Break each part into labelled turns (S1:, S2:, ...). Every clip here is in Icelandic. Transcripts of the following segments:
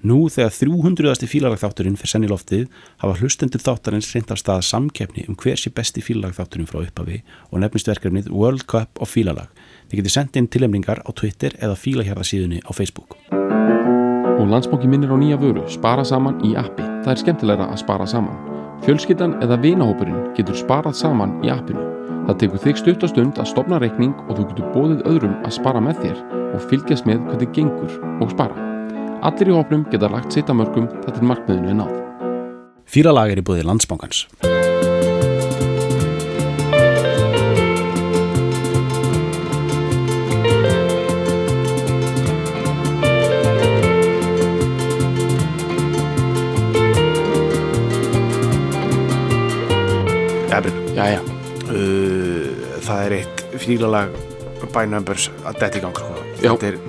S1: Nú þegar 300. fílalagþátturinn fyrir senni loftið hafa hlustendur þáttarins reyndar stað samkeppni um hver sé besti fílalagþátturinn frá upphafi og nefnist verkefnið World Cup of Fílalag. Þið getið sendið inn tilhemningar á Twitter eða fílahjarðasíðunni á Facebook.
S2: Og landsbóki minnir á nýja vöru, spara saman í appi. Það er skemmtilegra að spara saman. Fjölskyldan eða vinahópurinn getur sparað saman í appinu. Það tekur þig stutt og stund að stopna reikning og þú getur bóðið öðrum að spara með þér og fylgjast með hvernig gengur og spara. Allir í hópnum geta lagt sitt að mörgum þar til markmiðinu er náð.
S1: Fílalag er í búði landsbánkans.
S3: Ebru,
S2: Jæja,
S3: uh, það er eitt fílalag by numbers að detti í gang sko.
S2: Já.
S3: Þetta er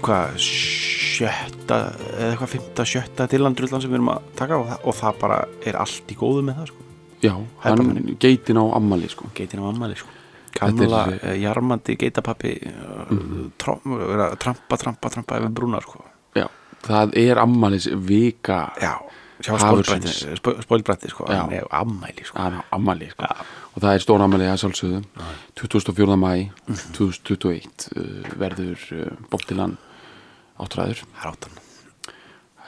S3: hvað, sjötta eða eitthvað fymta, sjötta tillandrullan sem við erum að taka og það, og það bara er allt í góðu með það sko.
S2: já,
S3: Það er bara
S2: hann geitin á ammali sko.
S3: Geitin á ammali sko. Kamla,
S2: Þetta
S3: er... jarmandi, geitapappi uh, trom, vera að trampa, trampa, trampa yfir brúnar sko.
S2: Já, það er ammalis vika
S3: Já, sjá
S2: Hafursins.
S3: spólbrætti spólbrætti sko,
S2: Já.
S3: hann er ammæli sko.
S2: að ammali sko. og það er stór ammali að sjálfsögðu 24. mæ 2021 uh, verður uh, Bob Dylan áttræður
S3: Það er áttan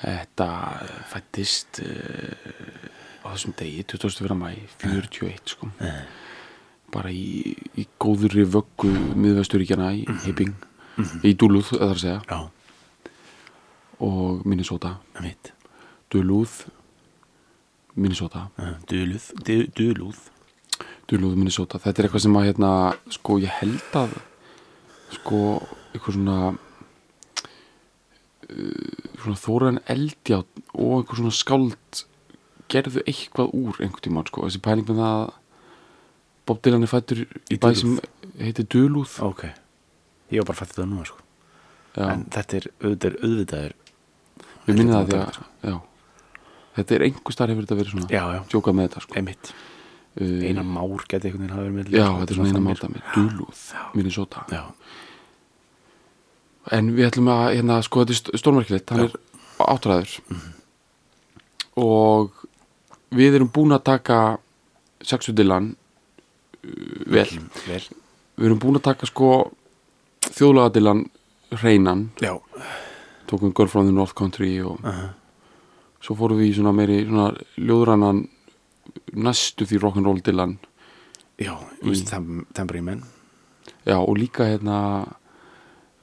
S2: þetta uh, fættist uh, á þessum degi 24. mæ 41 sko. bara í, í góðurri vöggu miðvesturíkjana í Hipping í Duluth, það er að segja
S3: Já, um
S2: og Minnesota,
S3: það mitt
S2: Duluth Minnesota
S3: Eh, Duluð, du- duluð
S2: Duluth, Minnesota, þetta er eitthvað sem að hérna, sko, ég held að sko, eitthvað svona uh, svona Þóran Eldjátt og eitthvað svona skáld gerðu eitthvað úr einhvern tímann, sko, þessi pæling með það að Bob Dylan er fættur í bæ
S3: Duluth.
S2: sem heitir Duluth
S3: Ok, ég var bara fættið það núna sko.
S2: já,
S3: En þetta er auðvitaður, auðvitaður
S2: ég minni það
S3: þetta
S2: því
S3: er
S2: að já, þetta er einhver starf hefur þetta verið svona,
S3: sko. Já, já,
S2: tjókað með þetta, sko
S3: einmitt
S2: Uh,
S3: Einar Már geti einhvern veginn hafa verið með
S2: Já,
S3: líka,
S2: þetta er svona eina
S3: þannig.
S2: máta með Duluth, Minnesota
S3: Já,
S2: En við ætlum að, hérna, sko, þetta er stórmerkilegt, hann
S3: Já.
S2: er áttræður og við erum búin að taka sexu Dylan uh, vel,
S3: Mm, vel
S2: við erum búin að taka sko þjóðlaga Dylan hreinan,
S3: Já,
S2: tókum Girl from the North Country og svo fórum við í svona meiri svona ljóðrannan næstu því rock'n'roll Dylan
S3: já, mm. Tem Tembrimen
S2: já, og líka hérna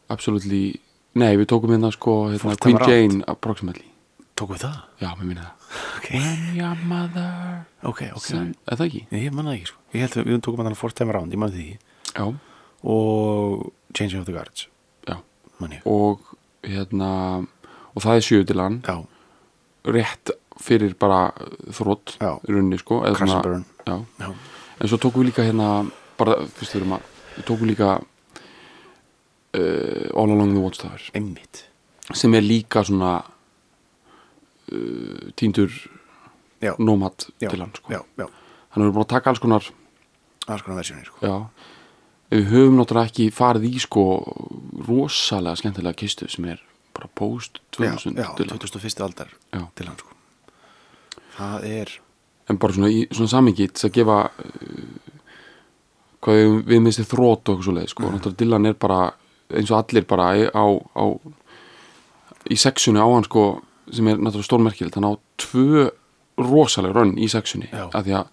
S2: absolutely, nei, við tókum hérna sko hérna,
S3: Fourth
S2: Queen
S3: Time Around.
S2: Jane approximately,
S3: Tók við það?
S2: já, mér minna það
S3: Ok,
S2: When your mother
S3: ok, ok
S2: son, Er það ekki?
S3: Ég man það ekki sko Ég held að við tókum hann að Force Time Around, ég man því
S2: Já,
S3: Og Changing of the Guards
S2: já
S3: Man ég
S2: Og hérna Og það er sjöðilan
S3: Já,
S2: Rétt fyrir bara þrótt
S3: Já.
S2: Runni sko eða
S3: Crash
S2: svona-
S3: and Burn
S2: Já
S3: Já,
S2: En svo tókum við líka hérna Bara fyrst við erum að Við tókum líka uh, All Along the Watchtower
S3: einmitt
S2: Sem er líka svona uh, Tíndur
S3: Já,
S2: Nómat
S3: já,
S2: Dylan sko
S3: já, já
S2: Þannig við erum bara að taka alls konar
S3: Það er sko versjónir sko
S2: Já, við höfum náttúrulega ekki farið í sko rosalega skemmtilega kistu sem er bara post
S3: Já,
S2: 2000
S3: já,
S2: Dylan.
S3: 2001. aldar
S2: Já.
S3: Dylan sko Það er
S2: en bara svona í svona samingi til að gefa uh, hvað við, við minnst þrót og eitthvað svo leið
S3: Mhm.
S2: sko, náttúrulega Dylan er bara eins og allir bara í- á, á í sexunni á hann sko sem er náttúrulega stórmerkilegt, hann á tvö rosaleg rönn í sexunni
S3: Já.
S2: af því að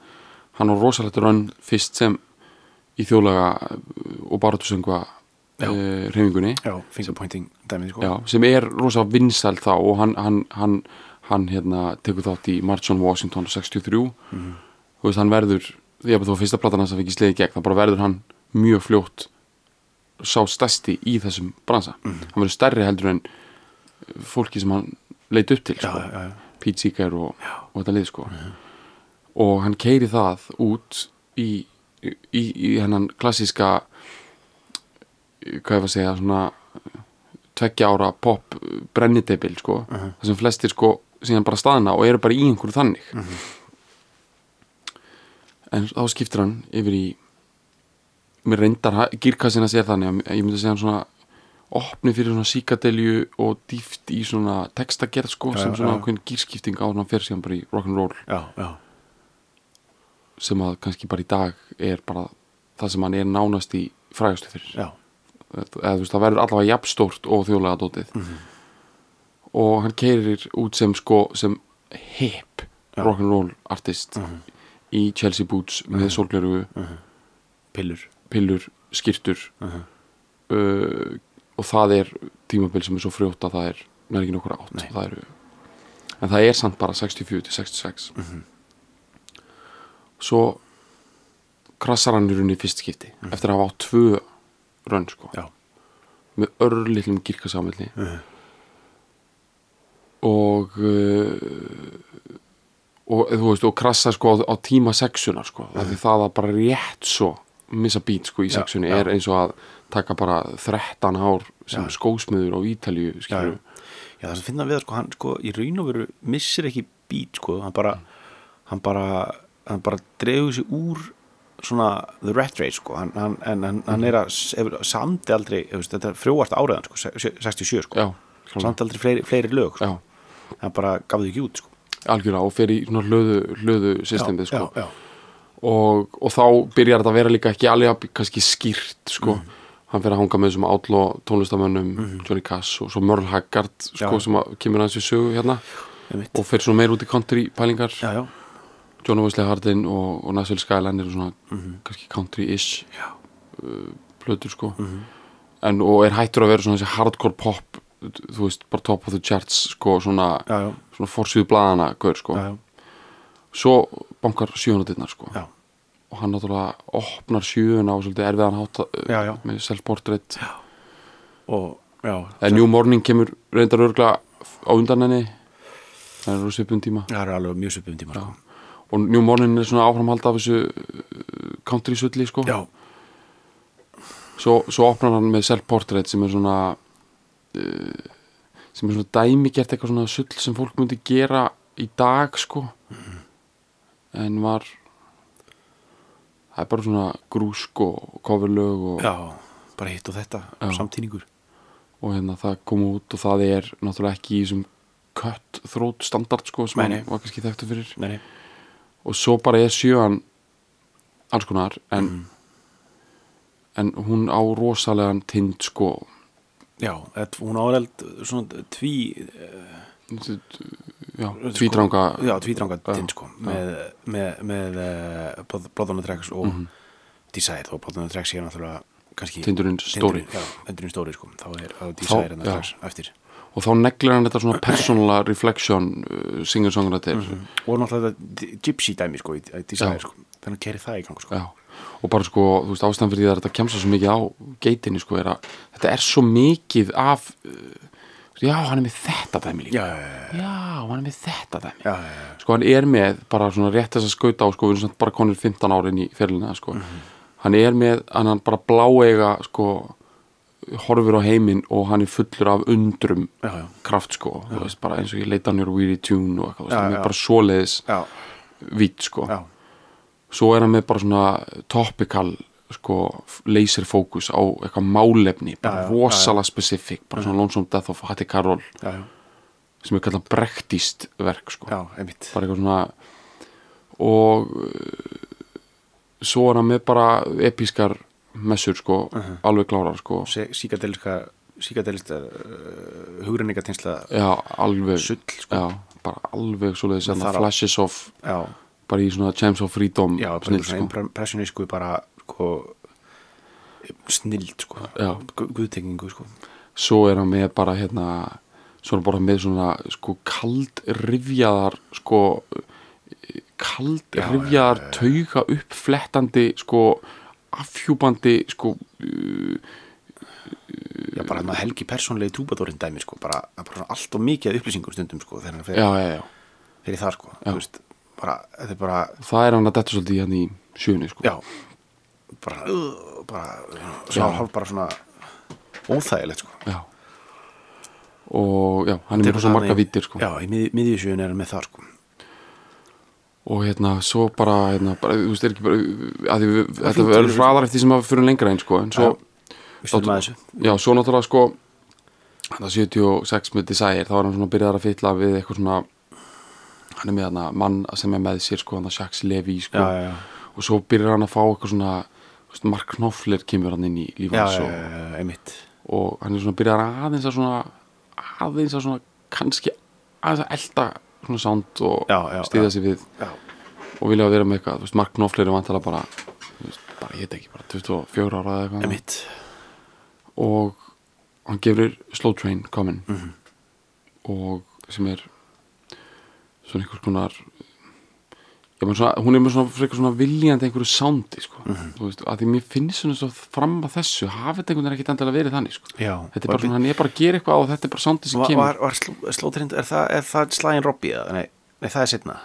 S2: hann á rosalegt rönn fyrst sem í þjóðlega uh, og baratusöngva
S3: Já.
S2: uh, reyfingunni
S3: Já, fingerpointing dæmið sko
S2: já, sem er rosa vinsæl þá og hann, hann, hann, hann hérna, tekur þátt í March on Washington 63
S3: Mhm.
S2: þú veist, hann verður ég að þú var fyrsta platan hans að fikk í sliði gegn þá bara verður hann mjög fljótt sá stærsti í þessum bransa
S3: Mhm.
S2: hann verður stærri heldur en fólki sem hann leit upp til
S3: já,
S2: sko.
S3: já, Mhm. já.
S2: Pete Seeger og, og þetta lið sko og hann keiri það út í, í, í, í hennan klassíska hvað ég var að segja svona tveggja ára pop brennidebil sko,
S3: Uh-huh.
S2: þar sem flestir sko síðan bara staðna og eru bara í einhverju þannig
S3: Uh-huh.
S2: en þá skiptir hann yfir í mér reyndar ha- gírkassina sér þannig að ég myndi segja hann svona opni fyrir svona síkadelju og dýft í svona textagerð sko
S3: Já,
S2: sem
S3: já, já.
S2: svona ákveðin gírskipting á svona fyrir síðan bara í rock'n'roll
S3: já, já,
S2: sem að kannski bara í dag er bara það sem hann er nánast í frægastu fyrir
S3: já,
S2: eða þú veist það verður allavega jafnstórt og þjóðlega dótið og hann keirir út sem sko sem hip rock'n'roll artist í Chelsea Boots með sólgleru
S3: pillur uh-huh.
S2: pillur, skýrtur uh, og það er tímabil sem er svo frjótt að það er nær ekki nokkur átt
S3: Nei.
S2: það eru, en það er samt bara 64 til 66 svo krassar hann í runni fyrst skipti eftir að hafa á tvö rönn sko
S3: já,
S2: með örlitlum girkasamilni og uh, og þú veist og krassa sko á, á tíma sexunar sko uh því það að bara rétt svo missa bít sko í
S3: Já,
S2: sexunni
S3: já.
S2: er eins og að taka bara 13 hár sem
S3: Já.
S2: skósmiður á Ítalíu
S3: já, já.
S2: skilur
S3: já það sem finna við sko, hann sko í raun og veru missir ekki bít sko, hann bara
S2: Mm.
S3: hann bara, hann bara dregur sér úr svona the rat race sko hann, hann, en hann,
S2: Mm-hmm.
S3: hann er að hefur samt aldrei, hefur, þetta er frjóast áriðan sko, se- se- 67 sko,
S2: já, já,
S3: samt aldrei fleiri, fleiri lög sko.
S2: já
S3: hann bara gaf þau ekki út sko.
S2: algjörlega og fer í svona hlöðu, hlöðu systemið sko
S3: já, já,
S2: og, og þá byrjar þetta að vera líka ekki alveg kannski skýrt sko.
S3: Mhm.
S2: hann fyrir að hanga með þessum átló tónlistamönnum Johnny Cass og svo Merle Haggard sko,
S3: Já.
S2: sem að kemur hans í sögu hérna
S3: einmitt.
S2: og fyrir svona meir út í country pælingar
S3: já, já,
S2: John Wesley Hardin og, og Nashville Skyline eru svona
S3: Mhm.
S2: kannski country-ish
S3: Já.
S2: uh, plötur sko
S3: Mhm.
S2: en og er hættur að vera svona þessi hardcore pop þú veist, bara top of the charts sko, svona,
S3: já, já,
S2: svona forsýðu blaðana gaur, sko.
S3: já, já.
S2: svo bankar sjöunatinnar sko
S3: Já.
S2: og hann náttúrulega opnar sjöuna á svolítið erfiðan hátta
S3: Já, já.
S2: með self-portrait
S3: og já,
S2: en New Morning kemur reyndar örgla á undan henni það er rosa uppum tíma
S3: það er alveg mjög svipum tíma sko.
S2: og New Morning er svona áframhald af þessu uh, country sulli sko
S3: já,
S2: svo, svo opnar hann með self-portrait sem er svona uh, sem er svona dæmigert eitthvað svona sull sem fólk myndi gera í dag sko en var það er bara svona grúsk og kofurlög og,
S3: já, bara hitt og þetta
S2: Já.
S3: samtíningur
S2: og hérna það kom út og það er náttúrulega ekki í þessum kött þrót standard sko sem
S3: Nei, nei.
S2: hann var kannski þekktu fyrir
S3: nei, nei.
S2: og svo bara er sjöan alls konar en,
S3: Mm.
S2: en hún á rosalegan tind sko
S3: já, þetta, hún áreald svona tví eh,
S2: já,
S3: sko,
S2: tvítranga
S3: já, tvídranga
S2: Já,
S3: tind sko, með, með, með uh, blóðanatræks og Desire og blóðanatræks er náttúrulega kannski
S2: Mhm. Tindurinn stóri.
S3: Tindurinn, já, tindurinn stóri sko, þá er þá er Desire
S2: já.
S3: anatræks eftir
S2: og þá neglir hann þetta svona persónulega reflection uh, singer-songrættir
S3: og náttúrulega þetta di- gypsy dæmi sko, í í Desire
S2: Já.
S3: sko, þannig að keri það í gang sko.
S2: já, og bara sko, þú veist, ástæðan fyrir því að þetta kemst svo mikið á geitinni sko er að þetta er svo mikið af uh, já, hann er með þetta dæmi líka
S3: já, já, já,
S2: já, hann er með þetta dæmi
S3: já, já, já.
S2: sko hann er með bara svona rétt þess að skauta á sko, við erum samt bara konir 15 árin í fyrirlina sko.
S3: Mhm.
S2: hann er með, hann, hann bara bláega sko, horfur á heiminn og hann er fullur af undrum
S3: Já, já.
S2: kraft sko, þú veist bara eins og ég leita hann hér Weary Tune og eitthvað, þú veist,
S3: Já,
S2: hann er
S3: já.
S2: bara svoleiðis
S3: já,
S2: vitt sko,
S3: já.
S2: svo er hann með bara svona topical sko, laser fókus á eitthvað málefni bara
S3: Já, já,
S2: rosalega specific bara svona Lonesome Death of Hattie Carroll
S3: já, já,
S2: sem er kallað brektist verk sko
S3: já, einmitt
S2: bara eitthvað svona og uh, svo er hann með bara episkar messur sko,
S3: Uh-huh.
S2: alveg klárar sko
S3: síkadeliska síkadelista uh, hugrenningatensla
S2: já, alveg
S3: Sull, sko.
S2: já, bara alveg svo leiðis
S3: þarf að-
S2: flashes of,
S3: já,
S2: bara í svona James of Freedom
S3: já, bara
S2: snill,
S3: svona
S2: sko.
S3: impressionísku bara sko, snild sko,
S2: Já.
S3: gu- guðtengingu sko.
S2: svo er hann með bara hérna, svo er hann bara með svona sko kald rifjaðar sko kald rifjaðar tauga upp flettandi sko afhjúpandi sko
S3: já,
S2: Eh.
S3: bara hann helgi persónlegi trúbadórin dæmi sko, bara, bara svona allt og mikið af upplýsingum stundum sko, þegar hann fer,
S2: já, já, já
S3: fer í það sko, þú veist, bara, þetta er bara
S2: það er hann að detta svolítið hérna í sjöunni sko.
S3: já, bara uh, bara, svona, hálf bara svona óþægilegt sko
S2: Já. og já, hann er með svo marga vittir sko.
S3: já, í mið, miðjusjöun er hann með það sko
S2: og hérna, svo bara, hérna, bara þú veist, er ekki bara að því, við- þetta
S3: fínt,
S2: verður
S3: við-
S2: hraðar eftir því sem að fyrir lengra einn sko. en svo,
S3: við stundum að þessu
S2: Já, svo náttúrulega sko hann 76 með Desire þá er hann svona byrjar að fylla við eitthvað svona hann er með hann mann sem er með sér sko hann að Sjax Levi sko
S3: já, já, já,
S2: og svo byrjar hann að fá eitthvað svona þú veist, Mark Knopfler kemur hann inn í lífa
S3: já,
S2: hans
S3: já, já,
S2: og,
S3: já, einmitt
S2: og hann er svona byrjar aðeins að svona aðeins að svona kannski aðeins að elda svona sound og
S3: Já, já,
S2: stýða
S3: já.
S2: sig við
S3: Já.
S2: og vilja að vera með eitthvað, þú veist, Mark Knopfler er vantala bara, þú veist, bara ég veit ekki bara 24 ára eða eitthvað
S3: einmitt
S2: og hann gefur Slow Train komin
S3: Mhm.
S2: og sem er svona einhvers konar ég meina svona, hún er með svona, frekar svona viljandi einhverju soundi sko.
S3: Mhm.
S2: þú veist, að því mér finnst svona svo fram að þessu hafi þetta einhvern veginn ekkert endilega verið þannig sko.
S3: já,
S2: þetta er bara svona, hann er bara að gera eitthvað á og þetta er bara soundi sem
S3: var,
S2: kemur
S3: var, var sló, slótrind, er það, er það slæðin Robby eða, nei, nei, það er setna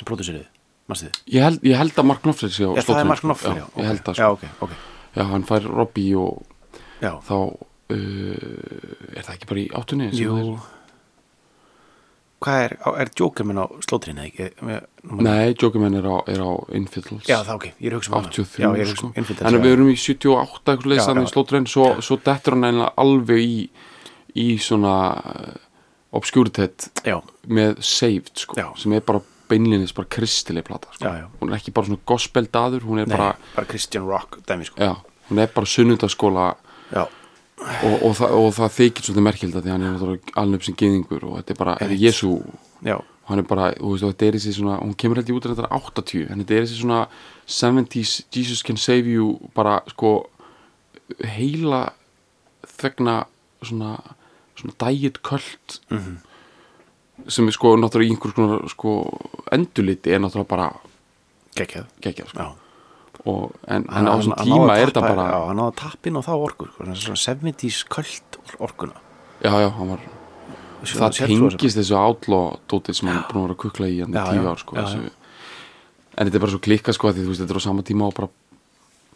S3: sem pródusserið, mannstu þið
S2: ég, held, ég held að Mark Knopfler sé á
S3: er
S2: Slow
S3: það
S2: Train,
S3: er Mark
S2: sko.
S3: Knopfler,
S2: já, ég held að
S3: já,
S2: sko.
S3: ok, ok
S2: já, hann fær Robbie og
S3: já,
S2: þá uh, er það ekki bara í áttunni sem
S3: jú
S2: það er-
S3: hvað er, á- er Joker minn á slótrind, ekki Ég- númer-
S2: nei, Jokerman er á, er á Infiddles
S3: já, það ok, ég er að hugsa um hana.
S2: 83
S3: já, ég er að hugsa
S2: sko.
S3: um Infidels,
S2: þannig að
S3: já.
S2: við erum í 78 eitthvað leys
S3: Já,
S2: þannig
S3: já.
S2: í slótturinn svo, svo dettur hann eiginlega alveg í í svona uh, obscuritet
S3: já,
S2: með saved sko,
S3: Já.
S2: sem er bara beinlinis bara kristileg plata sko.
S3: já, já,
S2: hún er ekki bara svona gospel daður hún er
S3: nei,
S2: bara,
S3: bara Christian Rock dæmi, sko,
S2: já, hún er bara sunnundaskóla
S3: já,
S2: og, og, það, og það þykir svolítið merkilda því hann er náttúrulega alveg sem geðingur og þetta er bara, þetta er Jésu
S3: já
S2: og hann er bara, þú veist, og þetta er þessi svona hún kemur held ég út að þetta er 80 en þetta er þessi svona 70s Jesus can save you bara sko heila þegna svona, svona diet cult
S3: Mhm.
S2: sem er sko náttúrulega í einhvers konar sko enduliti er náttúrulega bara
S3: geggjað,
S2: geggjað sko.
S3: já
S2: og, en, en
S3: Hann-
S2: á
S3: hann-
S2: þessum
S3: hann náði
S2: tíma
S3: að
S2: er þetta
S3: tappa-
S2: bara
S3: já, hann náði að tappin og þá orku sko, svona- svona 70s köld orkuna
S2: já, já, hann var það tengist þessu átlótótið sem hann er búin að vera að kukla í hann í
S3: Já,
S2: tíu
S3: já,
S2: ár sko,
S3: já,
S2: þessu, en þetta er bara svo klikka sko, af því þú veist, þetta er á sama tíma og bara,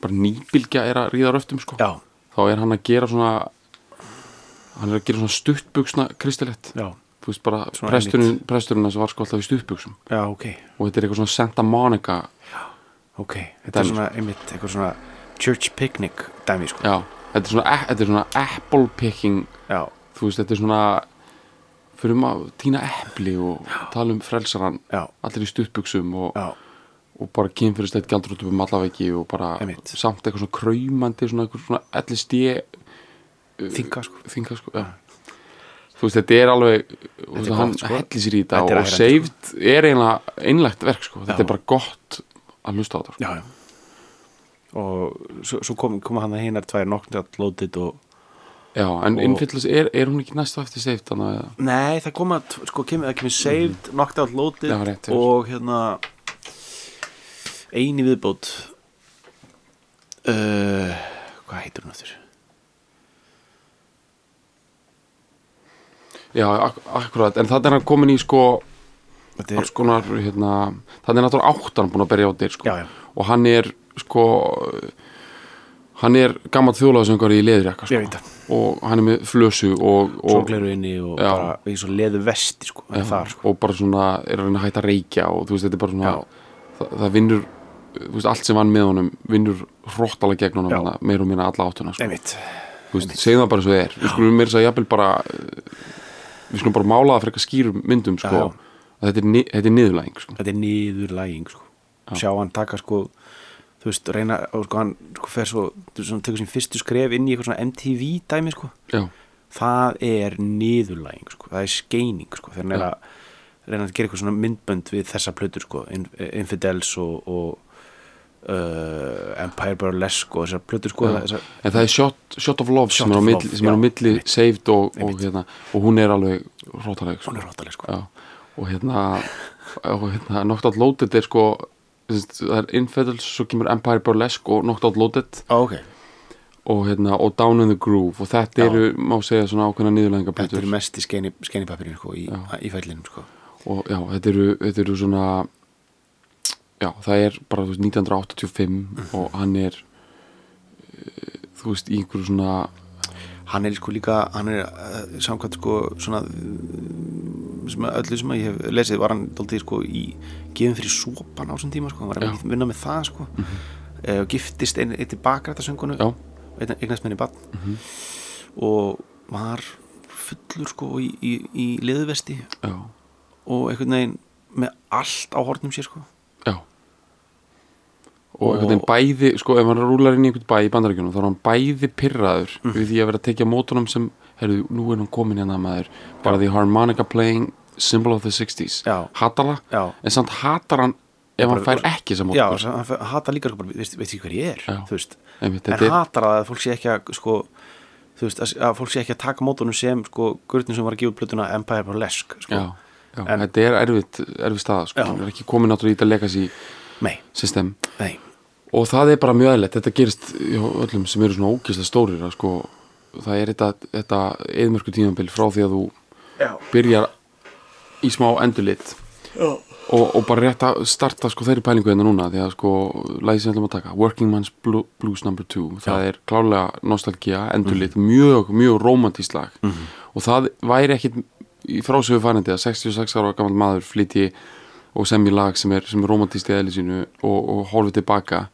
S2: bara nýbylgja er að ríða röftum sko.
S3: já,
S2: þá er hann að gera svona hann er að gera svona stuttbuksna kristilegt
S3: já,
S2: þú veist bara
S3: Svona
S2: presturinn, presturinn hans var sko alltaf í stuttbuksum
S3: já, ok
S2: og þetta er eitthvað svona Santa Monica
S3: ok, þetta er
S2: Dæmi,
S3: svona einmitt eitthvað svona church picnic dæmi sko,
S2: já, þetta er svona, þetta er svona apple picking
S3: já,
S2: þú veist, þetta er svona fyrir maður tína epli og tala um frelsaran
S3: já,
S2: allir í stuttbuksum og
S3: já
S2: og bara kynfyrirstætt gjaldur út um allaveggi og bara
S3: Einmitt.
S2: samt eitthvað svona kraumandi svona eitthvað svona allir stið
S3: þinga sko,
S2: þingar sko, já þú veist þetta er alveg þú veist,
S3: er
S2: hann
S3: gott, sko.
S2: hellir sér í þetta
S3: Þetta er
S2: og
S3: ærandi,
S2: saved er eiginlega einlægt verk sko, þetta
S3: Já.
S2: er bara gott að hlusta á þetta sko.
S3: já, já og svo, svo kom, koma hann að hinar tvær nokknjátt lótið og
S2: já, en
S3: Og-
S2: innfyllis er, er hún ekki næstu eftir saved þannig að
S3: Nei, það kom að, sko, kemur, það kemur saved, knocked out loaded
S2: Já, rétt, rétt.
S3: og hérna eini viðbót uh, hvað heitir hún aftur?
S2: já, ak akkurat, en þannig er hann komin í sko
S3: Þetta er,
S2: alls konar, hérna þannig er náttúrulega áttan búin að berja á dyr sko
S3: já, já,
S2: og hann er sko hann er gammal þjóðlagsöngar í leðurjakka
S3: ég
S2: sko.
S3: veit það
S2: og hann er með flösu og, og,
S3: sorgleiru inni og
S2: Já.
S3: bara í svo leðu vesti, sko, já. þar, sko
S2: og bara svona er að reyna að hætta að reykja og þú veist þetta er bara svona
S3: Já.
S2: það, það vinnur, þú veist allt sem vann með honum vinnur hróttalega gegn honum
S3: Já.
S2: hana, meir og minna alla áttuna sko.
S3: einmitt,
S2: þú veist, segjum það bara svo er við skulum meira þess að jafnvel bara eh, við skulum bara mála það fyrir eitthvað skýrum myndum sko,
S3: Já.
S2: að þetta er, ni- þetta er niðurlæðing sko.
S3: þetta er niður læging, sko sjá hann taka, sko þú veist, reyna, og sko, hann, sko, fer svo þú veist, hann tekur sín fyrstu skref inn í eitthvað svona MTV dæmi, sko
S2: já,
S3: það er niðurlæging sko. það er skeining sko. þegar hann er
S2: Já.
S3: að reyna að gera eitthvað svona myndbönd við þessa plötur sko. In- Infidels og, og uh, Empire Burlesque og þessar plötur sko.
S2: Já.
S3: þessar,
S2: en það er Shot, shot of Love
S3: Shot
S2: sem er á
S3: of
S2: milli,
S3: Love,
S2: sem er á
S3: já,
S2: milli
S3: einmitt.
S2: saved og, og,
S3: Einmitt.
S2: hérna, og hún er alveg hróttalega sko.
S3: hún er róttaleg sko.
S2: Já, og hérna og hérna, Knocked Out Loaded er sko þú veist, það er Infidels, svo kemur Empire Burlesque og Knocked Out Loaded
S3: Ó, ok.
S2: og hérna, og Down in the Groove og þetta
S3: Já.
S2: eru, má segja, svona ákveðna
S3: þetta
S2: niðurlæðingaplötur
S3: er mest í skeini, skeinipapirinn sko, í, í fællinum sko.
S2: og já, þetta eru, þetta eru svona já, það er bara þú veist, 1985
S3: Mhm.
S2: og hann er eh, þú veist, í einhverju svona
S3: hann er sko líka hann er uh, samkvæmt sko svona eh, sem að öllu sem að ég hef lesið var hann daldið sko í gefin fyrir sopan á þessum tíma sko, Eh, hann var
S2: Já. Mhm.
S3: að vinna með það sko mm og giftist einn ein, til bakrættasöngunu
S2: Já. Mhm.
S3: eigna- eignast minni bann og var fullur sko í, í, í leðuvesti
S2: já,
S3: og einhvern veginn með allt á hornum sér sko
S2: já og einhvern veginn bæði sko ef hann rúlar inn í einhvern bæ í bandarækjunum þá er hann bæði pyrraður
S3: Mm.
S2: við því að vera að tekja mótunum sem herðu, nú er hann komin hérna maður bara því harmonica playing symbol of the 60s
S3: Já.
S2: hatala,
S3: Já.
S2: en samt hatar hann ef hann
S3: Bara-
S2: fær ekki þessa
S3: Já,
S2: mótunum
S3: þess að hann fer- hatar líka sko bara, veist, veist ekki hver ég er
S2: Já.
S3: þú veist,
S2: Einmitt,
S3: en
S2: þetta er-
S3: hatar það að fólk sé ekki að sko, þú veist, að, að fólk sé ekki að taka mótunum sem sko, gurnin sem var að gefa út plötuna Empire of Lesk sko.
S2: já, já
S3: En-
S2: þetta er erfitt, erfitt staða sko.
S3: Já.
S2: hann er ekki komin náttúrulega í þetta legacy
S3: nei,
S2: system
S3: nei,
S2: og það er bara mjög eðlilegt, þetta gerist hjá öllum sem eru svona ókislega stórir að, sko, það er þetta, þetta eðmörku tímanbili frá því að þú
S3: Já.
S2: byrjar í smá endurlit og, og bara rétt að starta sko þeirri pælingu hérna núna því að sko lægið sem við ætlum að taka Working Man's Blu- Blues number 2 það er klálega nostalgia, endurlit mjög, mjög romantísk lag og það væri ekkit í frásöfu farandi að 66 ára gammal maður flytti og semji lag sem er, sem er romantískt í eðli sínu og, og horfið tilbaka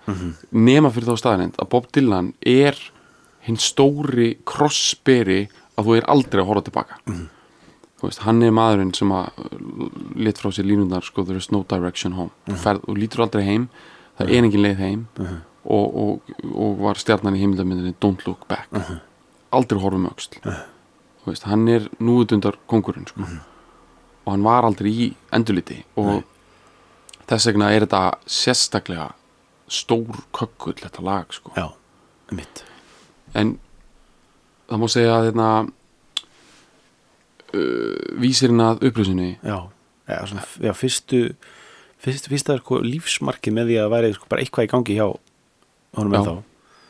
S2: nema fyrir þá staðanind að Bob Dylan er hinn stóri krossberi að þú er aldrei að horfa tilbaka þú veist, hann er maðurinn sem að lit frá sér línundar sko, there is no direction home þú, ferð, þú lítur aldrei heim, það er engin leið heim og, og, og var stjarnan í heimildamindinni don't look back aldrei horfum öxl þú veist, hann er núðundar kongurinn sko. og hann var aldrei í endurliti og þess vegna er þetta sérstaklega stór kökkull þetta lag sko.
S3: já, mitt
S2: en það má segja að hérna, uh, vísirinn að upplýsinni
S3: já, já, svona, já fyrstu fyrst, fyrsta sko, lífsmarkið með því að væri sko, bara eitthvað í gangi hjá honum
S2: Já.
S3: ennþá,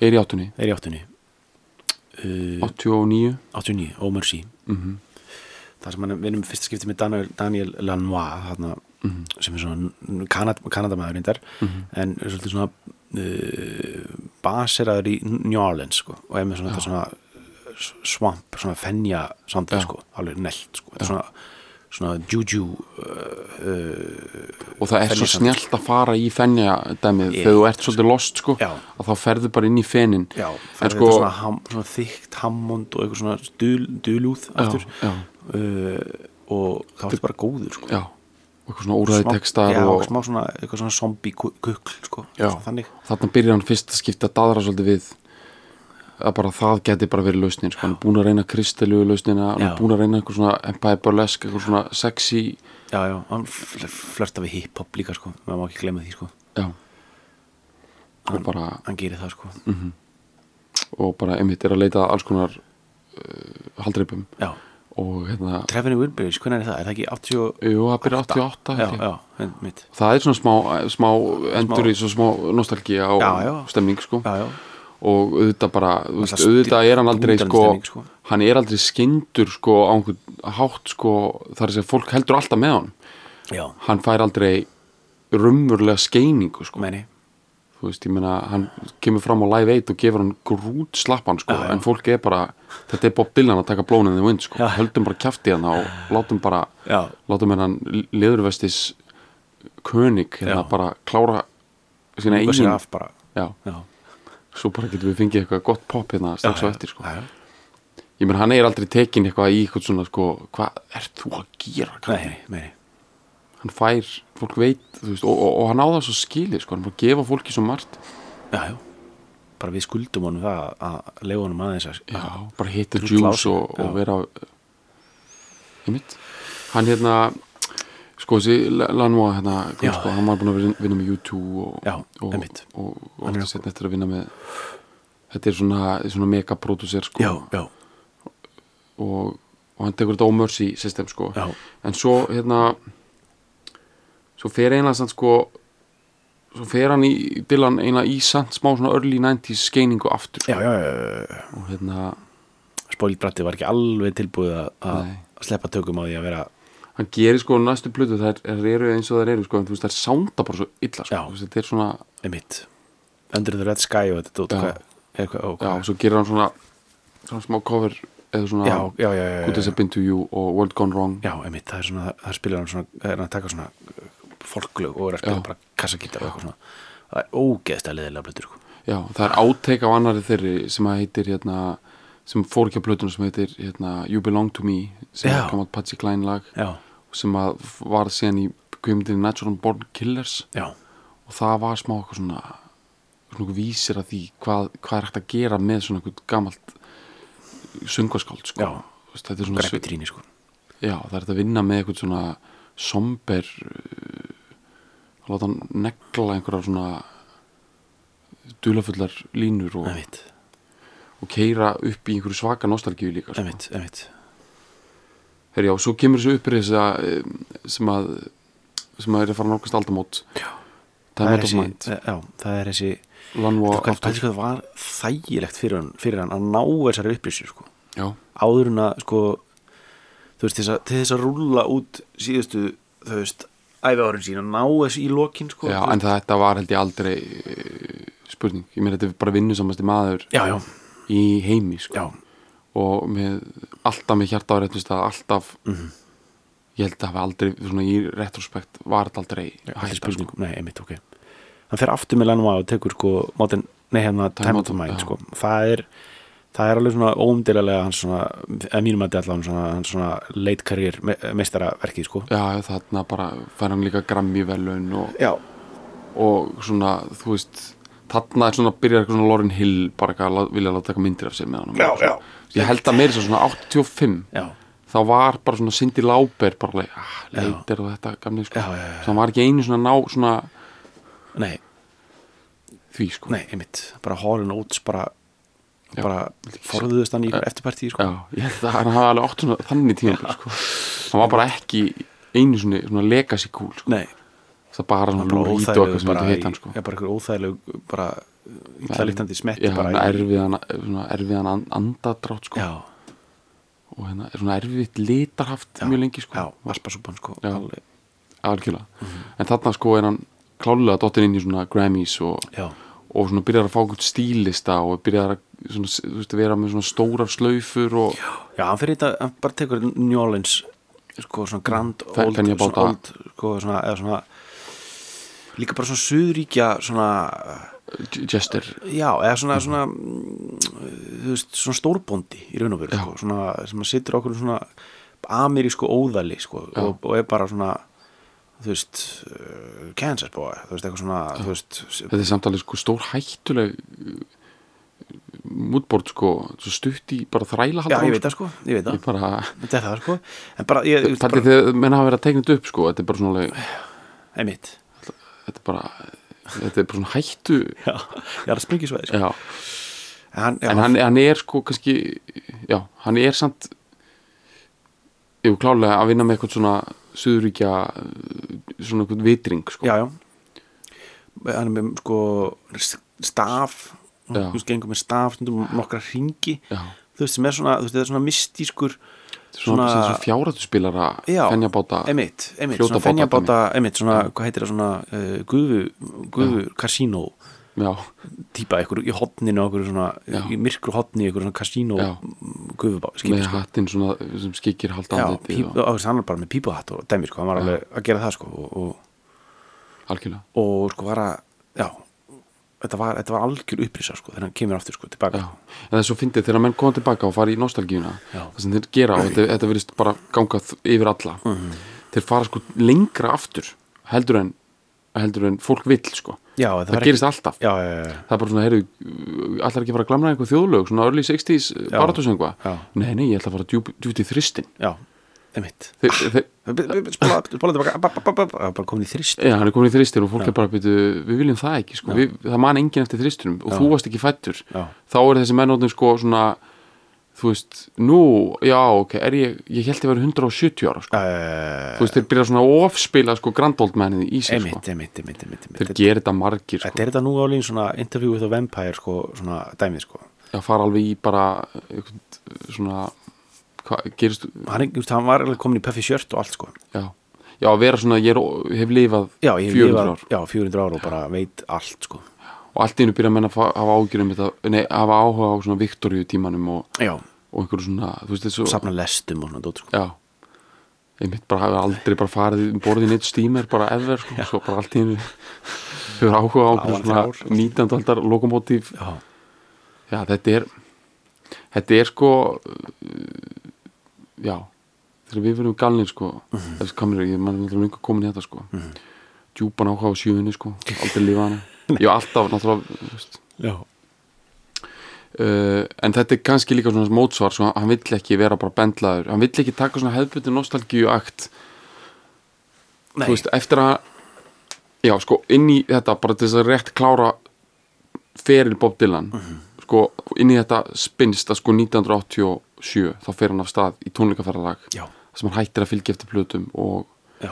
S2: er í áttunni
S3: er í áttunni uh,
S2: 89
S3: 89, Oh Mercy
S2: Mhm.
S3: það sem hann vinnum fyrsta skipti með Daniel, Daniel Lanois þarna,
S2: Mhm.
S3: sem er svona kanad, kanadamæður reyndar en er svolítið svona uh, baseraður í New Orleans sko, og er með svona, þetta svona eh, s- svamp, svona fenja
S2: Já.
S3: sandið sko, alveg nelt sko, þetta er svona, svona juju eh,
S2: og það er svo
S3: Fenjasand.
S2: snjallt að fara í fennja dæmið
S3: Ég-
S2: þegar þú ert svolítið lost sko,
S3: Já.
S2: að þá ferðu bara inn í fenin
S3: já, það
S2: en
S3: er
S2: sko
S3: þetta svona, ham, svona þykkt hammond og eitthvað svona dul, dulúð aftur
S2: já.
S3: Uh, og það var bara góður sko.
S2: já, og eitthvað svona óræði
S3: smá-
S2: textar
S3: já,
S2: og,
S3: smá svona, eitthvað svona zombie ku- kukl sko.
S2: já,
S3: þannig
S2: þarna byrjar hann fyrst að skipta að daðra svolítið við að bara það geti bara verið lausnin sko. hann er búin að reyna kristaljögu lausnina hann
S3: Já.
S2: er búin að reyna eitthvað svona empire burlesque eitthvað svona sexy
S3: já, já, hann fl- flörta við hiphop líka sko. maður má ekki glemma því sko.
S2: já. og bara
S3: hann gerir það sko.
S2: Mhm. og bara einmitt er að leita að alls konar uh, haldreipum
S3: já,
S2: og hérna
S3: Trevin Wilburys, hvernig er það? er það ekki 88?
S2: Jú, það byrja 88
S3: já,
S2: held ég.
S3: já, en, mitt
S2: Það er svona smá, smá endur í svona smá nostalgía og
S3: Já, já.
S2: stemning sko.
S3: já, já,
S2: og auðvitað bara, þú veist,
S3: Alltaf
S2: auðvitað er hann aldrei
S3: dúndrandi
S2: sko,
S3: stemning, sko.
S2: hann er aldrei skindur sko á einhvern hátt sko þar sem fólk heldur alltaf með hann
S3: já,
S2: hann fær aldrei raunverulega skeiningu sko
S3: meni
S2: þú veist, ég meina, hann kemur fram á Live 8 og gefur hann grút slappan sko,
S3: Já, já.
S2: en fólk er bara, þetta er Bob Dylan að taka blónin þið vind sko,
S3: Já.
S2: höldum bara kjafti hann og látum bara,
S3: Já.
S2: látum hennan leðurvestis könig hérna
S3: Já.
S2: bara klára sína
S3: Ljúka sér
S2: eigin
S3: af bara
S2: já,
S3: já,
S2: svo bara getum við fengið eitthvað gott pop hérna strax
S3: já,
S2: á eftir sko
S3: já, já.
S2: ég meina, hann er aldrei tekin eitthvað í eitthvað svona sko, hvað ert þú að gera kallinn?"
S3: nei, meni
S2: hann fær, fólk veit, þú veist og, og, og hann á það svo skilið sko, hann er bara að gefa fólki svo margt
S3: já, já bara við skuldum honum það að- að leiða honum aðeins að
S2: Já, bara hit the
S3: drulla á
S2: juice
S3: sig,
S2: og, og
S3: já.
S2: vera einmitt hann hérna sko þessi Lanua hérna kom,
S3: Já.
S2: sko, hann var búin að vinna, vinna með U2 og,
S3: Já,
S2: og,
S3: einmitt.
S2: og, og
S3: Hann er
S2: átti
S3: okkur.
S2: setna eftir að vinna með þetta er svona, svona megaproducer sko
S3: já, já,
S2: og, og hann tekur þetta ómörsi system sko
S3: Já.
S2: en svo hérna svo fer einlega sann sko svo fer hann í Dylan einlega í sann smá svona early 90s skeiningu aftur sko.
S3: já, já, já, já.
S2: og hérna
S3: spólbratti var ekki alveg tilbúið að- að
S2: Nei.
S3: sleppa tökum á því að vera
S2: hann gerir sko næstu plötu þær þær eru eins og þær eru sko en þú veist þær sánda bara svo illa sko
S3: Já.
S2: Þú veist, þetta er svona já,
S3: einmitt Under the Red Sky og þetta dót
S2: Já.
S3: hvað- eða hvað- ó,
S2: og
S3: hvað-
S2: svo gerir hann svona svona smá cover eða svona
S3: já, já, já, já,
S2: Good
S3: já,
S2: as a
S3: já.
S2: been to you og World Gone Wrong
S3: já, einmitt, það er svona það spilar hann svona, það er hann að taka svona uh, fólklög og er að spila
S2: Já.
S3: bara kassakítar og eitthvað svona það er ógeðst að leðilega blöður sko.
S2: já, já, það er áteik á annari þeirri sem að heitir hérna, sem fór ekki að plötunum sem heitir hérna, You Belong To Me sem
S3: Já.
S2: kom að Patsy Klein lag
S3: já,
S2: sem að var síðan í kvimdinni Natural Born Killers
S3: já,
S2: og það var smá eitthvað svona svona eitthvað vísir að því hvað, hvað er hægt að gera með svona eitthvað gamalt sungvaskáld sko.
S3: Já.
S2: Þú veist, þetta er svona
S3: greppi tríni sko
S2: já, það er hægt að vinna með eitthvað svona somber uh, að láta hann negla einhverja svona dulafullar línur og,
S3: emitt,
S2: og keira upp í einhverju svaka nostalgíu líka sko.
S3: emitt, emitt
S2: Herri, já, svo kemur þessu uppriðis sem að sem að er að fara nálgast aldamót
S3: Já.
S2: Time Out of
S3: þessi,
S2: Mind
S3: já, það er sko. þessi
S2: Lanvo
S3: Hvað
S2: aftur
S3: pældi hvað það var þægilegt fyrir hann, fyrir hann að ná þessari upplýsir sko.
S2: já,
S3: áður en að sko, þú veist, til þess að, til þess að rúlla út síðustu þú veist, æfi árin sín að ná þessu í lokin sko,
S2: já,
S3: þú
S2: en
S3: veist.
S2: þetta var held ég aldrei eh, spurning, ég meina þetta er bara vinnusamasti maður
S3: já, já,
S2: í heimi sko.
S3: já,
S2: og með, alltaf með hjarta á réttum stað alltaf
S3: Mhm.
S2: ég held að hafa aldrei, svona í retrospekt var þetta aldrei
S3: allir
S2: hægt sko.
S3: spurningum nei, einmitt, ok hann fer aftur með Lenoir og tekur sko mótin, nei, hérna,
S2: Time
S3: Time Out
S2: Out
S3: of Mind
S2: já.
S3: sko. það er það er alveg svona óumdélalega hans svona, að mínum að dæla hann svona, hans svona late career me meistaraverki sko.
S2: já, þarna bara fær hann líka grammi velun og,
S3: já,
S2: og svona, þú veist þarna er svona, byrjar eitthvað svona Lauren Hill bara eitthvað að lá- vilja láta taka myndir af sér með hann
S3: Já, já.
S2: ég held að meira þess að svona 85
S3: já,
S2: þá var bara svona Cindy Lauper bara leik, ah, leitir og þetta gamli sko.
S3: Já, já, já, já.
S2: það var ekki einu svona ná svona
S3: nei
S2: því sko
S3: Nei, einmitt, bara Hall Oates bara,
S2: Já.
S3: bara forðuðust hann í ykkur eftirpartí sko.
S2: Já, ég held að hann hafa alveg 800 þannig tíma sko. hann var bara ekki einu svona, svona legacy cool sko.
S3: Nei,
S2: það bara
S3: hann
S2: svona
S3: bara
S2: lúri ít og
S3: óþægilegu
S2: eitthvað sem
S3: bara,
S2: þetta
S3: í-
S2: heit hann sko.
S3: já, bara ykkur óþægilegu bara illa
S2: Erf-
S3: lyktandi smetti
S2: Já,
S3: bara
S2: svona
S3: í-
S2: erfiðan, svona erfiðan and- andadrátt sko.
S3: Já,
S2: og hérna, svona erfitt litarhaft mjög lengi sko.
S3: já, vaspasúpan sko
S2: Já.
S3: alveg,
S2: algjörlega en þarna sko er hann klálega dottin inn í svona Grammys og,
S3: já,
S2: og svona byrjar að fá einhvern stílista og byrjar að svona, þú veist, vera með svona stórar slaufur og
S3: já, hann fyrir þetta, hann bara tekur New Orleans sko, svona grand
S2: Fe-
S3: old, svona
S2: Fenjabáta.
S3: old sko, svona, eða svona líka bara svona suðríkja svona,
S2: gestur
S3: já, eða svona,
S2: Mhm.
S3: svona mm, þú veist, svona stórbóndi í raun og veru, sko, svona, sem að situr okkur svona amerísku óðali sko, og, og er bara svona þú veist, uh, Kansas boy þú veist, eitthvað svona, þú veist s-
S2: þetta er samtalið sko stór hættuleg mútbord sko svo stutt í bara þræla
S3: já, ég veit það sko, ég veit það,
S2: bara,
S3: þetta er það sko en bara, ég, ég,
S2: pælið
S3: bara,
S2: þegar menn hafa verið að teikna þetta upp sko þetta er bara svona alveg,
S3: einmitt
S2: þetta er bara þetta er bara svona hættu
S3: já, ég er að springi svo sko.
S2: já.
S3: en hann, já,
S2: en hann, hann er sko kannski já, hann er samt jú klálega að vinna með eitthvað svona suðuríkja svona eitthvað vitring sko
S3: já, já hann er með sko staf,
S2: Já.
S3: þú veist, gengur með staf stundum nokkra hringi
S2: Já.
S3: þú veist, sem er svona, þú veist, þetta er svona mistískur
S2: svona, svona, svona fjáratuspilara
S3: Já,
S2: fennjabáta
S3: einmitt, einmitt,
S2: fljótabáta
S3: svona fennjabáta einmitt, svona, hvað heitir það svona uh, gufu, gufu kasínó
S2: já,
S3: típa ykkur í hotninu okkur svona,
S2: Já.
S3: í myrkru hotni ykkur svona kasínó
S2: Já.
S3: gufubá, skipur
S2: með
S3: sko
S2: hattinn svona sem skikir halda
S3: Já,
S2: andlitið
S3: píp,
S2: og-
S3: og, og, hann var bara með pípuhatt og dæmi sko, hann var alveg að gera það sko og, og,
S2: algjörlega
S3: og sko var að, já þetta var, þetta var algjör upprýsa sko þegar hann kemur aftur sko tilbaka
S2: Já. en það er svo fyndið þegar menn koma tilbaka og fara í nostalgíuna
S3: Já.
S2: það sem þeir gera og þetta, þetta verðist bara ganga þ- yfir alla
S3: Mhm.
S2: þeir fara sko lengra aftur heldur en, heldur en fólk vill sko.
S3: Já,
S2: það,
S3: það var
S2: gerist alltaf
S3: já, já, já, já,
S2: það er bara svona, heyrðu, allar ekki að fara að glamra einhver þjóðlög, svona early 60s baratusengva,
S3: Já.
S2: nei, nei, ég ætla að fara djúp, djúpt í þristin
S3: já, einmitt
S2: þeir, þeir,
S3: spóla tilbaka ba- ba- ba- ba- ba- bara komin í þrist
S2: Já, hann er komin í þristin og fólk er bara að byrja, við viljum það ekki, sko, við, það man enginn eftir þristinum og þú varst ekki fættur,
S3: Já.
S2: þá er þessi mennóðnum sko svona, þú veist, nú, já, ok, er ég, ég held ég verið 170 ára, sko,
S3: uh,
S2: þú veist, þeir byrja svona að ofspila, sko, grandoldmennið í sig,
S3: einmitt,
S2: sko,
S3: einmitt, einmitt, einmitt, einmitt.
S2: þeir gera þetta margir,
S3: Þetta
S2: sko,
S3: er þetta nú álín svona interview with a vampire sko, svona dæmið sko
S2: að fara alveg í bara, einhvern, svona, hvað, gerist,
S3: hann, er- þú veist, hann var alveg komin í Puffy shirt og allt sko
S2: já, já, að vera svona, ég er, hef lifað
S3: Já, ég
S2: 400
S3: lifað-
S2: ár.
S3: Já, 400 ár og bara veit allt sko
S2: og allt í einu byrja menn að fa- hafa ágjörðum þetta, nei, hafa áhuga á svona Viktoríu tímanum og,
S3: Já,
S2: og einhverju svona, þú veist, þessu
S3: safna lestum og svona dót sko
S2: Já Ég mitt bara hafa aldrei bara farið um borðið í sko. neitt stímer bara ever sko, svo bara allt í hennu hefur
S3: Á,
S2: áhuga á
S3: hann
S2: einhverjum svona
S3: þrjár.
S2: 19. aldar lokomotív
S3: Já.
S2: já, þetta er þetta er sko uh, já þegar við verðum galnir sko þessi kameru, ég mann er löngu komin í þetta sko djúpan áhuga á sjöunni sko aldrei lifa hana, ég var alltaf náttúrulega þú veist,
S3: Já.
S2: uh, en þetta er kannski líka svona mótsvar svo hann- hann vill ekki vera bara bendlaður hann vill ekki taka svona hefðbutin nostalgíu akt
S3: Nei,
S2: þú veist, eftir að já, sko, inn í þetta, bara til þess að rétt klára feril Bob Dylan
S3: Mhm.
S2: sko, inn í þetta spinnst að sko 1987 þá fer hann af stað í tónleikaferðalag
S3: Já.
S2: sem hann hættir að fylgja eftir plötum og,
S3: já,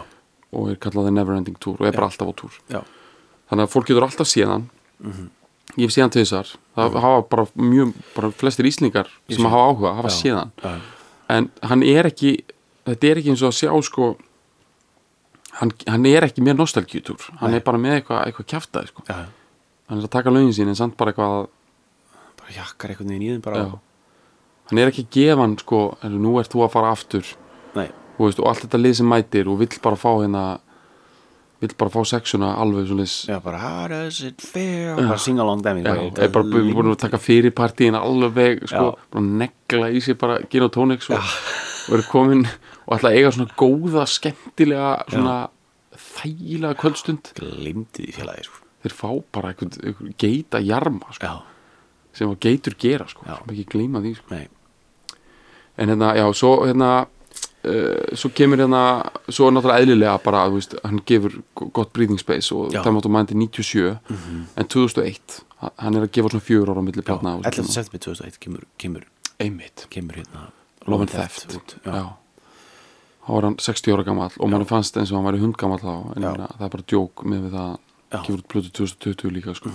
S2: og er kallað The Neverending Tour og er bara alltaf á túr
S3: já,
S2: þannig að fólk getur alltaf séð hann
S3: Mhm.
S2: ég hef séð hann til þessar það hafa bara mjög, bara flestir íslingar sem
S3: sé.
S2: hafa áhuga, hafa séð hann
S3: já,
S2: en hann er ekki þetta er ekki eins og að sjá sko hann, hann er ekki með nostalgjútur hann er bara með eitthvað eitthva kjaftaði sko.
S3: já.
S2: hann er að taka lögin sín en samt bara eitthvað að-
S3: bara jakkar einhvern veginn í þeim bara
S2: já. hann er ekki að gefa hann sko, "Heyrðu, nú ert þú að fara aftur
S3: Nei,
S2: þú veist, og allt þetta lið sem mætir og vill bara fá hérna vill bara fá sexuna alveg svoleiðis
S3: já, bara how does it feel bara sing along dæmi
S2: Já, er bara bú- búin að taka fyrir partíin alveg, sko,
S3: Já.
S2: bara negla í sig bara gin og tónik, sko og er komin og ætla að eiga svona góða skemmtilega, svona þægilega kvöldstund,
S3: glimti því félagi sko.
S2: þeir fá bara einhvern, einhvern geita jarma, sko,
S3: Já,
S2: sem að geitur gera, sko,
S3: Já.
S2: sem ekki gleyma því, sko
S3: nei,
S2: en hérna, já, svo hérna Uh, svo kemur hérna svo er náttúrulega eðlilega bara, þú veist, hann gefur go- gott breathing space og
S3: Já. Mhm.
S2: það máttu mændi 97 en 2001, h- hann er að gefa svona fjör ára á milli platna og
S3: 11.
S2: svona.
S3: september 2001 kemur, kemur,
S2: einmitt
S3: kemur hérna
S2: Love and Theft
S3: út
S2: já.
S3: já,
S2: þá var hann 60 ára gammal og mann fannst eins og hann væri hundgammal þá en
S3: Já.
S2: ég meina, það er bara djók með við það
S3: Já. Mhm.
S2: hann gefur út plötu 2020 líka sko.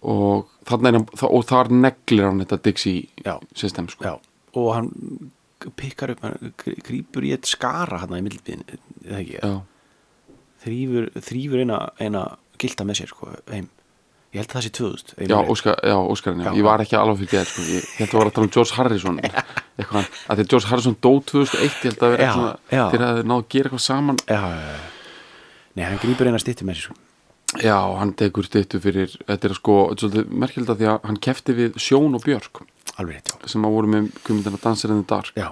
S2: og þarna er hann þa- og þar neglir hann þetta Dixie
S3: Já.
S2: system sko.
S3: já. og hann pikkar upp, hann grýpur í eitt skara hérna í millbíðin, eða ekki
S2: Já.
S3: þrýfur, þrýfur eina, eina gilda með sér sko, heim ég held að það sé 2000 ef ég
S2: Já,
S3: man rétt.
S2: Óskar, já, Óskarinn, já.
S3: Já.
S2: ég var ekki alveg fyrir geð sko. ég ég held að vera að tala um George Harrison eitthvað, hann- að því að George Harrison dó 2001 ég held að vera
S3: Já,
S2: eitthvað,
S3: já.
S2: þegar það náðu að gera eitthvað saman
S3: já, já, já. nei, hann grýpur eina stýttu með sér sko.
S2: já, hann tekur stýttu fyrir þetta er sko, þetta er svolítið merkilegt að því að hann kefti við Sjón og Björk
S3: alveg rétt, já,
S2: sem að voru með kvimmindina Dancer in the Dark
S3: já.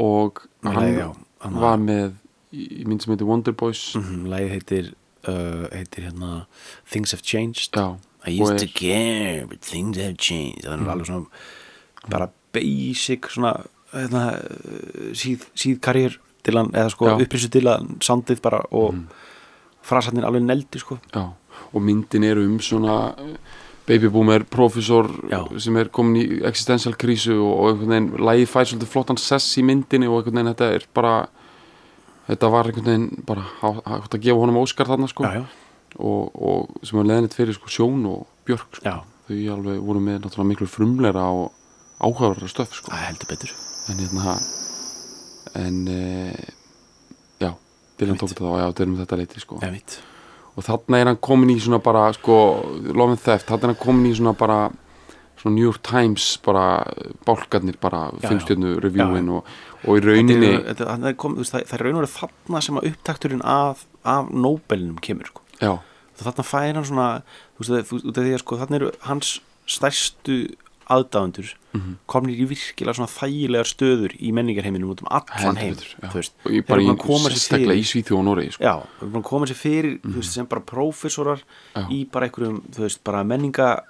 S2: og
S3: Nei,
S2: hann
S3: já, hann- Mm.
S2: var með í mynd sem heitir Wonder Boys
S3: Læðið Mhm, heitir, uh, heitir hérna, Things Have Changed
S2: Já,
S3: I
S2: og
S3: used
S2: er- Mhm.
S3: to care but things have changed það er alveg svona bara basic svona hérna, uh, síð, síð karriér til hann eða sko
S2: Já. Mhm.
S3: upplýsu til að sandið bara og mm. frasarnir alveg neldi sko
S2: já, og myndin er um svona eh, baby boomer professor
S3: Já.
S2: sem er komin í existential krísu og, og einhvern veginn, lagið fær svolítið flottan sess í myndinni og einhvern veginn þetta er bara þetta var einhvern veginn bara há- hægt að gefa honum Óskar þarna sko
S3: já,
S2: og, og sem var leðinett fyrir sko Sjón og Björk sko.
S3: já,
S2: þau alveg voru með náttúrulega miklu frumleira og áhugaverðara stöf sko
S3: það heldur betur
S2: en hérna en e, já, Dylan tók þetta og já, þetta er um þetta leiti sko.
S3: eða mitt
S2: og þarna er hann komin í svona bara sko, lofin þeft, þarna er hann komin í svona bara svona New York Times bara bálkarnir bara
S3: Já, já.
S2: fimmstjörnu
S3: Já,
S2: reviewin og, og í
S3: Þetta
S2: rauninni
S3: er- þetta- þarna er kom- þú veist, það það er raun og verið þarna sem að upptakturinn af, af Nobelinum kemur sko
S2: já,
S3: þá þarna fær hann svona þú veist, þú- út af því að sko, þarna eru hans stærstu aðdáðundur
S2: Mhm.
S3: komnir í virkilega svona þægilegar stöður í menningarheiminum út um allan
S2: Heldur
S3: heim
S2: betur, já.
S3: þú veist,
S2: og í,
S3: þeir
S2: bara
S3: eru
S2: í,
S3: búin að koma sér
S2: sérstaklega
S3: fyrir
S2: í Svíþjóð og Noregi sko.
S3: já, þeir eru búin að koma sér fyrir þú veist, sem bara prófessorar
S2: Já. Mhm.
S3: í bara einhverjum, þú veist, bara menninga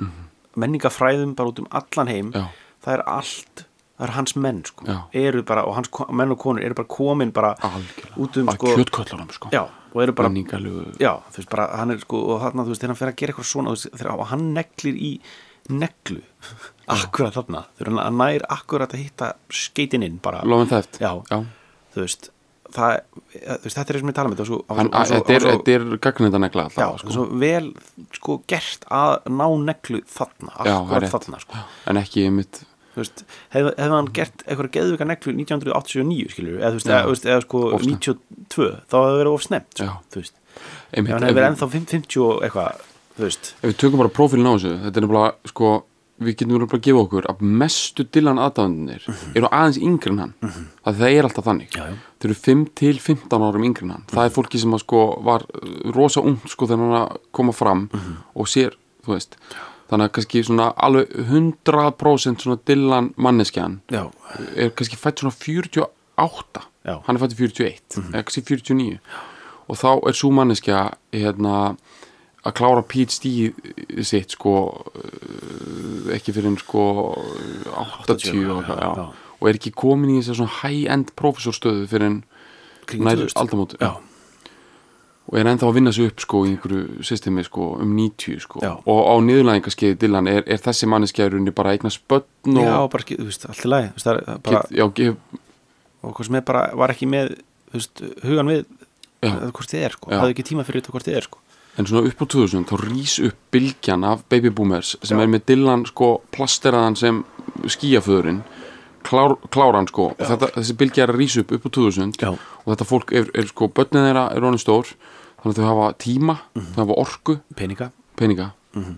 S3: menningafræðum bara út um allan heim
S2: Já.
S3: það er allt það er hans menn, sko,
S2: Já.
S3: eru bara og hans ko- menn og konur eru bara komin bara
S2: algjörlega,
S3: út um,
S2: að
S3: sko,
S2: kjötköllunum sko.
S3: já, og eru bara
S2: menningalegu
S3: já, þú veist bara, hann er sko og hann, þú veist, þegar hann fer að gera eitthvað svona þú veist, þegar og hann neglir í neglu akkurat þarna, þegar hann- hann nær akkurat að hitta skeitin inn bara,
S2: lofin þeft
S3: Já. þú veist það, eh, þú veist, þetta er sem ég tala með þetta og svo- og
S2: Hann,
S3: svo- og svo-
S2: þetta er,
S3: og svo-
S2: þetta er gagnindanegla alltaf
S3: já, sko. svo vel sko gert að ná neglu þarna,
S2: Já, það er
S3: akkurat
S2: rétt.
S3: þarna sko.
S2: en ekki einmitt
S3: þú veist, hefði hef hann gert eitthvað geðvika neglu 1989 skilur eða, þú veist, eða, þú veist, eða sko
S2: Of snemmt.
S3: 92 þá hefði verið of snemmt sko,
S2: Já.
S3: þú veist, ef
S2: einmitt,
S3: hann hefði verið ennþá 50 og eitthvað, þú veist
S2: ef við tökum bara prófílin á þessu þetta er nefnilega sko við getum verið að gefa okkur að mestu Dylan aðdáðunir eru aðeins yngri en hann að það er alltaf þannig
S3: Mhm. Já, Mhm. já.
S2: þau eru 5 til 15 árum yngri en hann það er fólki sem að sko var uh, rosa ung sko þegar hann að koma fram
S3: Mhm.
S2: og sér, þú veist þannig að kannski svona alveg 100% svona Dylan manneskjan
S3: já,
S2: er kannski fætt svona 48
S3: Já. Mhm.
S2: hann er fætt í 41 eða kannski 49 og þá er svo manneskja hérna, að klára PhD sitt sko eh, ekki fyrir en sko 80 og,
S3: já,
S2: já, já.
S3: já.
S2: og er ekki komin í þess að svona high-end professorstöðu fyrir en
S3: kring
S2: nær
S3: 2000.
S2: aldamót
S3: Já,
S2: og er ennþá að vinna sig upp sko í einhverju systemi sko um 90 sko
S3: Já.
S2: og á niðurlæðingaskeiði Dylan er, er þessi manneskja í rauninni bara að eignast börn
S3: já,
S2: og
S3: bara, ekki- þú veist, allt í lagi þú veist, það er bara,
S2: get, já, get,
S3: og hvort sem er bara, var ekki með þú veist, hugan við
S2: Já.
S3: eða hvort þið er, sko,
S2: Já.
S3: hafði ekki tíma fyrir þetta hvort þið er, sko
S2: En svona upp á 2000 þá rís upp bylgjan af Baby Boomers sem
S3: Já.
S2: er með Dylan sko plasteraðan sem skíaföðurinn klár, kláran sko og þetta, þessi bylgja er að rís upp upp á 2000
S3: Já.
S2: og þetta fólk er, er sko, börnin þeirra er honum stór þannig að þau hafa tíma,
S3: Mhm.
S2: þau hafa orku
S3: peninga,
S2: peninga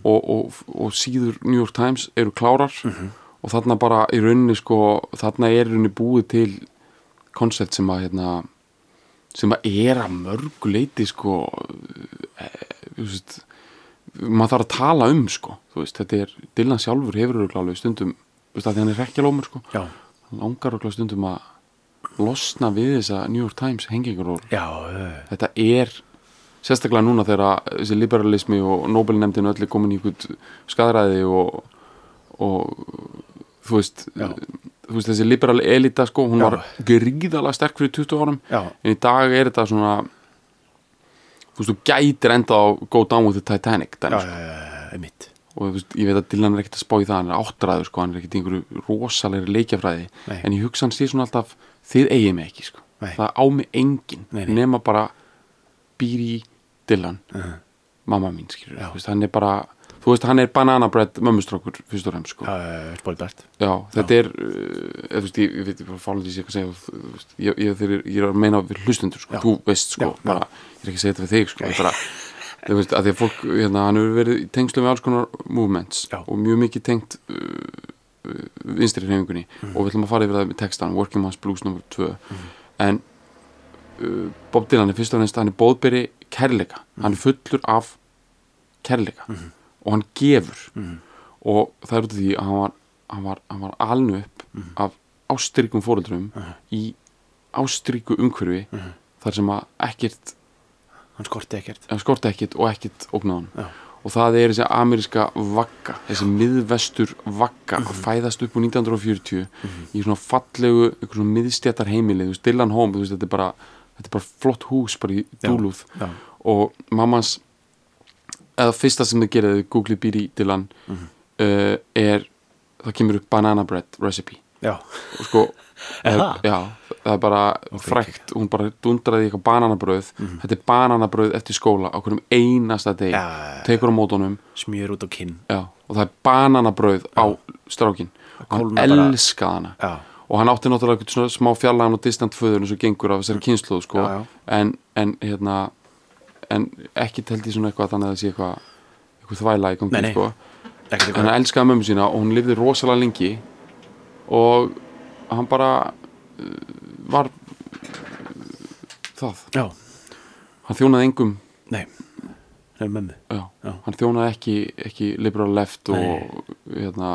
S2: og, og, og síður New York Times eru klárar og þarna bara í rauninni sko, þarna er í rauninni búið til koncept sem að hérna, sem að er að mörgu leiti sko e, þú veist, maður þarf að tala um sko, þú veist, þetta er Dylan sjálfur hefur öruglálega stundum þú veist, að því hann er rekjalómur sko
S3: já,
S2: hann langar öruglálega stundum að losna við þessa New York Times hengingaról
S3: já, já,
S2: þetta er sérstaklega núna þegar þessi liberalismi og Nobelnefndin öll er komin í einhvern skadræði og, og þú veist, þú veist þessi liberal elita sko, hún
S3: Já.
S2: var gríðalega sterk fyrir 20 árum
S3: Já.
S2: en í dag er þetta svona þú veist, þú gætir enda á Go Down with the Titanic
S3: já,
S2: dæmi, sko.
S3: já, já, mitt
S2: og þú veist, ég veit að Dylan er ekkert að spá í það hann er áttræður, sko, hann er ekkert í einhverju rosalegri leikjafræði,
S3: Nei.
S2: en ég hugsa hann sé svona alltaf, þið eigið mig ekki sko.
S3: Nei.
S2: það á mig engin,
S3: Nei, nei.
S2: nema bara býr í Dylan mamma mín skilur,
S3: Já.
S2: þú veist, hann er bara þú veist, hann er bananabrætt mömmustrókur fyrst og fremst sko.
S3: já, já, já, spólbært
S2: Já, þetta er, uh, eða, þú veist, ég, ég veit ekki fálega því sé hvað að segja, þú þú veist, ég, ég, þeir, ég er að meina við hlustundur, sko,
S3: Já.
S2: þú veist, sko,
S3: Já, já.
S2: bara, ég er ekki að segja þetta við þig, sko, ég bara, þú veist, að því að fólk, hérna, hann hefur verið í tengslu með alls konar movements
S3: Já.
S2: og mjög mikið tengt uh, uh, vinstri hreyfingunni
S3: Mhm.
S2: og við ætlum að fara yfir það með textan, Working Man's Blues nr. 2, en uh, Bob Dylan er fyrst og fremst, hann er bóðberi kærleika, hann
S3: Mhm.
S2: er fullur af kærleika og hann gefur og það er út af því að hann var, hann var, hann var alnu upp
S3: Mhm.
S2: af ástrykum fóreldrum í ástryku umhverfi
S3: Mhm.
S2: þar sem að ekkert
S3: hann skorti ekkert
S2: hann skorti ekkert og ekkert ógnaðan
S3: Já.
S2: og það er þessi ameríska vagga þessi miðvestur vagga
S3: Mhm.
S2: að fæðast upp úr 1940 í svona fallegu, einhver svona miðstjættar heimili þú veist, Dylan Home, þú veist, þetta er bara þetta er bara flott hús, bara í dúluð
S3: já.
S2: og mammas eða fyrsta sem þið gerði, Google býr í Dylan uh, er það kemur upp banana bread recipe
S3: já,
S2: og sko
S3: Er
S2: það,
S3: það?
S2: já, það er bara frækt, hún bara dundraði í eitthvað bananabröð þetta er bananabröð eftir skóla á hverjum einasta deg
S3: Mhm. Já, já, já.
S2: tekur á mótunum
S3: smjör út á kinn
S2: já, og það er bananabröð á strákin og hann
S3: kólnar bara-
S2: elskaði hana
S3: Já.
S2: og hann átti náttúrulega einhvern svona smá fjarlæðan og distant föður eins og gengur af þessari kynsluð sko.
S3: Já, já.
S2: En, en hérna en ekki teldi svona eitthvað þannig að það sé eitthvað eitthvað þvæla í
S3: Nei,
S2: gangi
S3: nei.
S2: sko
S3: ekkert
S2: en
S3: eitthvað
S2: hann elskaði mömmu sína og hún lifði rosalega lengi og hann bara uh, var uh, það,
S3: já,
S2: hann þjónaði engum
S3: nei, það er mömmu
S2: já,
S3: Já.
S2: hann þjónaði ekki, ekki liberal left og
S3: Nei.
S2: hérna,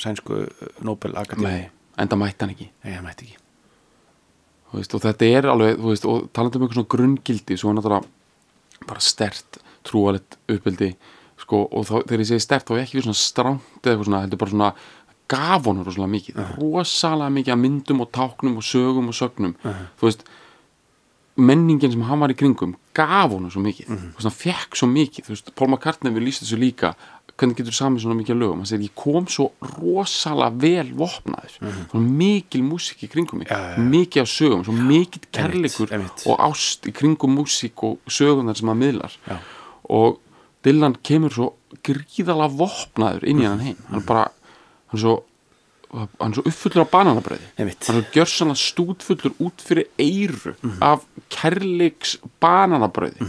S3: sænsku uh, Nobel Akademi
S2: nei, enda mætti hann ekki
S3: nei, það mætti ekki
S2: Þú veist, og þetta er alveg, þú veist, og talandi um eitthvað svona grunngildi, svo er náttúrulega bara stert, trúalegt uppbildi sko, og þá, þegar ég segi stert þá er ég ekki við svona strangt eða eitthvað svona heldur bara svona gaf honum rosalega mikið rosalega mikið af myndum og táknum og sögum og sögnum, þú veist menningin sem hann var í kringum gaf honum svo mikið,
S3: Mhm.
S2: þú veist, hann fekk svo mikið, þú veist, Paul McCartney við lýst þessu líka hvernig getur samið svona mikið af lögum hann segir, ég kom svo rosalega vel vopnaður, mm mikil músík í kringum mig,
S3: Mhm. Já, já, já.
S2: mikið af sögum svo mikill kærleikur
S3: einmitt.
S2: og ást í kringum músík og sögunar sem hann miðlar
S3: Já.
S2: og Dylan kemur svo gríðalega vopnaður inn í
S3: Mhm.
S2: hann heim hann er bara, hann er svo hann er svo uppfullur af bananabröði
S3: Einmitt.
S2: hann er svo gjörsanlega stútfullur út fyrir eiru af kærleiks bananabröði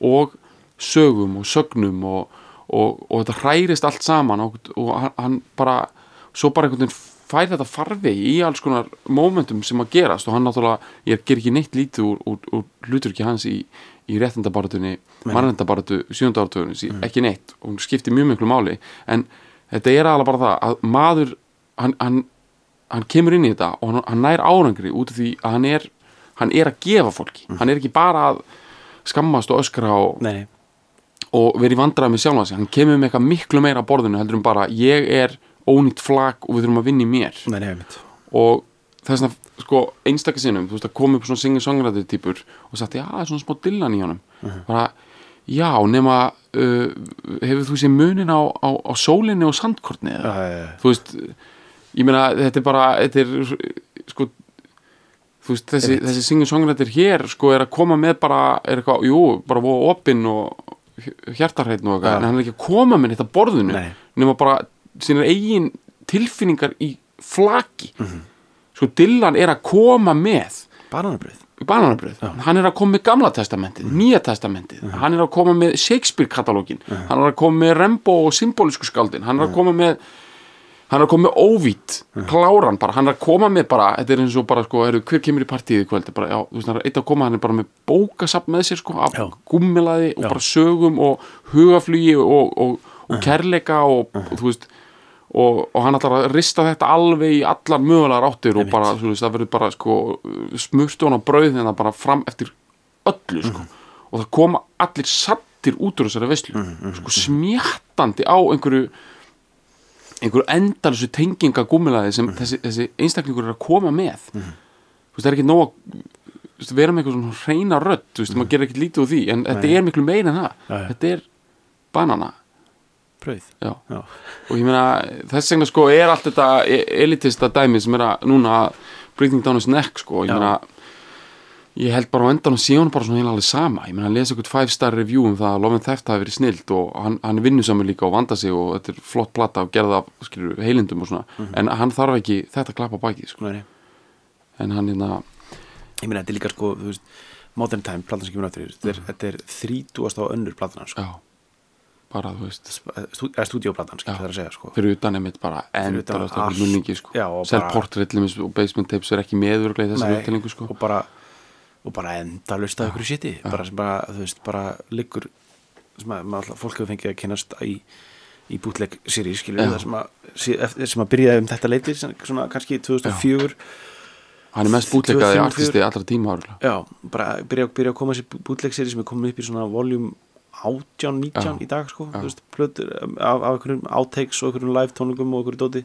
S2: og sögum og sögnum og, og, og þetta hrærist allt saman og, og hann, hann bara svo bara einhvern veginn fær þetta farvegi í alls konar momentum sem að gerast og hann náttúrulega, ég ger ekki neitt lítið úr, úr, úr hlutur ekki hans í, í réttindabaratunni, mannrændabaratu sjönda áratugunni, sí- ekki neitt og hún skiptir mjög miklu máli, en þetta er alveg bara það að maður hann, hann, hann kemur inn í þetta og hann, hann nær árangri út af því að hann er hann er að gefa fólki, hann er ekki bara að skammast og öskra og,
S3: Nei, nei,
S2: og verið vandrað með sjálfan sig hann kemur með eitthvað miklu meira á borðinu heldur um bara ég er ónýtt flagg og við þurfum að vinna í mér
S3: nei, nei, einmitt.
S2: og þess að sko einstakar sinnum, þú veist að koma upp svona singer-songrættir típur og sagt, já, það er svona smá dillan í honum bara, já, nema uh, hefur þú séð munin á, á, á sólinni og sandkortni eða,
S3: Já, já, já.
S2: þú veist ég meina, þetta er bara, þetta er sko þú veist, þessi, þessi singer-songrættir hér sko er að koma með bara, er eitthvað jú, bara voða opinn og hjartarheitn og eitthvað,
S3: Já.
S2: en hann er ekki að koma með þetta borðinu,
S3: Nei.
S2: nema bara sínar eigin tilfinningar í flaki
S3: Mhm.
S2: sko Dylan er að koma með
S3: Bananabröð
S2: bananabröð, hann er að koma með gamla testamentið,
S3: Mhm.
S2: nýja testamentið, hann er að koma með Shakespeare katalógin,
S3: Mhm.
S2: hann er að koma með Rembo og symbolisku skaldin, hann er að koma með hann er að koma með óvít kláran bara, hann er að koma með bara þetta er eins og bara sko, heru, hver kemur í partíð í kvöld bara, já, þú veist, hann er eitt að koma, hann er bara með bókasafn með sér sko, af
S3: Já.
S2: gúmmilaði og
S3: Já.
S2: bara sögum og hugaflugi og, og, og kærleika og, og þú veist og, og hann ætlar að rista þetta alveg í allar mögulegar áttir og bara, þú veist, það verður bara sko, smurtu hann á brauð þegar það bara fram eftir öllu sko.
S3: Mhm.
S2: og það koma allir sattir út úr þessari veislu
S3: mhm,
S2: sko, smjattandi á einhverju einhverju endalösu tenginga gúmilaði sem
S3: Mhm.
S2: þessi, þessi einstaklingur er að koma með þú veist, það er ekki nóg að þú veist, vera með eitthvað svona hreina rödd þú veist, maður gerir ekkert lítið úr því, en þetta er miklu meira en það,
S3: Mhm. Já, já.
S2: þetta er banana
S3: Bröð
S2: já
S3: Já,
S2: og ég meina þess vegna sko er allt þetta e- elitista dæmi sem er að núna breathing down his neck sko ég
S3: Já.
S2: meina ég held bara á endan og sé hún bara svona heila alveg sama ég meina hann lesi eitthvað 5 star review um það að Love and Theft hafi verið snilt og hann, hann vinnur saman líka og vanda sig og þetta er flott plata og gerða skilur heilindum og svona
S3: Mhm.
S2: en hann þarf ekki þetta klappa baki sko
S3: nei, nei
S2: en hann hérna
S3: Ég meina, þetta er líka sko, þú veist Modern Time, platan sem kemur áttur Þetta er, þetta er þrítúast á önnur platan sko.
S2: Mhm. já bara þú veist
S3: Stú, eða stúdíóplatan, skil það að segja sko.
S2: fyrir utan einmitt bara
S3: Fyrir utan
S2: endalast okkur
S3: allt.
S2: munningi sko
S3: Já, og bara-
S2: self-portrait og basement tapes er ekki meðuruglega í þessar
S3: Nei,
S2: upptælingu sko
S3: og bara, og bara enda að lusta ykkur séti bara sem bara, þú veist, bara liggur sem að maður alltaf, fólk hefur fengið að kynast í, í bútleg sýri skilur
S2: Já.
S3: það sem að, sí- eftir- sem að byrjaði um þetta leiti sem- svona kannski 2004 já,
S2: Hann er mest bútleikaði
S3: 24
S2: artisti allra tíma ára.
S3: bara byrja, byrja að koma sér bútleg sýri sem er komin upp í svona voljum 18, 19
S2: Já.
S3: í dag sko,
S2: Já.
S3: þú veist, plötur um, af, af einhverjum outtakes og einhverjum live tónlingum og einhverjum dóti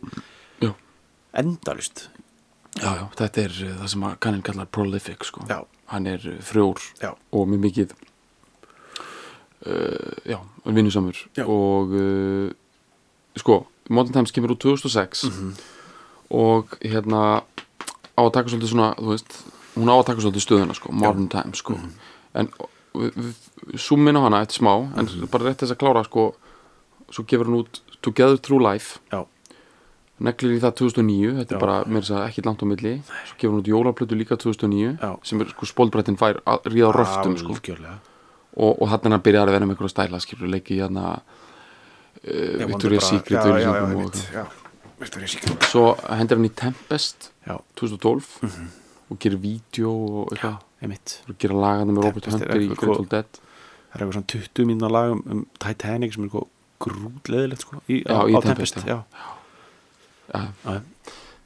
S2: Já.
S3: endalust
S2: Já, já, þetta er uh, það sem að kanninn kallar prolific, sko.
S3: Já.
S2: Hann er uh, frjór
S3: Já.
S2: og með mikið, uh, já, vinnusamur.
S3: Já.
S2: Og, uh, sko, Modern Times kemur út 2006
S3: Mhm.
S2: og hérna á að taka svolítið svona, þú veist, hún á að taka svolítið stöðuna, sko, Modern Times, sko.
S3: Mhm.
S2: En við, við zoomum inn á hana eftir smá, en
S3: Mhm.
S2: bara rétt þess að klára, sko, svo gefur hún út Together Through Life.
S3: já,
S2: neglir í það 2009 þetta er
S3: Já.
S2: bara, mér þess að ekki langt á milli svo gefur hún út jólaplötu líka 2009
S3: Já.
S2: sem er sko spóldbrettin fær að ríða á röftum sko.
S3: algjörlega
S2: og, og þannig hann byrjar að vera með einhverja stæla skilur leiki í hérna
S3: Ég vona
S2: Victoria's
S3: bara-
S2: Secret
S3: já, já, já,
S2: auglýsingum og
S3: einmitt, já, Victoria's Secret
S2: svo hendur hann í Tempest
S3: já,
S2: 2012
S3: Mhm.
S2: og gerir vídeo og eitthvað
S3: einmitt
S2: og gerir lagana með Robert
S3: Tempest er
S2: Hunter í
S3: eitthvað
S2: Grateful Dead
S3: það er eitthvað svona 20 mínuna lag um, um Titanic sem er eitthvað grútleðilegt sko, í,
S2: Já,
S3: á,
S2: í
S3: á
S2: Tempest,
S3: Tempest, já.
S2: já. Já.
S3: Já.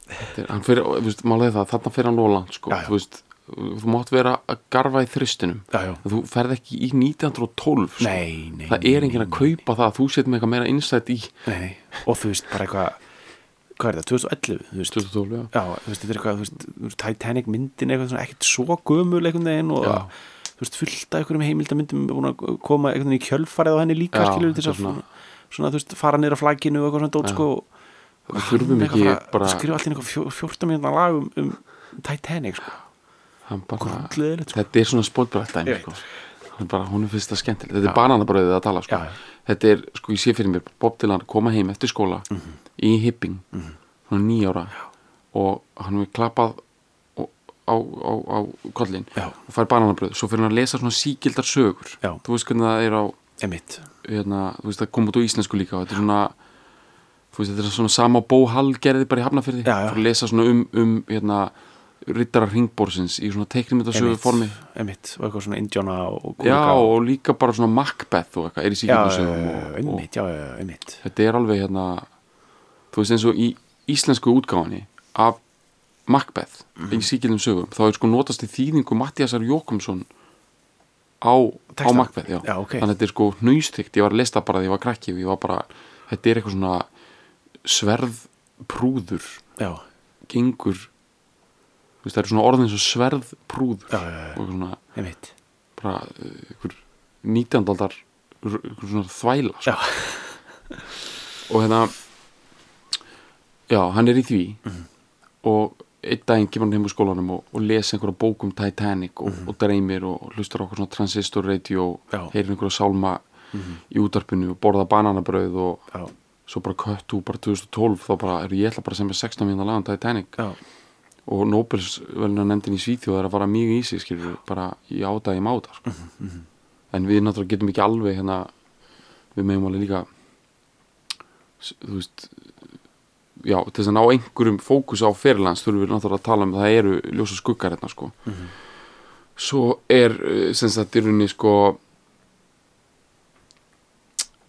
S2: Þetta er- hann fyrir, þú veist, málega það, þarna fyrir hann lóland sko,
S3: Já, já.
S2: þú veist, þú mátt vera að garfa í þristinum
S3: Já, já.
S2: þú ferð ekki í 1912 sko.
S3: Nei, nei,
S2: það er enginn að kaupa það að þú setjum eitthvað meira innsætt í
S3: Nei, nei. og þú veist bara eitthvað hvað er það, 2011 þú veist,
S2: 2012, já,
S3: já, þú veist, þetta er eitthvað þú veist, þú veist, Titanic myndin er eitthvað svona ekkert svo gömul einhvern veginn og
S2: Já.
S3: þú veist, fullt af einhverjum heimildamyndum búin að koma einhvern veginn í kjölfarið á henni líka
S2: Já,
S3: skilur til
S2: þetta
S3: þess
S2: er
S3: að svona, svona, þú veist, fara niður á flagginu og eitthvað svona dót sko og
S2: Við þurfum
S3: Hann
S2: ekki
S3: eitthvað fara-
S2: bara-
S3: skrifa allir einhver fjó- 14 mínúna lag um, um Titanic sko.
S2: hann bara,
S3: Grútleðilegt, sko.
S2: þetta er svona spólbrætt dæmi
S3: Ég
S2: sko. hann bara, hún er fyrst að skemmtileg þetta er bananabröðið að tala sko.
S3: Já, já.
S2: þetta er, sko, ég sé fyrir mér, Bob Dylan koma heim eftir skóla
S3: Mhm.
S2: í hipping svona nýjára og hann er klappað og- á, á, á kollin
S3: Já.
S2: og fær bananabröð, svo fyrir hann að lesa svona síkildar sögur
S3: Já.
S2: þú veist hvernig það er á
S3: emitt
S2: hérna, þú veist, það kom út á íslensku líka og þetta er svona þú veist, þetta er svona sama og bóhall gerði bara í Hafnafyrði
S3: Já, já.
S2: Fór að lesa svona um, um hérna, rittara ringbórsins í svona teiknumyndasögu formi
S3: emitt, og eitthvað svona indjóna og og
S2: já,
S3: kúlika
S2: og líka bara svona Macbeth og eitthvað, er í
S3: já,
S2: síkjumdasögum og, og
S3: emitt, já, já, emitt
S2: þetta er alveg hérna þú veist, eins og í íslensku útgáfanni af Macbeth
S3: Mhm.
S2: í síkjumdum sögum, þá er sko notast í þýðingu Mattiasar Jókumsson á, á
S3: Texta.
S2: Macbeth, já,
S3: Já, ok.
S2: þannig að þetta er sko nöystrikt, ég var að lesta bara því ég var krakki og ég var bara, þetta er eitthvað svona sverðprúður
S3: já,
S2: gengur þú veist, það eru svona orðin eins og sverðprúður
S3: Já, já, já.
S2: og svona
S3: emitt
S2: bara uh, ykkur nýtjandaldar ykkur svona þvæla
S3: já,
S2: og hérna já, hann er í því og einn daginn kemur hann heim úr skólanum og, og les einhverja bók um Titanic og, og dreymir og, og hlustar á okkur svona transistor radio og
S3: Já.
S2: heyrir einhverja sálma í útarpinu og borða bananabrauð og
S3: já,
S2: svo bara kött úr bara 2012 þá bara er ég ætla bara að semja 16 mínúna lag um Titanic
S3: já,
S2: og Nobelsvelna nefndin í Svíþjóð er að fara mjög í sig skilur bara í áta í máta sko. en við náttúrulega getum ekki alveg hérna við meðum alveg líka s- þú veist já, til þess að ná einhverjum fókus á fyrirlands þurfum við náttúrulega að tala um að það eru ljósa skuggar hérna sko svo er eh, sem sagt í rauninni sko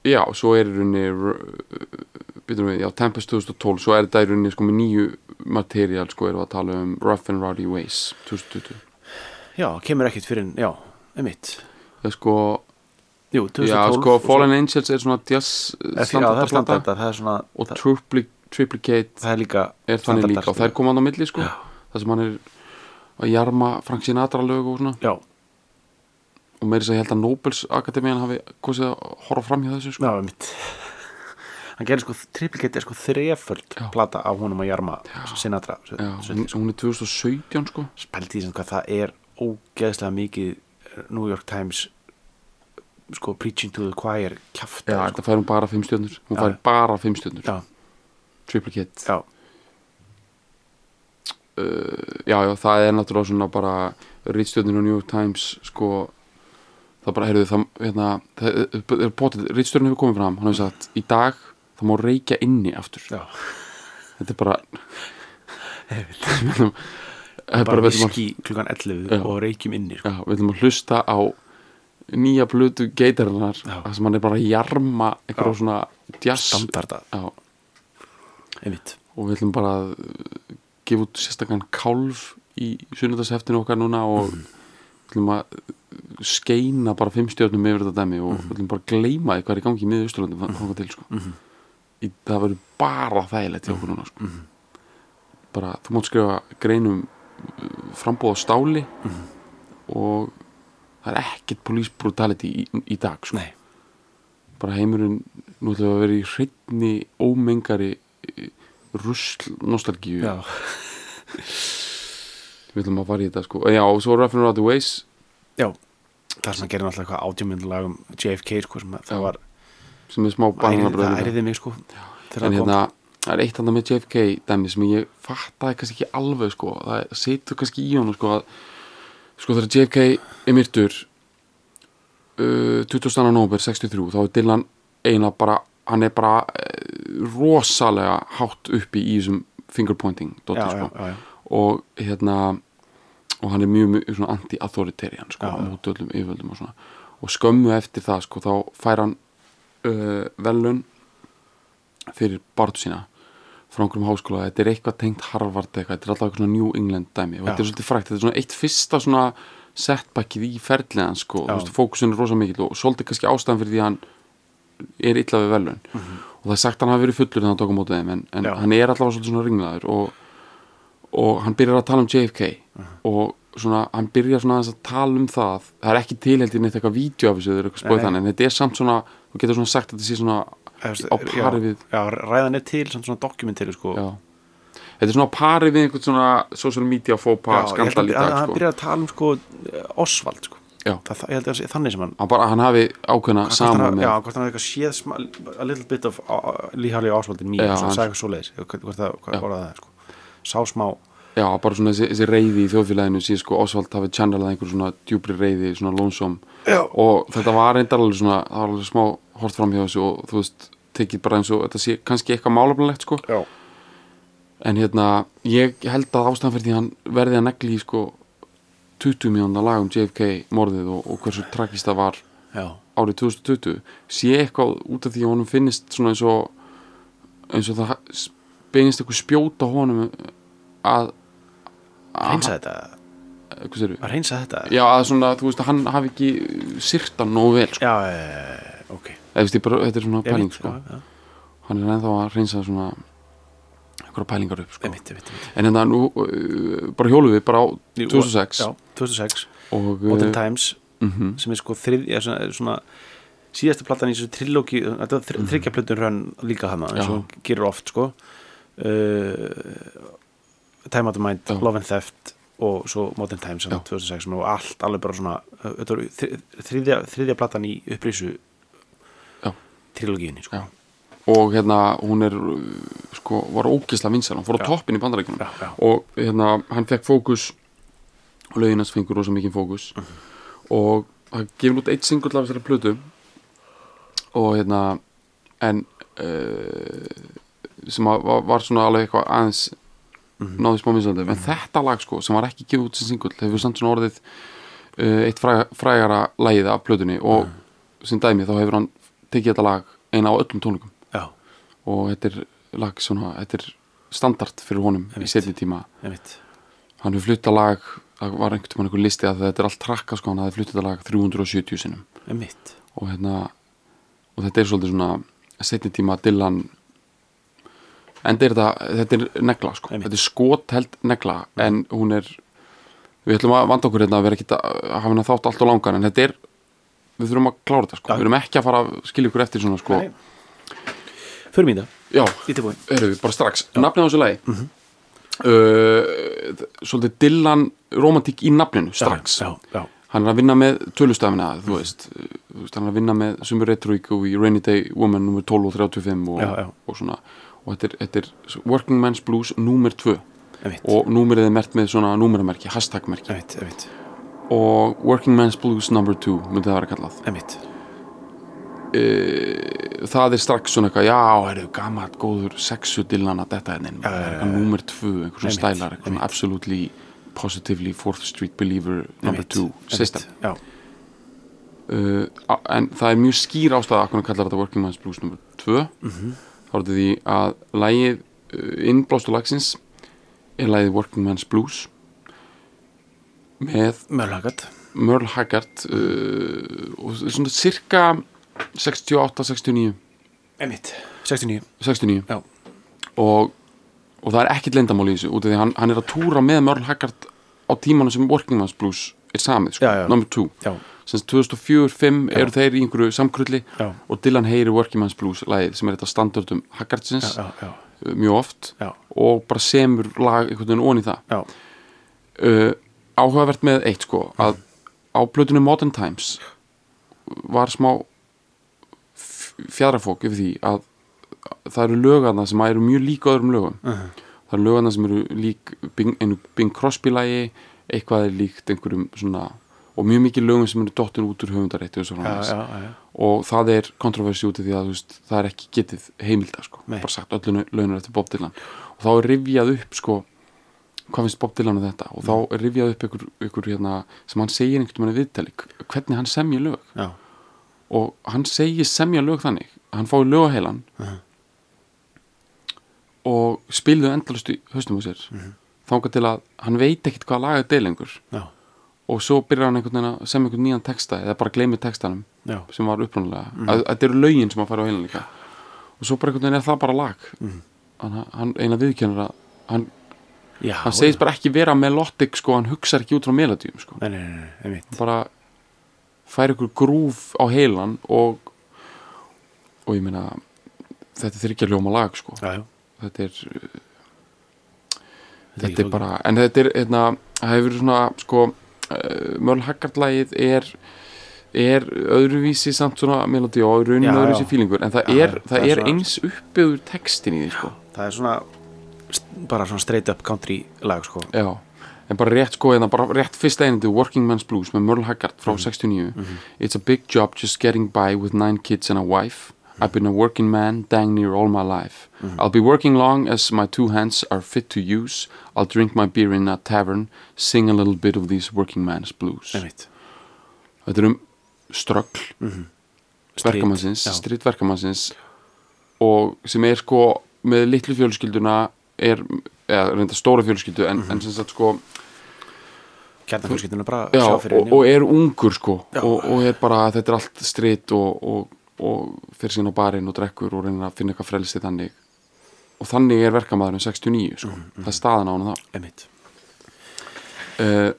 S2: já, svo er í rauninni r- eh, byrjum við, já, Tempest 2012 svo er þetta í rauninni sko með nýju materiál sko erum við að tala um Rough and Rowdy Ways 2020
S3: já, kemur ekkit fyrir en, já, emitt
S2: það er sko,
S3: jú, 2012
S2: já sko Fallen Angels er svona jazz
S3: Já, það er standarta, það er svona
S2: og
S3: það,
S2: tripli, Triplicate
S3: það er líka
S2: er þannig
S3: standardar,
S2: líka og þær koma hann á milli sko það sem hann er að jarma Frank Sinatra lög og svona
S3: já,
S2: og meiri að ég held að Nobels Akademian hafi kosið að horfa fram hjá þessu sko
S3: já, emitt hann gerir sko, triplicate er sko þreföld
S2: Já.
S3: plata af honum að jarma Sinatra
S2: já, hún, hún er 2017 sko
S3: spældi í sem hvað það er ógeðslega mikið eh, New York Times sko preaching to the choir kjafta
S2: já,
S3: sko.
S2: þetta fær hún bara fimm stjörnur hún
S3: Já.
S2: fær bara fimm stjörnur
S3: já,
S2: Triplicate
S3: já,
S2: Eh, já, já, það er náttúrulega svona bara Ritstjörnin og New York Times sko, það bara, heyrðu það, hérna, það er- er potið, Ritstjörnin hefur komið fram hann hefur sagt, í dag það má reykja inni aftur,
S3: já
S2: þetta er bara það er
S3: bara
S2: bara, við ætlum að
S3: viski klukkan 11
S2: Já.
S3: og reykjum inni sko.
S2: já, við ætlum að hlusta á nýja blötu geitarinnar
S3: Já.
S2: það sem hann er bara að jarma
S3: Já.
S2: einhverja svona jazz
S3: standarda,
S2: já,
S3: einmitt
S2: og við ætlum bara að uh, gefa út sérstakann kálf í sunnundaseftinu okkar núna og við ætlum að uh, skeina bara fimm stjórnum yfir þetta dæmi og við ætlum bara að gleyma því hvað er í gangi í miður Ísturlandum þannig að til sko í, það verður bara þægilegt hjá okkur núna sko.
S3: Mhm.
S2: bara þú mátt skrifa greinum frambúð á stáli og það er ekkert police brutality í, í dag sko
S3: nei,
S2: bara heimurinn nú ætlum við að vera í hreitni ómengari uh, rusl nostalgíu
S3: já,
S2: við ætlum að fara í þetta sko já og svo Rough and Rowdy Ways
S3: já það sem að gera náttúrulega eitthvað átjómyndalag um JFK sko, sem að
S2: Já,
S3: það var
S2: sem er smá
S3: ærið- það
S2: bananabröð
S3: æriði mig sko þegar
S2: en
S3: það kom
S2: hérna það er eitt annað með JFK dæmi sem ég fattaði kannski ekki alveg sko það setur kannski í honum sko að sko þegar JFK er myrtur uh, 20. november 63 þá er Dylan eiginlega bara hann er bara uh, rosalega hátt uppi í þessum fingerpointing
S3: já,
S2: dottir
S3: já,
S2: sko
S3: já, já,
S2: og hérna og hann er mjög, mjög svona anti-authoritarian sko,
S3: Já, já.
S2: mútu öllum yfirvöldum og svona og skömmu eftir það sko þá fær hann uh, velun fyrir barðu sína frá einhverjum háskóla, þetta er eitthvað tengt Harvard eitthvað, þetta er alltaf eitthvað svona New England dæmi og þetta er
S3: Já.
S2: svolítið frækt, þetta er svona eitt fyrsta svona setbackið í ferðlega sko,
S3: Já.
S2: þú veist, fókusun er rosa mikill og svolítið kannski ástæðan fyrir því að hann er illa við velun og það er sagt að hann hafi verið fullur þegar hann tók á mótið þeim en, en
S3: Mhm. Já.
S2: hann er allavega svolítið svona ringlaður og, og hann byrjar að tala um JFK og svona, hann byrjar svona aðeins að tala um það það er ekki tilheldið neitt eitthvað vídeo af þessu eða eitthvað spóið
S3: Nei, nei.
S2: þannig en þetta er samt svona, þú getur svona sagt að þetta sé svona
S3: Efst-
S2: á pari við
S3: já, ræðan er til, samt svona dokumentir sko.
S2: já. þetta er svona á pari við einhvern svona social media fópa
S3: Já, ég held
S2: skandal
S3: að-
S2: í dag
S3: hann- hann
S2: sko.
S3: byrjar að tala um sko eh, Oswald sko.
S2: Já.
S3: það, það- ég held að það sé þannig sem hann
S2: hann, bara, hann hafi ákveðna
S3: hvort hann
S2: saman
S3: hafi-
S2: með
S3: já, hvort hann hafi eitthvað séð sma, a little bit of líhæli Oswald in me
S2: Já,
S3: svona,
S2: hann-
S3: sagði eitthvað svoleiðis, hvort hvort það,
S2: Já.
S3: hvað voru það sko. sá smá
S2: já, bara svona þessi, þessi reyði í þjóðfélaginu síðan sko Oswald hafi channelað einhver svona djúpri reyði, svona lónsóm
S3: Já.
S2: og þetta var reyndar alveg svona það var alveg smá hort fram hjá þessu og þú veist, tekið bara eins og þetta sé kannski eitthvað málefnilegt sko
S3: já,
S2: en hérna, ég held að ástæðan fyrir því að hann verði að negli í sko 20 mjónda lag um JFK morðið og, og hversu tragist það var
S3: já,
S2: árið 2020 sé eitthvað út af því að honum finnist svona eins og eins og það beinist eitthvað spjóta honum að að,
S3: reynsa þetta
S2: Eh, hvað sér
S3: að reynsa þetta
S2: já að svona þú veist að hann hafi ekki sirta nógu vel sko.
S3: já, eh, ok
S2: eða veist ég bara, þetta er svona
S3: Ég
S2: pæling
S3: veit,
S2: sko.
S3: já, já.
S2: hann er ennþá að reynsa svona eitthvað pælingar upp sko.
S3: Ég veit, ég veit, ég veit.
S2: en hérna nú uh, bara hjólu við bara á
S3: Jú,
S2: 2006
S3: já, 2006,
S2: og
S3: Modern Times
S2: mm -hmm,
S3: sem er sko þriðja svona, svona síðasta platan í þessu trilóki þetta var
S2: Mhm.
S3: þryggja plötun rönn líka hana eins og hún gerir oft sko uh, Time Out of Mind,
S2: Já.
S3: Love and Theft og svo Modern Times hann, 2006 sem var allt alveg bara svona uh, þetta var þri- þriðja, þriðja platan í upplýsu
S2: Já.
S3: trilógiðinni sko.
S2: Já. og hérna hún er uh, sko, var ógisla vinsar, hún fór á
S3: Já.
S2: toppin í bandarækjunum
S3: Já, já.
S2: og hérna hann fekk fókus og lögin hans fengur rosa mikið fókus og það gefur út eitt singull af þessari plötu og hérna en uh, sem að, var, var svona alveg eitthvað aðeins náði smá vinsaldum, en þetta lag sko sem var ekki gefið út sem singull, hefur samt svona orðið uh, eitt fræ, frægara lagið af plötunni og sem dæmi þá hefur hann tekið þetta lag eina á öllum tónleikum
S3: já,
S2: og þetta er lag svona, þetta er standard fyrir honum í
S3: Einmitt.
S2: setni tíma
S3: ég veit
S2: hann hefur flutta lag, það var einhvern tímann einhver listi að þetta er allt trakka sko, hann hafði flutta lag 370 sinum
S3: ég veit,
S2: og hérna og þetta er svolítið svona setni tíma Dylan en þetta, þetta er negla sko
S3: Einmitt.
S2: þetta er skoteld negla en hún er við ætlum að vanda okkur hérna að vera ekki að að hafa hennar þátt allt og langan en þetta er við þurfum að klára þetta sko,
S3: Já.
S2: við erum ekki að fara að skilja ykkur eftir svona sko
S3: Nei. förum í það
S2: já,
S3: ég er tilbúin
S2: erum við bara strax nafnið á þessu lagi mm
S3: Mhm.
S2: svolítið Dylan romantík í nafninu strax
S3: já, já, já,
S2: hann er að vinna með tölustafina þú veist, Uh, þú veist, hann er að vinna með Summer Rhetoric og í Rainy Day Woman nr. 12 og 35 og,
S3: Já, já.
S2: og svona og þetta er, þetta er Working Man's Blues nr. 2
S3: ég veit
S2: og númerið er mert með svona númeramerki, hashtagmerki
S3: ég veit, ég veit,
S2: og Working Man's Blues nr. 2 myndi það vera kallað
S3: ég veit
S2: e, það er strax svona eitthvað, já, eru gammalt góður sexu dillan að þetta hennin
S3: já, já,
S2: eitthvað nr. 2, einhver svona
S3: Einmitt,
S2: stælar einhver svona
S3: einmitt.
S2: absolutely positively 4th Street Believer
S3: Ég
S2: nr.
S3: veit,
S2: 2
S3: ég veit.
S2: system
S3: já,
S2: uh, á- en það er mjög skýr ástæða að hvernig kallar þetta Working Man's Blues nr. 2
S3: Mhm.
S2: þá er þetta því að lægið uh, innblástu lagsins er lægið Working Man's Blues með
S3: mögulegat
S2: Merle Haggard uh, og svona cirka 68, 69
S3: Emitt, 69
S2: 69
S3: Já.
S2: og, og það er ekkit leyndamál í þessu út af því að hann, hann er að túra með Merle Haggard á tímanu sem Working Man's Blues er samið, sko,
S3: Já, já.
S2: number 2
S3: Já,
S2: sem 2004-05 eru þeir í einhverju samkrulli
S3: Já.
S2: og Dylan heyri Working Man's Blues lagið sem er þetta standardum Haggardsins uh,
S3: já, já,
S2: mjög oft
S3: já,
S2: og bara semur lag einhvern veginn onni það
S3: já,
S2: uh, áhugavert með eitt sko að á plötunum Modern Times var smá fjadrafók yfir því að það eru lögarna sem eru mjög lík öðrum lögum það eru lögarna sem eru lík Bing, einu Bing Crosby lagi eitthvað er líkt einhverjum svona og mjög mikið lögum sem eru dottin út úr höfundarétti og, svo
S3: já,
S2: framvegis.
S3: já, já.
S2: og það er kontroversi út af því að þú veist, það er ekki getið heimilda sko,
S3: Nei.
S2: bara sagt öllu launur eftir Bob Dylan og þá er rifjað upp sko, hvað finnst Bob Dylan um þetta og þá
S3: Mm.
S2: er rifjað upp ykkur, ykkur hérna, sem hann segir einhvern veginn viðtali hvernig hann semja lög
S3: já.
S2: og hann segir semja lög þannig að hann fái lögaheilan og spilðu endalust í höstum á sér uh
S3: Mhm.
S2: þangað til að hann veit ekkit hvað lagað er lengur
S3: já,
S2: og svo byrjar hann einhvern veginn að semja einhvern nýjan texta eða bara gleymi textanum
S3: já.
S2: sem var upprunalega
S3: Mhm.
S2: að, að þetta eru lögin sem að fara á heilan líka og svo bara einhvern veginn er það bara lag
S3: Mhm.
S2: hann, hann eina viðkennur að hann,
S3: já
S2: hann segist bara ekki vera melodic sko, hann hugsar ekki út frá melodíum sko.
S3: Nei, nei, nei, nei, emitt
S2: Hann bara fær ykkur grúf á heilan og og ég meina þetta er þryggja ljóma lag sko.
S3: Já, já,
S2: þetta er,
S3: ekki
S2: þetta er
S3: flókið.
S2: bara en þetta er, hérna, það hefur verið svona sko, uh, Mörl Haggard-lagið er er öðruvísi samt svona melodi og rauninu
S3: Já,
S2: öðruvísi
S3: já.
S2: fílingur en það
S3: Já,
S2: er,
S3: já,
S2: það
S3: það er
S2: er
S3: svona-
S2: eins uppbyður textin í því sko.
S3: það er svona st- bara svona straight up country lag sko.
S2: Já, en bara rétt sko eða bara rétt fyrsta einandi Working Man's Blues með Merle Haggard
S3: Mhm.
S2: frá 69 It's a big job just getting by with nine kids and a wife I've been a working man dang near all my life
S3: Mhm.
S2: I'll be working long as my two hands are fit to use I'll drink my beer in a tavern Sing a little bit of these working man's blues
S3: einmitt
S2: Þetta er um ströggl
S3: Street,
S2: verkamannsins,
S3: já.
S2: street verkamannsins og sem er sko með litlu fjölskylduna er, eða reynda stóra fjölskyldu en,
S3: Mhm.
S2: en sem sagt sko
S3: kjarnafjölskyldun er bara að
S2: já,
S3: sjá fyrir
S2: og,
S3: henni
S2: og er ungur sko og, og er bara, þetta er allt strit og, og, og fyrir sín á barinn og drekkur og reynir að finna eitthvað frelsti þannig og þannig er verkamaðurinn 69
S3: Mm,
S2: sko, það er staðan á hann það
S3: einmitt
S2: uh,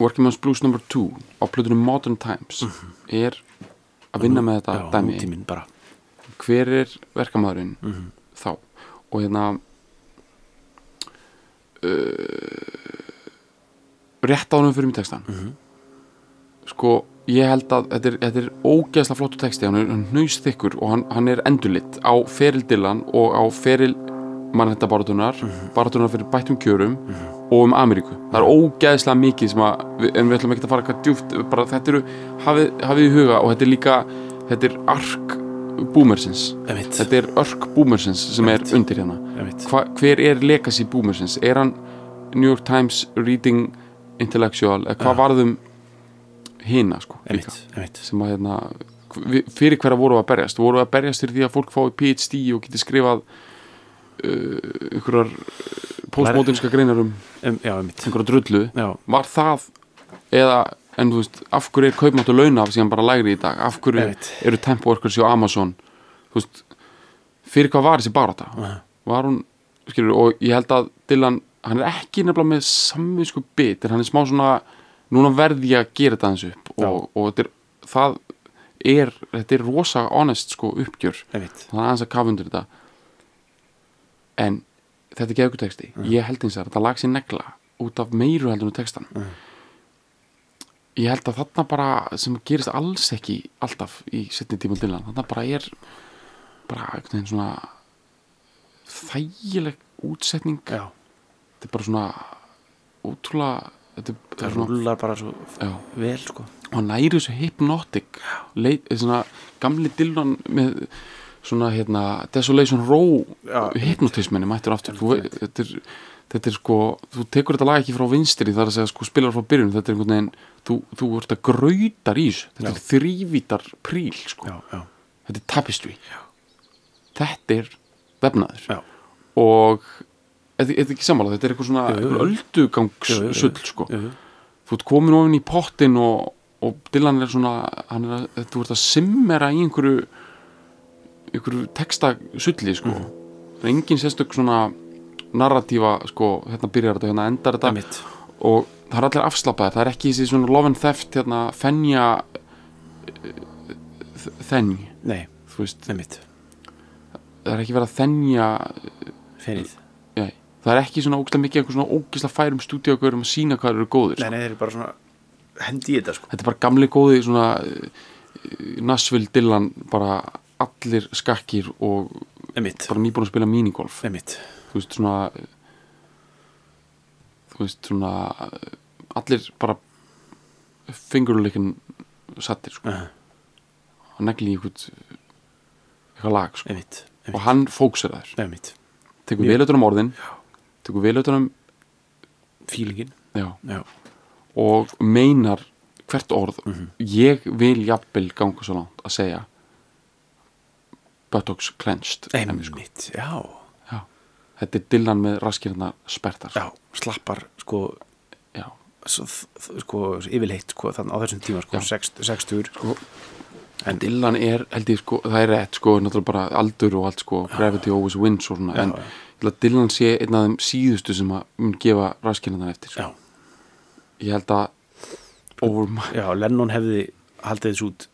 S2: Working Man's Blues No. 2 á plötunum Modern Times er að vinna með þetta
S3: Mhm. já,
S2: dæmi
S3: nútíminn bara
S2: hver er verkamaðurinn
S3: Mhm.
S2: þá og hérna uh, eh, rétt ánum fyrir mér textan sko ég held að þetta er, þetta er ógeðslega flottu texti hann er hnaust þykkur og hann, hann er endurlitt á feril Dylan og á feril mannhættabaratunar mm baratunar fyrir bættum kjörum og um Ameríku það er ógeðslega mikið sem að við- en við ætlum ekki að fara eitthvað djúft bara þetta eru, hafið, hafið í huga og þetta er líka þetta er ark boomersins
S3: einmitt
S2: þetta er örk boomersins sem er
S3: Einmitt.
S2: undir hérna
S3: einmitt
S2: Hva, hver er legacy boomersins er hann New York Times reading intellectual eða hvað varðum hina sko líka,
S3: einmitt einmitt
S2: sem að hérna hv- vi- fyrir hverja voru að berjast voru að berjast fyrir því að fólk fái PhD og geti skrifað uh, einhverjar postmodernska greinar um
S3: um, já einmitt
S2: einhverja drullu
S3: já
S2: var það eða en þú veist, af hverju er kaupmátt og launa af síðan bara lægri í dag, af hverju
S3: Einmitt.
S2: eru tempoworkers hjá Amazon þú veist, fyrir hvað var þessi barata var hún, skilur, og ég held að Dylan, hann er ekki nefnilega með samvinsku bit, en hann er smá svona núna verð ég að gera þetta hans upp og, og þetta er, það er þetta er rosa honest sko uppgjör
S3: einmitt
S2: þannig aðeins að kafa undir þetta en þetta er geðugur texti ég held eins og þetta lag sér negla út af meiru heldur en textan ég held að þarna bara sem gerist alls ekki alltaf í setni tíma Dylan, þarna bara er bara einhvern veginn svona þægileg útsetning
S3: já
S2: þetta er bara svona ótrúlega þetta er,
S3: það
S2: svona,
S3: rúlar bara svo f-
S2: já
S3: vel sko
S2: og hann næri þessu hypnotic leit, svona, gamli Dylan með svona hérna Desolation Row
S3: Já,
S2: hypnotisminni mættur aftur þú, vei- þetta, er, þetta er sko þú tekur þetta lag ekki frá vinstri þar að segja sko spilar frá byrjun þetta er einhvern veginn þú, þú ert að grautar í þessu þetta er þrývítar príl sko
S3: já já
S2: þetta er tapestry Já. þetta er vefnaður
S3: já
S2: og þetta þetta er ekki sammála þetta er eitthvað svona
S3: Jú, jú, jú. Jú, jú, jú.
S2: öldugangsull sko
S3: Jú, jú.
S2: þú ert komin ofin í pottin og, og Dylan er svona hann er að, þú ert að simmera í einhverju einhverju texta sulli sko það er engin sérstök svona narratífa sko hérna byrjar þetta hérna endar þetta
S3: einmitt
S2: og það er allir afslappaðir það er ekki þessi svona love and theft hérna fenja þenj
S3: nei
S2: þú veist
S3: einmitt
S2: það er ekki verið að þenja
S3: ferið
S2: Nei, það er ekki svona ógislega mikið einhver svona ógislega færum stúdíu um að sína hvað þeir eru góðir
S3: nei
S2: sko.
S3: nei þeir eru bara svona hendi í þetta sko
S2: þetta er bara gamli góði svona eh, Nashville Dylan bara allir skakkir og
S3: einmitt
S2: bara nýbúin að spila minigolf
S3: einmitt
S2: þú veist svona eh, þú veist svona eh, allir bara fingurleikin sattir sko
S3: Aha.
S2: og negli í eitthvað eitthvað lag sko
S3: einmitt
S2: og
S3: einmitt
S2: hann fóksir þær
S3: einmitt
S2: tekur velautunum orðin tekur velautunum
S3: feelingin
S2: já
S3: já
S2: og meinar hvert orð
S3: Mhm.
S2: ég vil jafnvel ganga svo langt að segja buttocks clenched dæmi, sko.
S3: einmitt já
S2: Já. þetta er dillan með raskirna spertar
S3: já slappar sko
S2: Já.
S3: svo, þ- sko yfirleitt sko þannig á þessum tíma sko
S2: Já.
S3: 60 60 sko
S2: en dillan er held ég sko það er rétt sko náttúrulega bara aldur og allt sko gravity always wins og svona
S3: Já,
S2: en
S3: já.
S2: ég held að dillan sé einn af þeim síðustu sem að mun gefa raskirna eftir sko.
S3: já
S2: ég held að over my
S3: já Lennon hefði haldið þessu út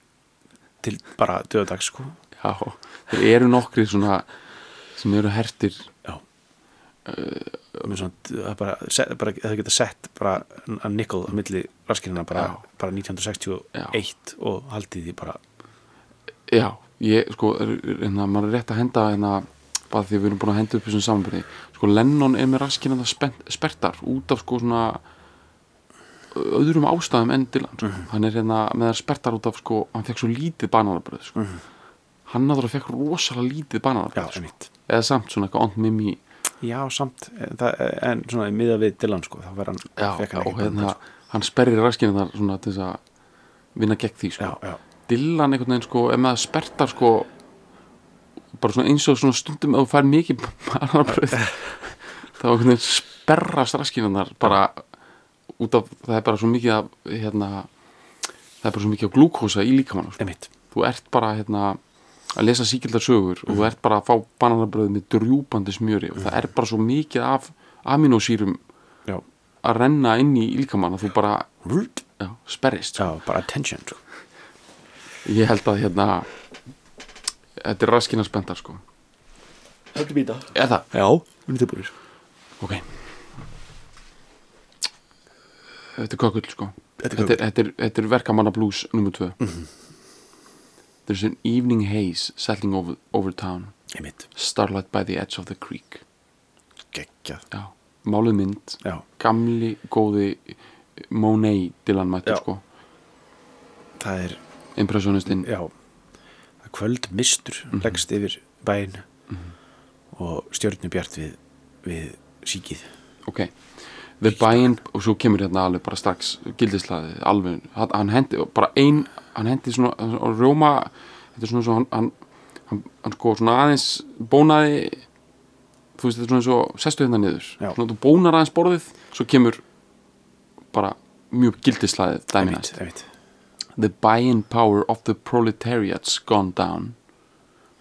S3: til bara döðdags sko
S2: Já, þeir eru nokkri svona sem eru hertir
S3: já með svona, það er bara, se- bara það geta sett bara að nickel á milli raskirina bara,
S2: Já.
S3: bara 1961 og haldið því bara
S2: Já, ég, sko, er- er- hérna, maður er rétt að henda hérna bara því við erum búin að henda upp þessum samanbyrði sko Lennon er með raskinn að það spen- spertar út af sko svona öðrum ástæðum enn Dylan sko.
S3: Mhm.
S2: hann er hérna með það spertar út af sko hann fekk svo lítið bananabröð sko. hann náttúrulega fekk rosalega
S3: Mhm.
S2: lítið
S3: já,
S2: bananabröð sko.
S3: einmitt
S2: eða samt svona eitthvað ond mimi
S3: Já, samt, eh, það, eh, en svona í miða við Dylan sko, þá verður hann,
S2: já,
S3: fékk hann
S2: og
S3: ekki bönn,
S2: hérna
S3: sko.
S2: hann sperrir raskinn þar svona til þess að vinna gegn því sko.
S3: Já, já,
S2: Dylan einhvern veginn sko ef maður spertar sko bara svona eins og svona stundum ef þú fær mikið bananabröð þá einhvern veginn sperra straskinarnar bara út af það er bara svo mikið af hérna, það er bara svo mikið af glúkósa í líkamann sko.
S3: einmitt
S2: þú ert bara hérna að lesa síkildar sögur og þú ert bara að fá bananabröð með drjúpandi smjöri og það er bara svo mikið af aminosýrum
S3: Já,
S2: að renna inn í líkamann að þú bara
S3: Rút.
S2: já, sperrist sko.
S3: já bara attention sko.
S2: ég held að hérna þetta er raskina spendar sko
S3: Hættu býta
S2: eða,
S3: Já, hún er tilbúinir
S2: ok þetta er kökull sko
S3: Þetta er Mhm.
S2: þetta er, þetta er, þetta er verkamanna blues nummer 2 there's an evening haze settling over, over town
S3: Einmitt,
S2: starlight by the edge of the creek
S3: geggjað
S2: já, málið mynd
S3: Já,
S2: gamli góði Monet Dylan mættur
S3: Já.
S2: sko
S3: það er,
S2: impressionistinn
S3: já það er kvöld mistur leggst yfir bæin og stjörnubjart við, við síkið
S2: ok The Bæinn og svo kemur hérna alveg bara strax gildislaði, alveg hann hann hendi, bara ein, hann hendi svona og rjóma, þetta er svona svo hann, hann, hann, hann sko svona aðeins bónaði þú veist þetta er svona svo, sestu hérna niður
S3: Já.
S2: svona þú bónar aðeins borðið, svo kemur bara mjög gildislaði dæmi
S3: Einmitt,
S2: næst
S3: einmitt
S2: The buying power of the proletariat's gone down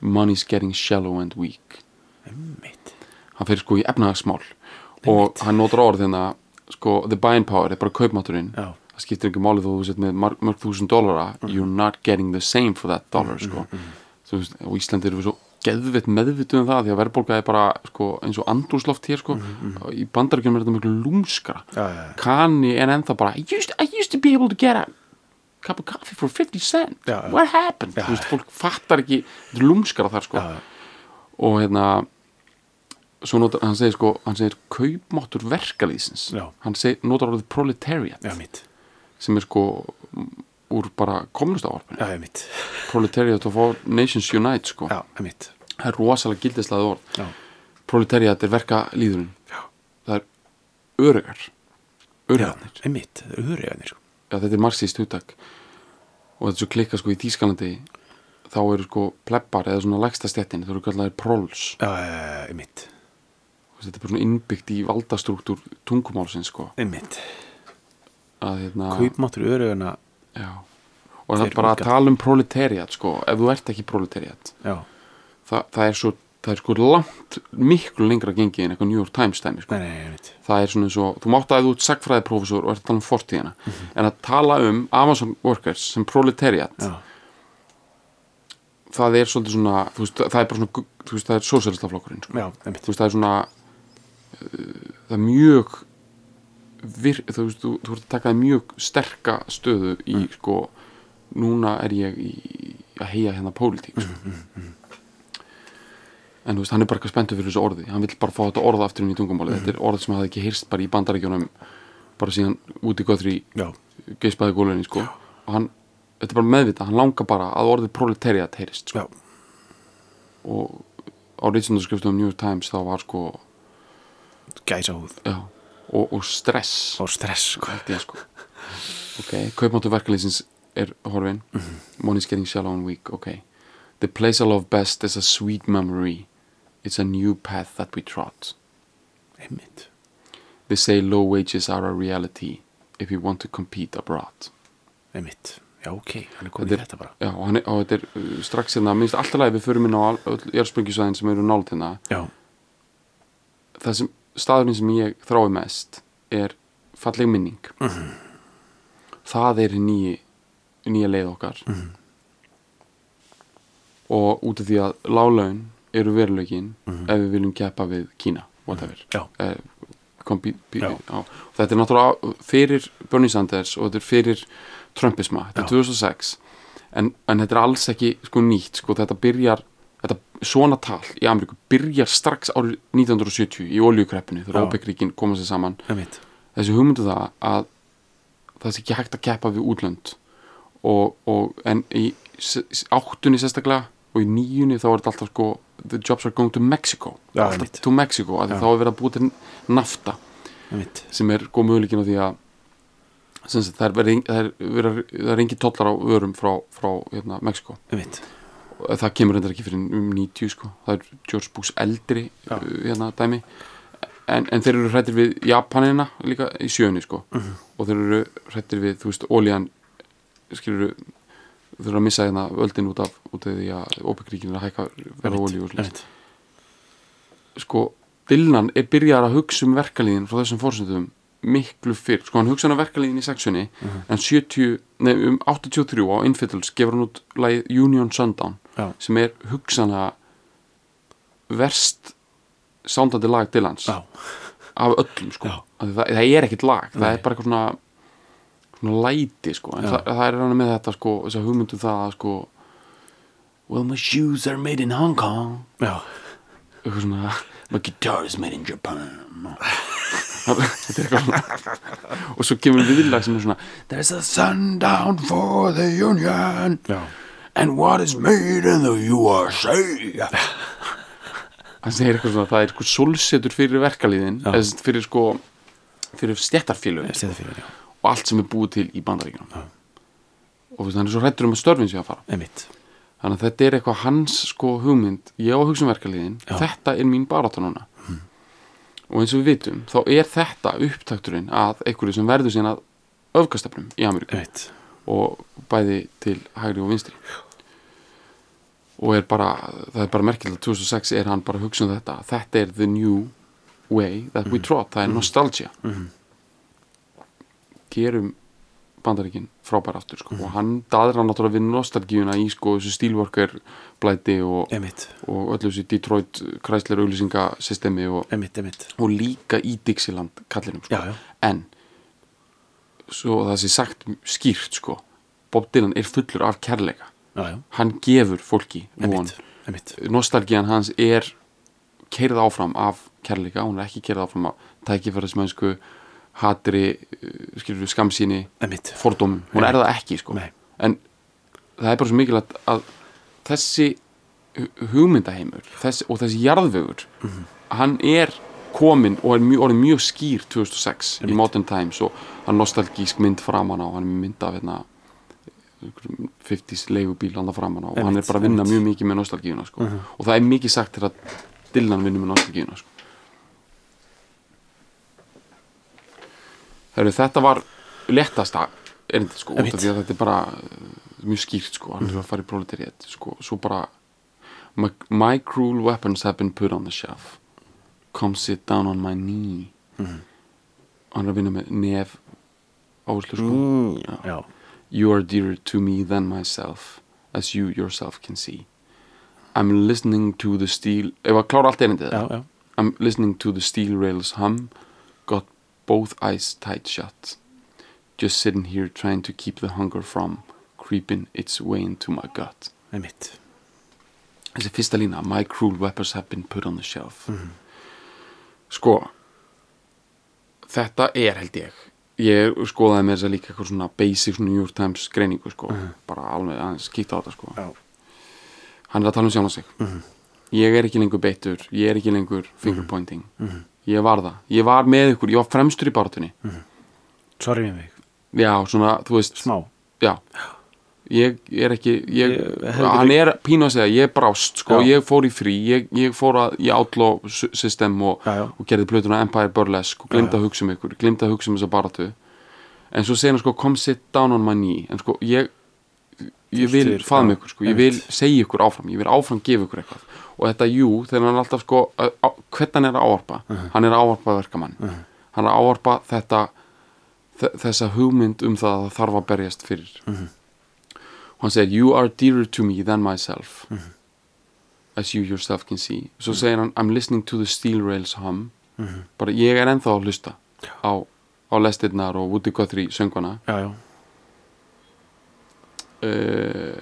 S2: money's getting shallow and weak
S3: Einmitt,
S2: hann fyrir sko í efnahagsmál og hann notar orð hérna sko, the buying power er bara kaupmátturinn
S3: Já. Mhm.
S2: það skiptir ekki málið þó þú sett með marg, mörg þúsund dollara you're not getting the same for that dollar sko. Þú veist, og Íslandi eru við svo geðvitt meðvituð um það því að verðbólga er bara sko, eins og andrúsloft hér sko. í bandaríkjum er þetta miklu lúmskara
S3: Mhm, Já, já, já.
S2: kanni en ennþá bara I used, I used to be able to get a cup of coffee for 50 cent
S3: Já, já.
S2: what happened
S3: Já,
S2: Þú veist,
S3: já.
S2: fólk fattar ekki þetta er lúmskara þar sko.
S3: já, já.
S2: og hérna svo notar, hann segir sko, hann segir kaupmáttur verkalýsins
S3: Já.
S2: hann segir, notar orðið proletariat
S3: já, mitt
S2: sem er sko mm, úr bara komunustavarpinu,
S3: Já, einmitt,
S2: proletariat of all nations unite sko,
S3: já, einmitt
S2: það er rosalega gildislaði orð
S3: Já,
S2: proletariat er verkalýðurinn
S3: já,
S2: það er örugar
S3: já
S2: örugarnir,
S3: einmitt, hurriðanir sko
S2: já, þetta er marxist hugtak og þetta er svo klikka sko í Þýskalandi þá eru sko plebbar eða svona lægsta stjettin, þú eru kallar prols
S3: Já, já, já, einmitt,
S2: Þú veist, þetta er bara svona innbyggt í valdastruktúr tungumálsins sko
S3: einmitt
S2: að hérna
S3: kaupmáttur örugana
S2: já. og það
S3: Þeir
S2: er bara að
S3: unga.
S2: tala um proletariat sko, ef þú ert ekki proletariat
S3: já,
S2: það, það er svo, það er sko langt miklu lengra gengið en eitthvað New York Times dæmi sko.
S3: nei, nei, einmitt
S2: það er svona eins og, þú mátt að þú ert sagfræðiprófessor og ert að tala um fortíðina en að tala um Amazon workers sem proletariat
S3: Mhm. já,
S2: það er svolítið svona, þú veist, það er bara svona gu- þú veist, það er sósælstaflokkurinn sko.
S3: já, einmitt
S2: þú veist, það er svona uh, það er mjög vir, þú veist, þú, þú ert að taka mjög sterka stöðu í, sko núna er ég í, að heia hérna pólitík, sko en þú veist, hann er bara eitthvað spenntur fyrir þessu orði, hann vill bara fá þetta orð aftur inn í tungumálið, þetta er orð sem hafði ekki heyrst bara í bandarækjunum, bara síðan út í göðri
S3: já,
S2: geispaði gólunni, sko og hann, þetta er bara meðvita, hann langar bara að orðið proletariat heyrist, sko
S3: já,
S2: og á reitsendarskriftum New York Times þá var sko
S3: gæsa húð
S2: já, og, og stress
S3: og stress sko.
S2: held ég sko ok, kaupmáttu verkefliðsins er horfin money's getting shallow and weak, ok the place I love best is a sweet memory it's a new path that we trot
S3: einmitt,
S2: they say low wages are a reality if you want to compete abroad
S3: einmitt já, ok, hann er komið í þetta bara
S2: já, og, hann, er- og þetta er uh, strax hérna, minnst alltaf leið við förum inn á all- öll jörgsprengjusvæðin sem eru nált hérna
S3: já,
S2: það sem staðurinn sem ég þrái mest er falleg minning það er nýja, nýja leið okkar og út af því að lálaun eru veruleikin ef við viljum keppa við Kína whatever
S3: Já.
S2: Eh, kompi, bí,
S3: Já.
S2: á. þetta er náttúrulega fyrir Bernie Sanders og þetta er fyrir Trumpisma, þetta er
S3: Já.
S2: 2006 en, en þetta er alls ekki sko nýtt, sko þetta byrjar þetta svona tal í Ameríku byrjar strax árið 1970 í oljukreppinu
S3: Já.
S2: þegar ópekrikin koma sér saman
S3: einmitt
S2: þessi hugmyndu það að það sé ekki hægt að keppa við útlönd og, og en í s- s- áttunni sérstaklega og í nýjunni þá er þetta alltaf sko the jobs are going to Mexico
S3: Já,
S2: alltaf
S3: einmitt.
S2: to Mexico, af því
S3: Já.
S2: þá er verið að búa til nafta
S3: einmitt
S2: sem er góð möguleikin á því að sem sagt, það er, verið- það er, verið- það er engin tollar á vörum frá, frá hérna, Mexiko
S3: einmitt
S2: Og það kemur reyndar ekki fyrir um 90 sko. það er George Bush eldri
S3: Já.
S2: uh, hérna dæmi en, en þeir eru hrættir við Japanina líka í sjöunni sko.
S3: Mhm.
S2: og þeir eru hrættir við, þú veist, ólían skilur þeir eru að missa hérna öldin út af út af því að óbyggríkin er að hækka verða ólíu og slíkt
S3: einmitt
S2: sko, Dylan er byrjar að hugsa um verkalíðin frá þessum fórsöndum miklu fyrr, sko hann hugsa hann um verkalíðin í sexunni
S3: Mhm.
S2: en 70, nei, um 83 á Infidels gefur hann út lagið Union Sundown
S3: Já.
S2: sem er hugsanlega verst sándandi lag Dylans
S3: já
S2: af öllum sko
S3: Já.
S2: Af því það, það er ekkert lag, það
S3: Nei.
S2: er bara eitthvað svona, svona læti sko en
S3: Já.
S2: það, það er hann með þetta sko þess að hugmyndu það að sko Well my shoes are made in Hong Kong
S3: já
S2: eitthvað svona my guitar is made in Japan þetta er eitthvað svona og svo kemur viðlag sem er svona there's a sundown for the union
S3: já
S2: and what is made in the USA hann segir eitthvað svona það er eitthvað solsetur fyrir verkalíðin
S3: Já.
S2: eða sem sagt fyrir sko fyrir stjættarfélög
S3: ég sé það fyrir já
S2: og allt sem er búið til í bandaríkjunum og þú veist, hann er svo hrættur um að störfin sé að fara
S3: einmitt
S2: þannig að þetta er eitthvað hans sko hugmynd ég á að hugsa um verkaliðin,
S3: Já.
S2: þetta er mín barata núna og eins og við vitum þá er þetta upptakturinn að einhverju sem verður síðan að öfgastefnum í Ameríku
S3: einmitt
S2: og bæði til hægri og vinstri og er bara það er bara merkilegt að 2006 er hann bara að hugsa um þetta þetta er the new way that we trot, það er nostalgia gerum bandaríkin frábær aftur sko. og hann daðra náttúrulega við nostalgíuna í sko þessu stílvorkar blæti og,
S3: einmitt
S2: og öllu þessu Detroit kræsler auðlýsingasystemi og,
S3: einmitt einmitt
S2: og líka í Dixieland kallinum sko.
S3: já já
S2: en svo það sé sagt skýrt sko Bob Dylan er fullur af kærleika
S3: já já
S2: hann gefur fólki von
S3: einmitt einmitt
S2: nostalgían hans er keirð áfram af kærleika hún er ekki keirð áfram af tækifærismönsku hatri, skilur við skamsýni
S3: einmitt
S2: fordómum, hún
S3: Nei.
S2: er það ekki sko.
S3: Nei.
S2: en það er bara svo mikilvægt að þessi hu- hugmyndaheimur þess, og þessi jarðvegur
S3: Mhm.
S2: hann er kominn og er mjög, orðið mjög skýr 2006 í Modern Times og hann er nostalgísk mynd framan á hann er mynd af hérna einhverjum 50s leigubíl hann framan á og hann er
S3: Einmitt,
S2: bara að vinna
S3: einmitt. Mhm.
S2: mjög mikið með nostalgíuna sko. og það er mikið sagt til að Dylan vinnur með nostalgíuna sko. Heru, þetta var lettasta erindi sko, út af
S3: Einmitt.
S2: því að þetta er bara uh, mjög skýrt sko, hann er að fara í proletariat sko, svo bara my, my cruel weapons have been put on the shelf come sit down on my knee
S3: Mhm.
S2: hann er að vinna með nef áherslu sko Já.
S3: já
S2: You are dearer to me than myself, as you yourself can see. I'm listening to the steel... Ef að klára allt einandi
S3: já já
S2: I'm listening to the steel rails hum, got both eyes tight shut. Just sitting here trying to keep the hunger from creeping its way into my gut.
S3: einmitt
S2: Þessi fyrsta lína, my cruel weapons have been put on the shelf. Sko, þetta er held ég. Ég skoðaði mér þess að líka eitthvað svona basic svona New York Times greiningu sko, bara alveg aðeins kíkta á þetta sko.
S3: já
S2: Hann er að tala um sjálf sig.
S3: Mhm.
S2: Ég er ekki lengur beittur, ég er ekki lengur fingerpointing.
S3: Mhm.
S2: Ég var það, ég var með ykkur, ég var fremstur í baratunni.
S3: sorry með mig
S2: Já, svona, þú veist,
S3: smá
S2: já. Ég er ekki, ég,
S3: Ég hefði
S2: hann er pínu að segja, ég brást, sko,
S3: Já.
S2: ég fór í frí, ég, ég fór að, ég átló system og,
S3: Já, já.
S2: og gerði plötuna Empire Burlesque og
S3: Já,
S2: glimta
S3: já.
S2: að hugsa um ykkur, glimta að hugsa um þessa baratu. En svo segir hann, sko, come sit down on my knee, en sko, ég, ég vil
S3: Fylltur,
S2: faðma
S3: já,
S2: ykkur, sko, ég vil
S3: einmitt.
S2: segja ykkur áfram, ég vil áfram gefa ykkur eitthvað. Og þetta, jú, þegar hann er alltaf, sko, að- á- hvern hann er að ávarpa, hann er að ávarpa verkamann, hann er að ávarpa þetta, þe- þessa hugmynd um það að það þarf að berjast fyrir og hann segir you are dearer to me than myself as you yourself can see svo segir hann I'm listening to the steel rails hum bara ég er ennþá að hlusta á, á lestirnar og Woody Guthrie sönguna
S3: já já
S2: uh,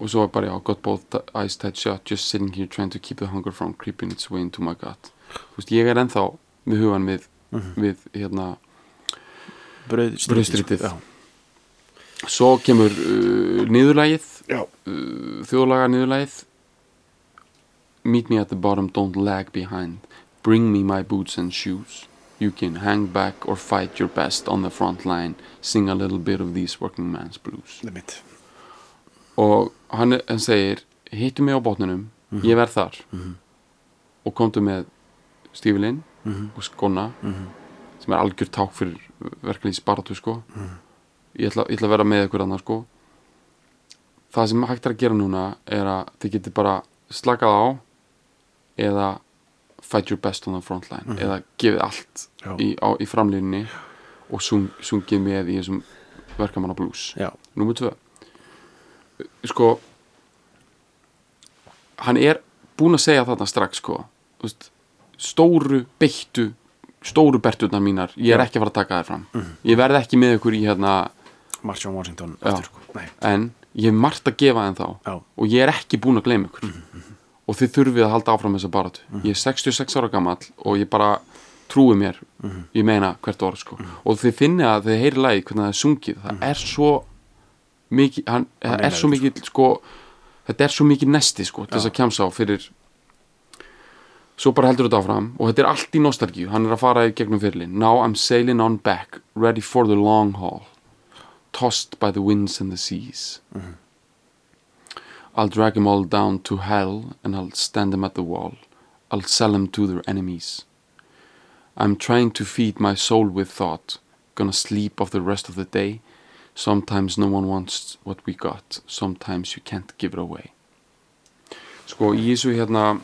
S2: og svo var bara já, got both eyes tight shut just sitting here trying to keep the hunger from creeping its way into my gut þú veist, ég er ennþá með hugan við, við hérna
S3: Brauðstrítið
S2: Brauðstritið.
S3: sko. Já.
S2: svo kemur uh, niðurlægið
S3: Já.
S2: uh, þjóðlaga niðurlægið meet me at the bottom don't lag behind bring me my boots and shoes you can hang back or fight your best on the front line sing a little bit of these working man's blues
S3: Það er mitt
S2: og hann, hann segir hittu mig á botninum, ég verð þar og komdu með stífilinn og skona sem er algjör ták fyrir verkefnið spartu sko ég, ætla, ég ætla að vera með ykkur annað sko það sem hægt er að gera núna er að þið getið bara slakað á eða fight your best on the front line eða gefið allt
S3: Já.
S2: í, á, í framlínni og sung, sungið með í þessum verkamanna blues
S3: Já,
S2: Númer tvö Sko Hann er búinn að segja þarna strax sko þú veist, Stóru beittu Stóru berturnar mínar Ég er ekki að fara að taka þær fram Ég verð ekki með ykkur í hérna
S3: Marshawn Washington
S2: Já.
S3: eftir, sko. Nei,
S2: En ég hef margt að gefa þeim þá
S3: Já.
S2: Og ég er ekki búinn að gleyma ykkur Og þið þurfið að halda áfram þessa baratu Ég er 66 ára gamall Og ég bara trúi mér Ég meina hvert orð sko Og þið finni að þið heyri lagi hvernig það er sungið Það er svo mikið hann, Það
S3: meinar
S2: er svo
S3: þetta,
S2: mikið sko Þetta er svo mikið nesti sko til Þess að kemsa á fyrir Svo bara heldur þetta áfram og þetta er allt í nostalgíu, hann er að fara í gegnum fyrirlin. Now I'm sailing on back, ready for the long haul, tossed by the winds and the seas. I'll drag them all down to hell and I'll stand them at the wall. I'll sell them to their enemies. I'm trying to feed my soul with thought, gonna sleep off the rest of the day. Sometimes no one wants what we got, sometimes you can't give it away. Sko, í þessu hérna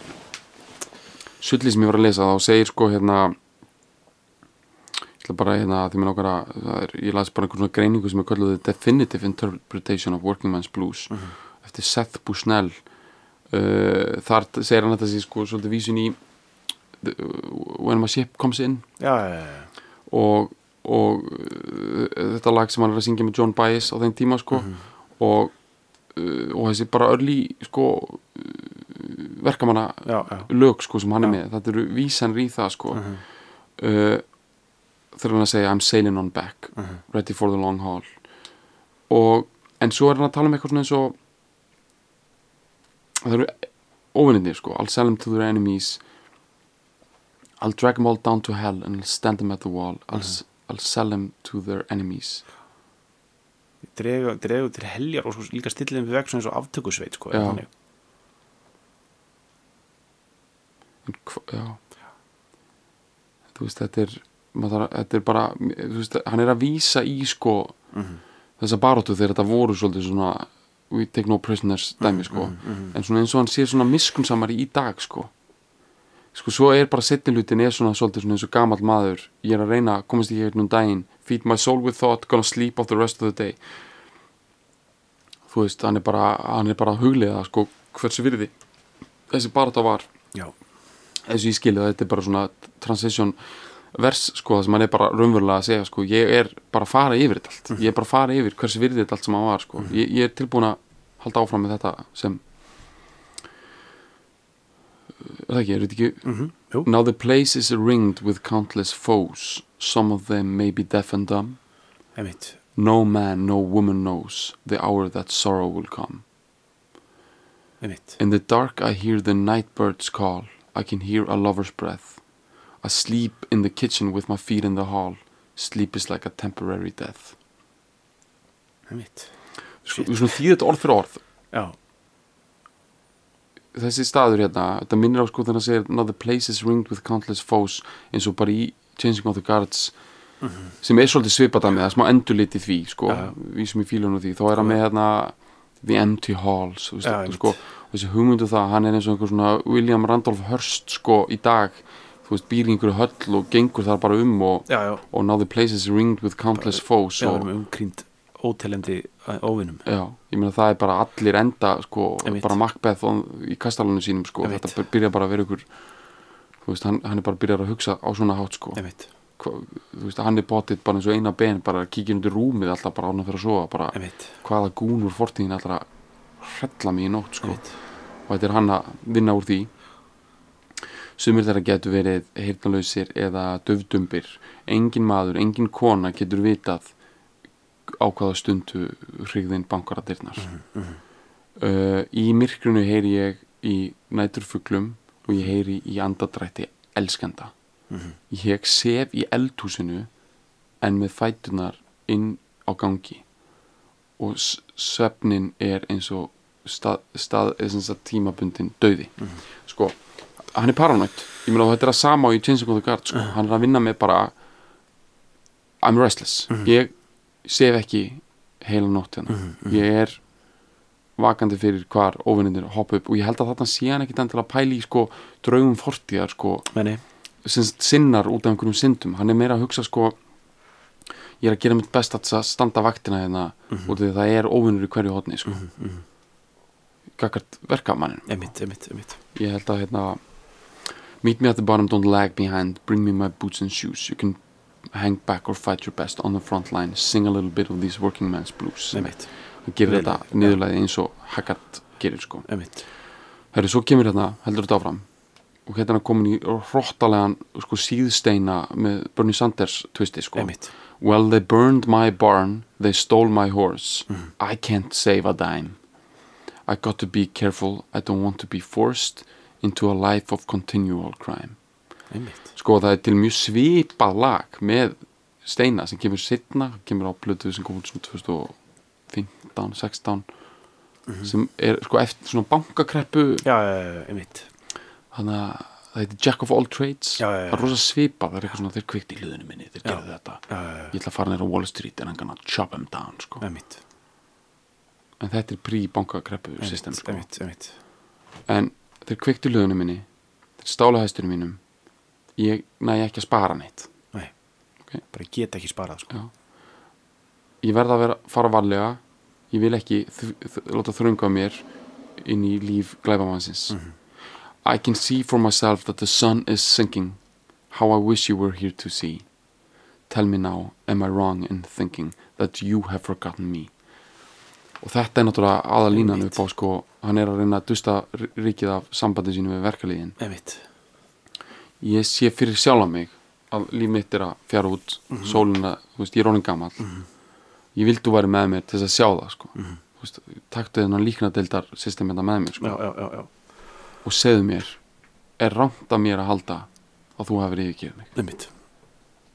S2: sulli sem ég var að lesa þá segir sko hérna ég ætla bara hérna því mér langar að það er, ég las bara einhvern svona greiningu sem er kallið The Definitive Interpretation of Working Man's Blues eftir Seth Bushnell uh, þar t- segir hann að þetta sé sko svolítið vísun í the, uh, When My Ship Comes In
S3: já, já, já, já.
S2: og, og uh, þetta lag sem hann er að syngja með John Baez á þeim tíma sko og, uh, og þessi bara örlí sko uh, verkamanna
S3: já, já.
S2: lög sko sem hann er
S3: Já.
S2: með þetta eru vísanir í það sko uh þegar hann að segja I'm sailing on back, ready for the long haul og en svo er hann að tala um eitthvað svona eins og það eru óvinnindir sko, I'll sell them to their enemies I'll drag them all down to hell and I'll stand them at the wall I'll, s- I'll sell them to their enemies
S3: Dregu, dregu til heljar og sko líka stillin við vekk svona eins og aftökusveit sko,
S2: Já.
S3: þannig.
S2: En hva- já þú veist þetta er maður þarf að, þetta er bara þú veist, hann er að vísa í sko þessa baróttu þegar þetta voru svolítið svona we take no prisoners dæmi sko en svona eins og hann sé svona miskunnsamari í dag sko sko svo er bara setnilutin er svona svolítið svona eins og gamall maður ég er að reyna að komast ekki hérna um daginn feed my soul with thought, gonna sleep off the rest of the day þú veist hann er bara, hann er bara að huglega sko hversu virði þessi baróta var
S3: já,
S2: eins og ég skilja það, þetta er bara svona transition vers sko það sem hann er bara raunverulega að segja sko, ég er bara að fara yfir þetta allt, ég er bara að fara yfir hversu virðið þetta allt sem hann var sko, ég, ég er tilbúin að halda áfram með þetta sem er það ekki, er þetta ekki
S3: mhm, jú.
S2: Now the place is ringed with countless foes some of them may be deaf and dumb
S3: einmitt
S2: no man, no woman knows the hour that sorrow will come
S3: einmitt,
S2: In the dark I hear the night birds call. I can hear a lover's breath. I sleep in the kitchen with my feet in the hall. Sleep is like a temporary death.
S3: einmitt
S2: Svo- Svona þýðir þetta orð fyrir orð.
S3: já,
S2: Þessi staður hérna, þetta minnir á sko þegar hann segir Now the place is ringed with countless foes eins og bara í Changing of the Guards sem er svolítið svipað að með það, smá endurlit í því sko,
S3: Mhm. Já.
S2: vísum í fílun og því þá er hann með hérna The Empty Halls þú veist,
S3: Já,
S2: þú
S3: einmitt.
S2: sko, og þessi hugmyndu það hann er eins og einhver svona William Randolph Hearst sko í dag, þú veist, býr í einhverju höll og gengur þar bara um og,
S3: já, já
S2: og Now the place is ringed with countless foes
S3: já, við
S2: og,
S3: erum eh, umkrínd ótelendi óvinnum
S2: Já, ég meina það er bara allir enda sko,
S3: Einmitt.
S2: bara Macbeth on, í kastalunum sínum sko,
S3: Einmitt.
S2: þetta byrja bara að vera ykkur þú veist, hann, hann er bara að byrja að hugsa á svona hátt sko,
S3: einmitt,
S2: Hva, þú veist, hann er bóttið bara eins og eina ben, bara kíkir undir rúmið alltaf bara án að fyrir að sofa, bara
S3: einmitt
S2: hvaða gún úr fortíðin allra hrella mig í nótt sko. og þetta er hann að vinna úr því sumir þeirra getur verið heyrnalausir eða döfdumbir engin maður, engin kona getur vitað á hvaða stundu hrigðin bankar að dyrnar uh, í myrkrunu heyri ég í næturfuglum og ég heyri í andadrætti elskenda ég sef í eldhúsinu en með fætunar inn á gangi og s- svefnin er eins og stað, stað, eða sem sagt tímabundin döði sko, hann er paranoid ég meina og þetta er að sama og í Changing of the Guard sko. hann er að vinna með bara I'm restless ég sef ekki heila nótt hérna ég er vakandi fyrir hvar óvinnir hoppa upp og ég held að þarna sé hann ekkit endilega pæli í sko draugum fortíðar sko
S3: Meni,
S2: sem sagt sinnar út af einhverjum syndum hann er meira að hugsa sko ég er að gera mitt best að standa vaktina hérna út af því að það er óvinnur í hverju hotni sko mm -hmm. gagart verkamannin
S3: emitt, emitt, emitt
S2: ég held að hérna meet me at the bottom, don't lag behind bring me my boots and shoes you can hang back or fight your best on the front line sing a little bit of these working man's blues
S3: Emitt,
S2: hann gerir
S3: Vel,
S2: þetta
S3: já.
S2: niðurlega eins og Haggard gerir sko
S3: emitt
S2: Herri, svo kemur hérna, heldur þetta áfram og hérna er komin í hróttalegan sko, síðsteina með Bernie Sanders twisti sko
S3: Einmitt.
S2: Well, they burned my barn, they stole my horse I can't save a dime I got to be careful I don't want to be forced into a life of continual crime
S3: Emitt,
S2: Sko, það er til mjög svipað lag með steina sem kemur setna, kemur á plötu sem kom út svona 2015, 16 sem er sko eftir svona bankakreppu
S3: já, já, emitt
S2: þannig að það heitir Jack of all trades
S3: Já, já, já.
S2: það er rosa svipa, það er eitthvað svona þeir kvikti í liðinu minni, þeir gerðu þetta
S3: já, já, já.
S2: ég ætla að fara neyra Wall Street en hann kann að chop them down sko.
S3: Emitt,
S2: en þetta er pre-bankakreppu system sko.
S3: emitt, emitt
S2: en þeir kvikti í liðinu minni þeir stála hæstunum mínum ég næ ekki að spara neitt
S3: Nei,
S2: Ok.
S3: bara get ekki sparað sko.
S2: Já. ég verða að vera, fara varlega ég vil ekki þ- þ- láta þrönga mér inn í líf glæbamannsins I can see for myself that the sun is sinking how I wish you were here to see tell me now, am I wrong in thinking that you have forgotten me og þetta er náttúrulega aðalínan
S3: Einmitt.
S2: upp á sko hann er að reyna að dusta ri- ríkið af sambandi sínu við verkaliðin
S3: Emitt,
S2: ég sé fyrir sjálfa mig að líf mitt er að fjara út
S3: Mhm.
S2: mm sólina, þú veist, ég er orðin gamall ég vildi þú væri með mér til þess að sjá það sko, þú veist, taktu þennan líknadeildar systemina með mér sko
S3: Mhm. já, já, já, já
S2: og segðu mér, er rámt að mér að halda að þú hefur yfirgefið mig
S3: Emitt,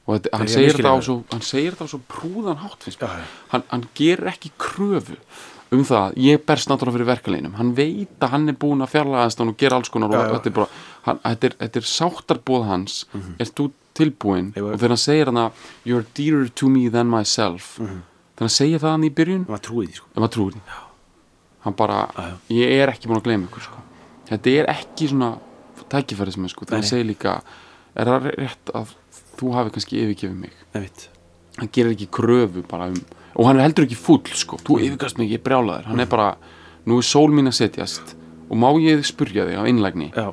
S2: og þetta, hann,
S3: Ég
S2: segir
S3: misskil
S2: þetta á
S3: það.
S2: svo, hann segir þetta á svo prúðan hátt finnst mér.
S3: Já, já.
S2: hann, hann gerir ekki kröfu um það, ég berst náttúrulega fyrir verkaleinum hann veit að hann er búin að fjarlæðast hann og gera alls konar
S3: Já,
S2: og
S3: já.
S2: þetta er bara hann, þetta, er, þetta er sáttarbóð hans mm -hmm. er þú tilbúin
S3: Mhm. Ég var-
S2: og þegar hann segir hann að you're dearer to me than myself
S3: Mhm.
S2: þegar hann segir það hann í byrjun
S3: maður trúið því sko.
S2: ef maður trúir því hann bara,
S3: Já, já.
S2: ég er ekki búin að gleyma ykkur sko. þetta er ekki svona tækifæri sem er sko, þegar
S3: Nei,
S2: hann segir líka er það rétt að þú hafi kannski yfirgefið mig
S3: Emitt,
S2: hann gerir ekki kröfu bara um og hann er heldur ekki fúll sko, þú yfirgast mig, ég er brjálaður hann er bara, nú er sól mín að setjast og má ég spurja þig af innlægni
S3: já,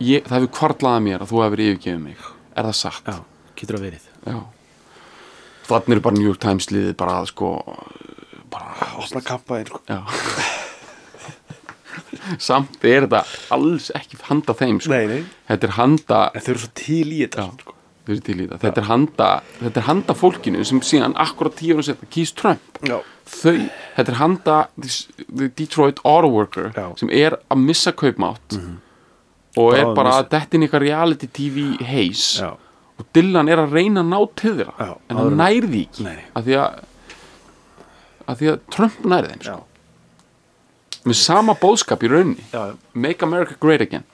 S2: ég, það hefur kvarlaða mér að þú hefur yfirgefið mig er það satt?
S3: já, getur að verið
S2: Já. þannig eru bara New York Times liðið bara að sko bara,
S3: Opna kappa einn sko.
S2: já samt er þetta alls ekki handa þeim sko.
S3: Nei, nei,
S2: þetta er handa
S3: en þau eru svo til í þetta sko.
S2: sko. Já, þau eru til í það. Þetta er handa þetta er handa fólkinu sem síðan akkurat tíu ára setna kýst Trump
S3: Já.
S2: þau, þetta er handa this- the Detroit auto worker
S3: Já.
S2: sem er að missa kaupmátt og er
S3: Bráðum
S2: bara
S3: missa-
S2: að detti inn í eitthvað reality TV heis
S3: Já.
S2: og Dylan er að reyna að ná til þeirra
S3: Já,
S2: en hann
S3: áður en-
S2: nærði ekki
S3: Nei.
S2: að því að að því að Trump nærði þeim sko. með sama bóðskap í rauninni
S3: Já, já.
S2: uh, Make America Great Again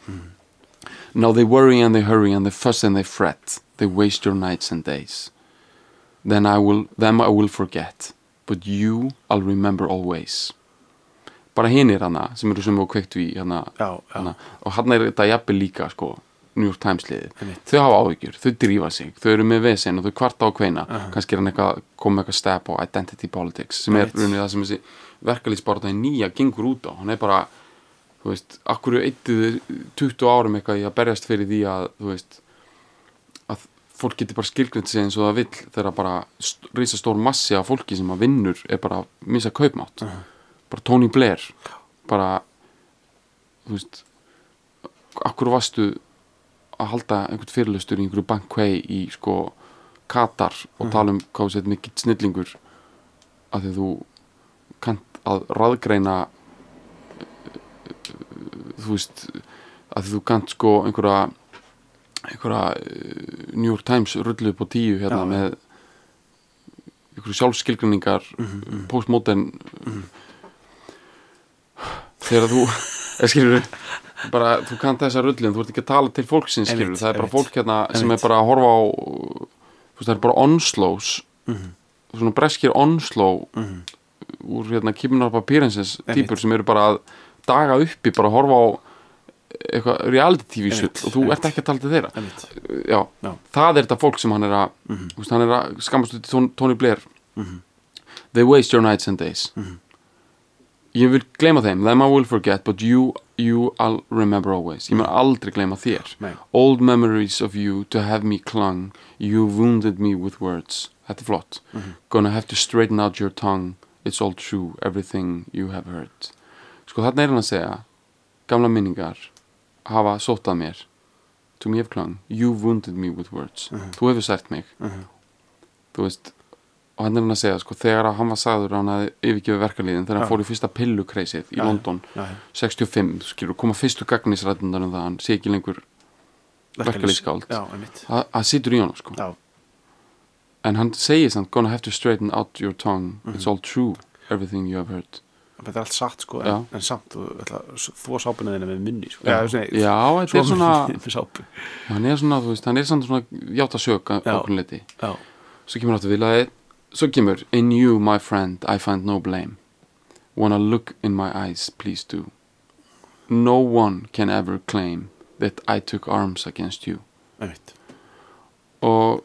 S2: Now they worry and they hurry and they fuss and they fret They waste your nights and days Then I will, them I will forget But you I'll remember always Bara hinir hana sem eru sem og kveiktu í hana,
S3: Já, já.
S2: hana Hérna, og hann er þetta jafnvel líka sko New York Times liðið,
S3: Einmitt.
S2: þau hafa áhyggjur þau drífa sig, þau eru með vesinn og þau kvarta á kveina, kannski er hann eitthvað komið eitthvað step á identity politics sem er
S3: Einmitt.
S2: runið það sem þessi verkalýsbarta nýja gengur út á, hann er bara þú veist, akkur eittuð 20 árum eitthvað í að berjast fyrir því að þú veist að fólk getur bara skilgrind sig eins og það vill þegar bara st- risastór massi af fólki sem að vinnur er bara að missa kaupmátt bara Tony Blair bara þú veist akkur varstu að halda einhvern fyrirlustur í einhverju bankvei í sko Katar
S3: Mhm.
S2: og tala um hvað þú sett mikill snillingur að því að þú kannt að raðgreina eh, þú veist að því þú kannt sko einhverja einhverja eh, New York Times rullu upp á tíu hérna
S3: Já, já.
S2: með einhverju sjálfskilgrinningar
S3: Mhm,
S2: postmodern þegar þú eða skilur bara þú kannt þessa rullu en þú ert ekki að tala til fólksins skilur
S3: Einmitt,
S2: það er bara
S3: einmitt.
S2: fólk hérna sem er
S3: Einmitt.
S2: bara að horfa á þú veist það er bara onslós
S3: Mhm.
S2: svona breskir onsló úr hérna kýmunar papírinsins
S3: Einmitt.
S2: típur sem eru bara að daga uppi bara að horfa á eitthvað reality tv sull
S3: Einmitt,
S2: og þú
S3: einmitt.
S2: ert ekki að tala til þeirra
S3: Einmitt.
S2: já,
S3: Já. Mhm.
S2: það er þetta fólk sem hann er að mm veist, hann er að skammast út í Tony- Tony Blair they waste your nights and days
S3: Mhm.
S2: ég vil gleyma þeim them I will forget but you, you I'll remember always ég mun aldrei gleyma þér
S3: Mhm. Nei.
S2: old memories of you to have me clung you wounded me with words þetta er flott
S3: Mhm.
S2: gonna have to straighten out your tongue it's all true everything you have heard sko þarna er hann að segja gamla minningar hafa sótt að mér to me have clung you wounded me with words
S3: Uh-huh.
S2: þú hefur sært mig þú veist og hann er hann að segja sko þegar að hann var sagður að hann hafði yfirgefið verkanlíðin þegar hann
S3: Já.
S2: fór í fyrsta pillukreisið í
S3: Já, já.
S2: London
S3: Já, já.
S2: 65 skilur koma fyrstu gagnisrætundar um það að hann sé ekki lengur Verkalýðsskáld.
S3: Já, einmitt
S2: að að situr í honum sko
S3: Já,
S2: en hann segir samt gonna have to straighten out your tongue
S3: Mhm.
S2: it's all true everything you have heard
S3: þetta er allt satt sko
S2: Já.
S3: en, en samt, þú ætla þvó sápuna þina með munni sko.
S2: Já. Já, þetta er svona-
S3: Sápu
S2: hann er svona þú veist hann er samt svona játa sög
S3: Já.
S2: okkur liti
S3: Já,
S2: svo kemur áttu viljaði svo kemur in you my friend I find no blame wanna look in my eyes please do no one can ever claim that I took arms against you
S3: einmitt
S2: og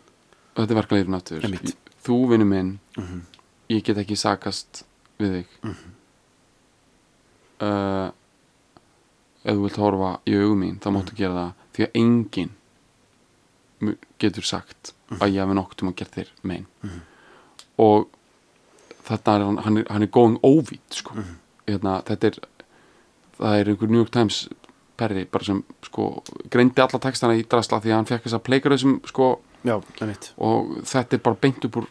S2: þetta er verkaleirinn aftur
S3: Einmitt.
S2: þú vinnu minn
S3: Mhm.
S2: ég get ekki sakast við þig mm ef þú vilt horfa í augum mín þá máttu gera það því að enginn mu- getur sagt að ég hafi nokkuð um að gera þér mein og þetta er hann, hann er, hann er going óvít sko. hérna, þetta er það er einhver New York Times perri bara sem sko greindi alla textana í drasla því að hann fekk þess að pleikara þessum sko
S3: Já, einmitt
S2: og þetta er bara beint upp úr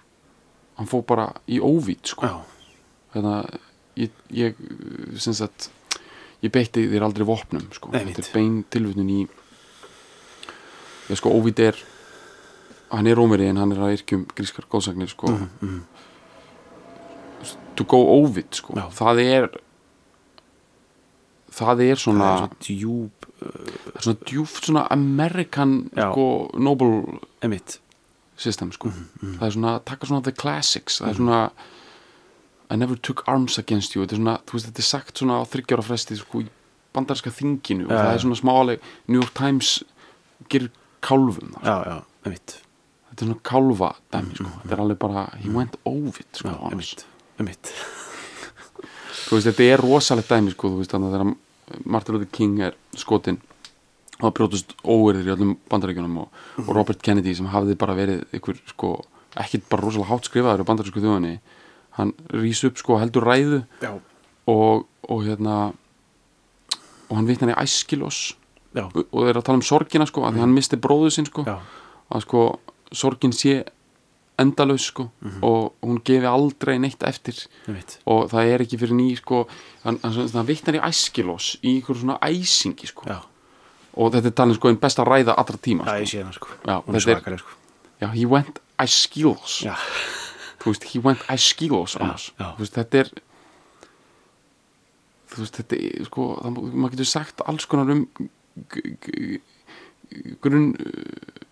S2: hann fór bara í óvít sko.
S3: Já,
S2: þannig að ég, ég uh, sem sagt ég beitti þér aldrei vopnum sko.
S3: Einmitt.
S2: þetta er bein tilvutun í já sko óvít er hann er rómveri en hann er að yrkjum grískar góðsagnir sko
S3: Mhm,
S2: to go óvít sko
S3: Já.
S2: það er það er
S3: það
S2: svona
S3: er svo djúb
S2: það er svona djúft svona American
S3: Já.
S2: sko noble
S3: Einmitt
S2: system sko.
S3: Mhm,
S2: það er svona, taka svona the classics það er svona I never took arms against you þetta er, svona, þú veist, þetta er sagt svona á þryggjára fresti sko, í bandarska þinginu og
S3: Já,
S2: það er
S3: já.
S2: svona smáleg New York Times gerir kálfum það, sko.
S3: Já, já, einmitt
S2: þetta er svona kálfa dæmi, sko. þetta er alveg bara he went over it, sko,
S3: mhm. Já,
S2: annars.
S3: einmitt Einmitt
S2: þú veist, þetta er rosalegt dæmi sko, þú veist, þannig að þegar Martin Luther King er skotin og það brjótust óerðir í öllum bandaríkjunum og,
S3: Mhm.
S2: og Robert Kennedy sem hafði bara verið ykkur, sko, ekkit bara rosalega hátt skrifaður á bandarísku þjóðinni hann rís upp, sko, heldur ræðu
S3: Já,
S2: og, og hérna og hann vitnar í æskilos
S3: já,
S2: og og þeir eru að tala um sorgina, sko, að því hann misti bróðu sinn, sko
S3: Mhm. já
S2: að sko sorgin sé endalaus, sko
S3: Mhm.
S2: og hún gefi aldrei neitt eftir
S3: Einmitt
S2: og það er ekki fyrir ný sko, hann, hann, hann, hann vitnar í æskilos í einhver svona æsingi sko.
S3: Já,
S2: og þetta er talin sko einn besta ræða allra tíma
S3: það
S2: sko.
S3: ég sé hana sko
S2: Já,
S3: Hún er
S2: þetta er-
S3: svakaleg sko
S2: já, he went æskilos
S3: Já,
S2: þú veist, he went æskilos annars
S3: já.
S2: þú veist, þetta er þú veist, þetta er sko, það, má- maður getur sagt alls konar um g- g- grunn uh,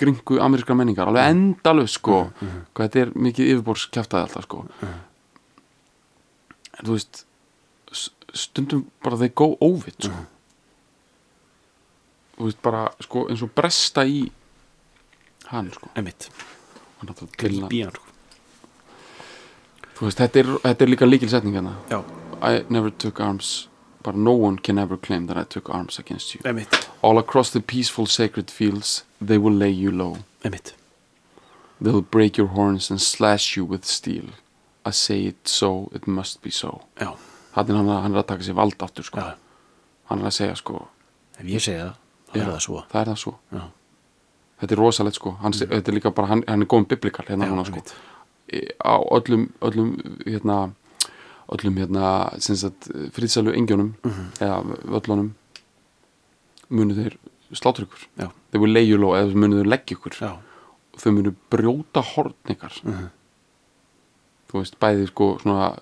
S2: gringu amerískar menningar alveg
S3: Mhm.
S2: endalaus sko hvað þetta er mikið yfirborðskjaftaði alltaf sko
S3: Mhm.
S2: en þú veist s- stundum bara þeir go óvitt sko
S3: Mhm.
S2: þú veist bara sko eins og bresta í hann sko
S3: einmitt
S2: hann náttúrulega til-
S3: Gríp í hann sko
S2: þú veist, þetta er, þetta er líka líkilsetning hérna
S3: Já,
S2: I never took arms but no one can ever claim that I took arms against you
S3: einmitt
S2: all across the peaceful sacred fields they will lay you low
S3: Einmitt
S2: they'll break your horns and slash you with steel I say it so, it must be so
S3: Já,
S2: hann er, hann- hann er að taka sér vald aftur sko.
S3: Já.
S2: hann er að segja sko,
S3: ef ég segja það, þá er
S2: já,
S3: það svo
S2: það er það svo
S3: Já. Mm.
S2: þetta er rosalegt sko hann, þetta er líka bara, hann, hann er góðum biblikal hérna
S3: Já,
S2: núna sko
S3: einmitt.
S2: Í- á öllum, öllum hérna öllum hérna sem sagt friðsælu engjónum
S3: Mhm.
S2: eða völlunum munu þeir slátur ykkur
S3: Já.
S2: þeir voru leigjuló eða munu þeir leggja ykkur
S3: já, Mhm.
S2: og þau munu brjóta horn ykkar þú veist, bæði sko svona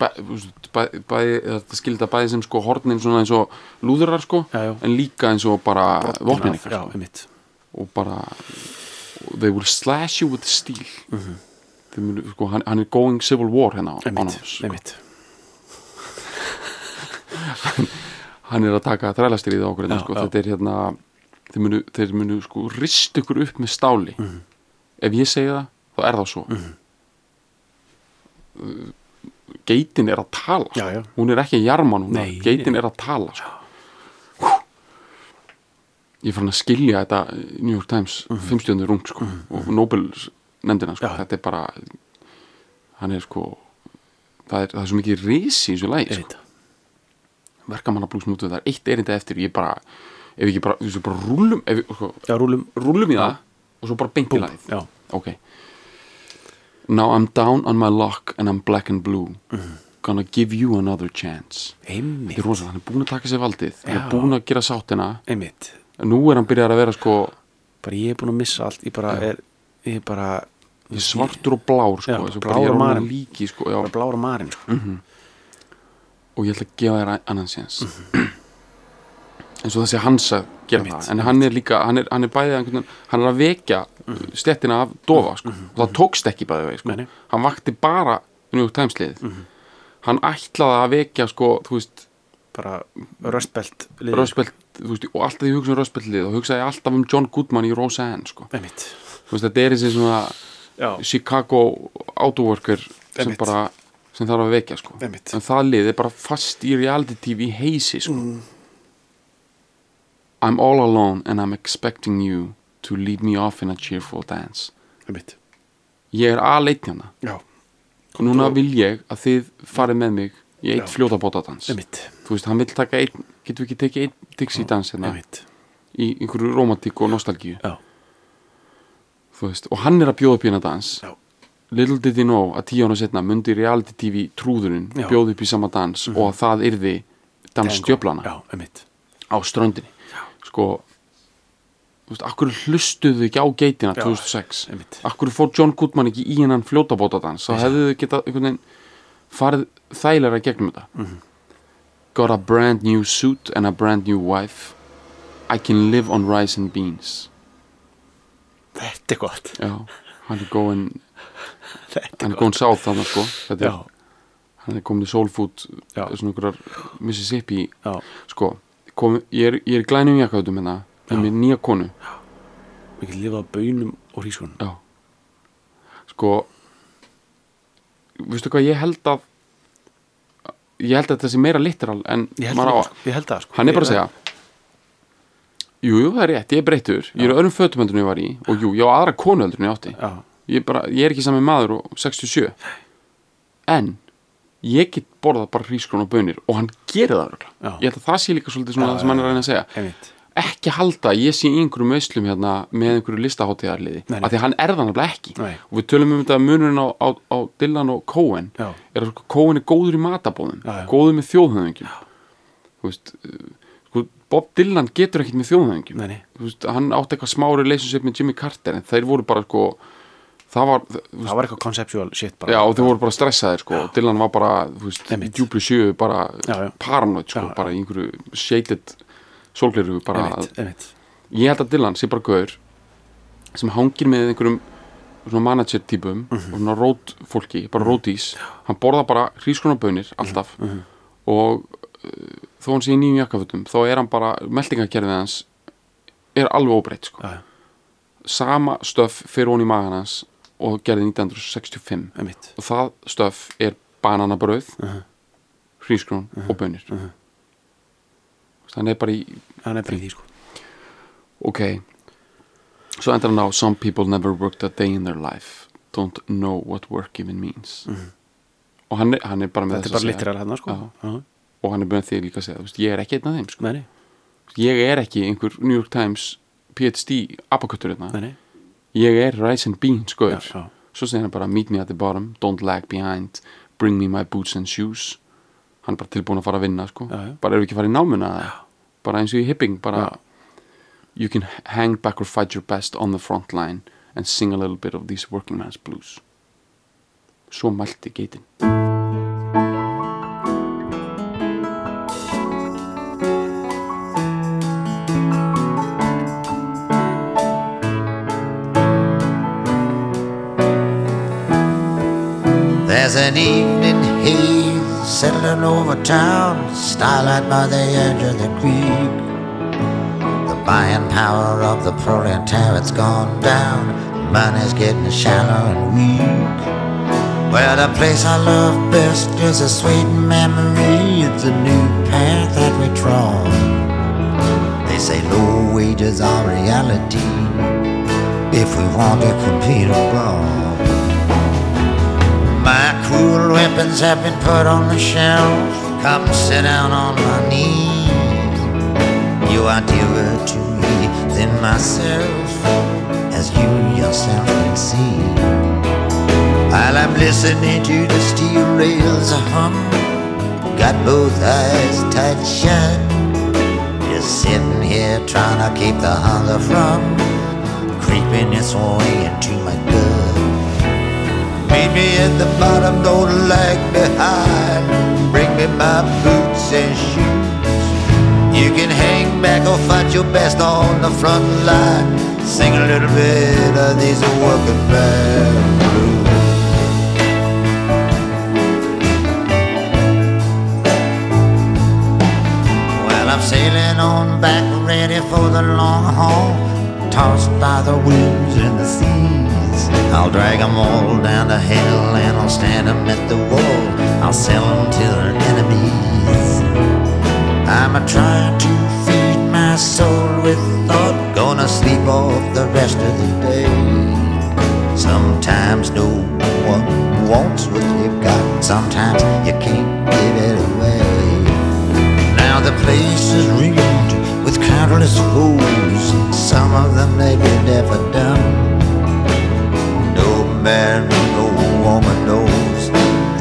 S2: bæ, þú veist, bæ, bæði, þetta skilda bæði sem sko hornin svona eins og lúðurar sko
S3: Já, já.
S2: en líka eins og bara vopnin ykkar
S3: já, einmitt
S2: og bara og they will slash you with steel mm -hmm. munu, sko, hann, hann er going civil war hérna á á
S3: einmitt,
S2: náms
S3: einmitt,
S2: hann er að taka þrælastir í það okkur hérna,
S3: Já,
S2: sko.
S3: já.
S2: þetta er hérna þeir munu, þeir munu sko rist ykkur upp með stáli
S3: Mhm.
S2: ef ég segi það, þá er það svo mm geitin er að tala sko.
S3: Já, já.
S2: hún er ekki að jarma núna
S3: Nei,
S2: geitin er að tala sko. ég fann að skilja þetta New York Times mm -hmm. fimmstjöndur rung sko, og Nobel nefndina sko.
S3: Mhm. Já.
S2: þetta er bara hann er sko það er, það er svo mikið risi í þessu lægi sko
S3: einmitt
S2: verkamannablús mútu það er eitt erindi eftir ég bara, ef ekki bara, þessu bara rúlum ef, við- sko,
S3: já, rúlum,
S2: rúlum í það og svo bara beint í
S3: búm,
S2: lagið
S3: já,
S2: ok now I'm down on my luck and I'm black and blue gonna give you another chance þetta
S3: Mm. einmitt
S2: er rosa, hann er búin að taka sér valdið hann er
S3: Já.
S2: búin að gera sáttina
S3: einmitt,
S2: nú er hann byrjar að vera sko
S3: bara ég er búin að missa allt ég bara
S2: Já.
S3: er, ég er bara
S2: ég er svartur og blár sko,
S3: Já,
S2: þessu
S3: blár
S2: bara ég er
S3: og
S2: orðinn
S3: marinn.
S2: líki sko, já,
S3: bara blára marinn sko.
S2: Mhm. og ég ætla að gefa þér a- annan séns
S3: Mhm.
S2: eins og þessi hans að gera það en hann er líka, hann er, hann er bæðið einhvern, veginn- hann er að vekja mm. stettina af dofa sko. og það tókst ekki bæðið vegi sko.
S3: Mhm. Nei, Mhm. nei.
S2: hann vakti bara New York Times liðið hann ætlaði að vekja sko, þú veist,
S3: bara röstbelt liðið,
S2: röspelt þú veist, og alltaf ég hugsa um röspelt liðið og hugsaði alltaf um John Goodman í Roseanne sko.
S3: einmitt
S2: þú veist, þetta er þessi svona
S3: já,
S2: Chicago autoworker sem
S3: Einmitt.
S2: bara sem þarf að vekja sko
S3: Einmitt.
S2: en það lið er bara fast í reality tv heisi sko
S3: Mm.
S2: I'm all alone and I'm expecting you to lead me off in a cheerful dance
S3: einmitt
S2: ég er aðleitt hérna
S3: já,
S2: núna vil ég að þið farið með mig í eitt
S3: Já.
S2: fljóta bótadans
S3: einmitt
S2: þú veist, hann vil taka einn, getum við ekki tekið einn Dixie dans hérna,
S3: einmitt,
S2: í einhverju romantík og nostalgíu
S3: já,
S2: þú veist, og hann er að bjóða upp í hérna dans
S3: já
S2: Little did he know að tíu ára setna myndi reality tv trúðurinn
S3: Já. Mhm.
S2: bjóð upp í sama dans og að það yrði dansstjöflana
S3: já, einmitt
S2: á ströndinni sko þú veist, akkur hlustuðu þau ekki á geitina
S3: Já,
S2: 2006
S3: einmitt.
S2: akkur fór John Goodman ekki í hennan fljótabótadans þá hefðu þau getað einhvern veginn farið þægilega gegnum þetta
S3: Mhm.
S2: got a brand new suit and a brand new wife I can live on rice and beans
S3: þetta er gott,
S2: já, hann er góin
S3: þetta
S2: hann
S3: er gott
S2: er góin sáð þannig sko þetta er
S3: já,
S2: hann er komin í Soul Food
S3: Já.
S2: svona einhverjar Mississippi
S3: já,
S2: sko, kom, ég er, ég er glænum jakkautum hérna, ég er með nýja konu
S3: við getum lifað á bönum og hrískunum
S2: já sko veistu hvað, ég held að ég held að þetta sé meira literal en
S3: ég held
S2: maður á
S3: það,
S2: að
S3: sko, ég held það sko.
S2: hann er bara að
S3: Ég-
S2: segja jú, jú, það er rétt, ég er breyttur ég er á öðrum fötum heldur en ég var í og jú, ég á aðra konu heldur en ég átti
S3: já,
S2: ég, bara, ég er ekki sami maður og 67 en ég get borðað bara hrískrón og bönir og hann gerir það
S3: Já.
S2: örugglega. ég held að það sé líka svolítið svona
S3: Já,
S2: það sem hann er að reyna að segja
S3: einmitt
S2: ekki halda að ég sé í einhverjum auslum hérna með einhverju listaháttíðarliði
S3: Nei, nei.
S2: af því að hann er það nefnilega ekki
S3: Nei.
S2: og við tölum um þetta munurinn á, á, á Dylan og Cohen
S3: Já.
S2: er að sko, Cohen er góður í matabóðum
S3: Já, já.
S2: góður með þjóðhöðingjum þú veist uh, sko, Bob Dylan getur ekkert með þjóðhöðingjum
S3: Nei, nei.
S2: Þú veist, hann átti eitthvað smári leysinsup með Jimmy Carter en þeir voru bara sko það var, þú veist,
S3: það var eitthvað conceptual shit bara
S2: Já, og þau voru bara stressaðir sko og Dylan var bara, þú veist, í
S3: Einmitt.
S2: djúplu sjöu bara
S3: Já, já.
S2: paranoid sko,
S3: Já, já.
S2: bara í einhverju shaded sólgleru bara að,
S3: einmitt, einmitt
S2: ég held að Dylan sé bara gaur sem hangir með einhverjum svona manager típum
S3: Mhm.
S2: og svona rót fólki, bara rótís hann borða bara hrískonabönir
S3: Mhm.
S2: alltaf og uh, þó hann sé í nýjum jakkafutum, þá er hann bara meldingakerfið hans er alveg óbreytt sko
S3: já, já,
S2: sama stöf fyrir hún í magan hans og gerði 1965
S3: einmitt
S2: og það stöf er bananabröð uh
S3: Mhm.
S2: hrísgrón og bönir þannig er bara í
S3: hann er bara í því sko
S2: ok svo endur hann á some people never worked a day in their life don't know what work even means og hann er, hann er bara með
S3: Mhm. þetta er
S2: þess
S3: bara
S2: að segja-
S3: litterar hérna sko
S2: Já.
S3: Já.
S2: og hann er búin því líka að segja, þú veist, ég er ekki einn af þeim sko.
S3: Nei, nei,
S2: ég er ekki einhver New York Times PhD apaköttur
S3: nei,
S2: hérna,
S3: nei.
S2: ég er Rise and Beans sko.
S3: Já,
S2: skoður,
S3: já.
S2: svo segir hann bara meet me at the bottom, don't lag behind bring me my boots and shoes hann er bara tilbúin að fara að vinna sko.
S3: Já, já.
S2: bara eru ekki að fara í námuna já. bara eins og í hipping bara, you can hang back or fight your best on the front line and sing a little bit of these working man's blues svo mælti geitin
S4: There's an evening haze settling over town, starlight by the edge of the creek. The buying power of the proletariat's gone down, money's getting shallow and weak. Well, the place I love best is a sweet memory, it's a new path that we trod. They say low wages are reality if we want to compete abroad. My cruel weapons have been put on the shelf. Come sit down on my knee. You are dearer to me than myself, as you yourself can see. While I'm listening to the steel rails hum, got both eyes tight shut. Just sitting here trying to keep the hunger from creeping its way into my gut. Meet me at the bottom, don't lag behind. Bring me my boots and shoes. You can hang back or fight your best on the front line. Sing a little bit of these working band blues. Well, I'm sailing on back, ready for the long haul. Tossed by the winds and the seas. I'll drag 'em all down to hell and I'll stand 'em at the wall. I'll sell 'em to their enemies. I'm a trying to feed my soul with thought. Gonna sleep off the rest of the day. Sometimes no one wants what you've got. Sometimes you can't give it away. Now the place is ringed with countless fools. Some of them they be deaf or dumb. No man, no woman knows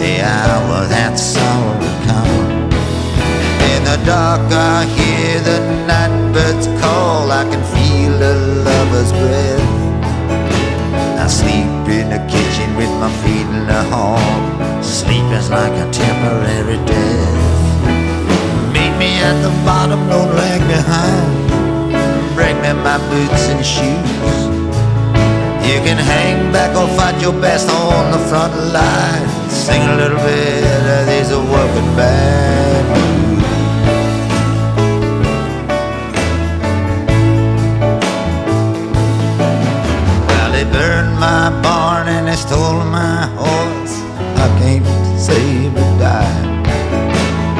S4: the hour that sorrow will come. In the dark I hear the night birds call. I can feel a lover's breath. I sleep in the kitchen with my feet in the hall. Sleep is like a temporary death. Meet me at the bottom, don't lag behind. Bring me my boots and shoes. You can hang back or fight your best on the front line. Sing a little bit of these working band blues. Well, they burned my barn and they stole my horse. I can't save a dime.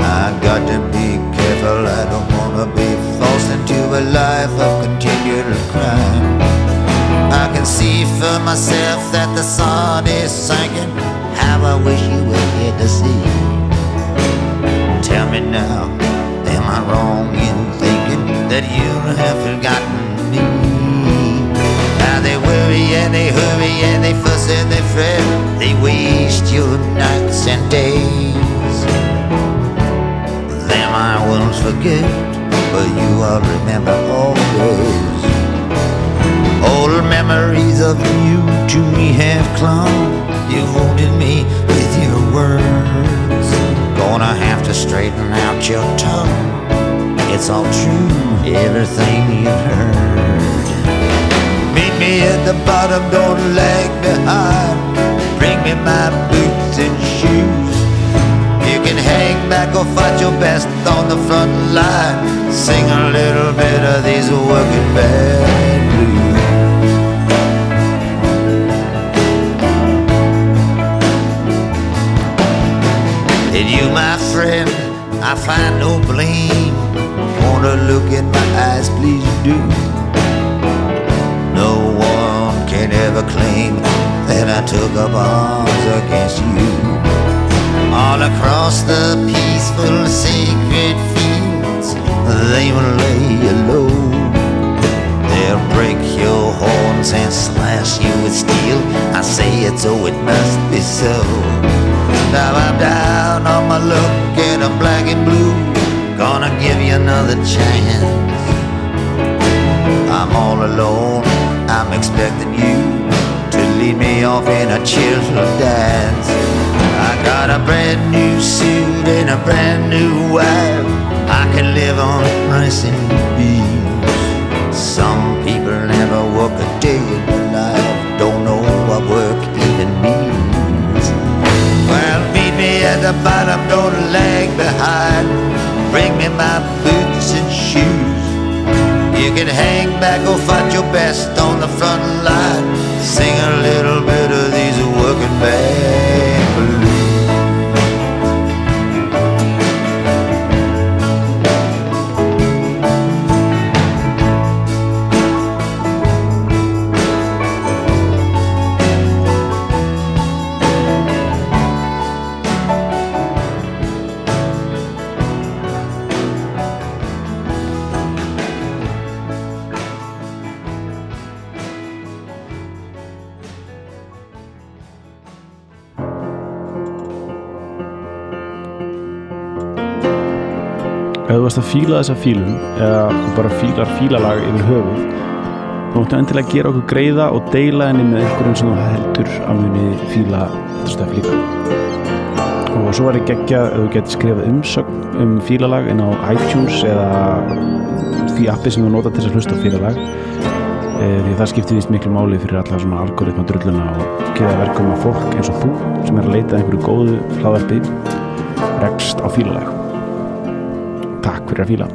S4: I got to be careful, I don't wanna be forced into a life of continual crime. I can see for myself that the sun is sinking. How I wish you were here to see. Tell me now, am I wrong in thinking that you have forgotten me? Now they worry and they hurry and they fuss and they fret. They waste your nights and days. Them I won't forget, but you I'll remember always. Old memories of you to me have clung. You've wounded me with your words. Gonna have to straighten out your tongue. It's all true, everything you've heard. Meet me at the bottom, don't lag behind. Bring me my boots and shoes. You can hang back or fight your best on the front line. Sing a little bit of these working band blues. In you, my friend, I find no blame. Wanna look in my eyes, please do. No one can ever claim that I took up arms against you. All across the peaceful sacred fields, they will lay you low. They'll break your horns and slash you with steel. I say it so it must be so. Now I'm down on my luck and I'm black and blue. Gonna give you another chance. I'm all alone. I'm expecting you to lead me off in a cheerful dance. I got a brand new suit and a brand new wife. I can live on rice and beans. Some people never work a day in their life. Don't know what work even means. Well, meet me at the bottom, don't lag behind. Bring me my boots and shoes. You can hang back or fight your best on the front line. Sing a little bit of these working band blues.
S1: Ef þú varst að fíla þessa fílun eða þú bara fílar fílalag yfir höfuð þú máttu endilega gera okkur greiða og deila henni með einhverjum sem þú heldur að muni fíla þetta stöf líka og svo er ég geggja ef þú getur skrifað umsögn um fílalag inn á iTunes eða því appi sem þú nota til þess að hlusta á fílalag Eh, því það skiptir nýst miklu máli fyrir alla svona algoritma drulluna og geða verkum að fólk eins og þú sem er að leita að einhverju góðu hlaðarpi rekst á fílalag Takk fyrir að fíla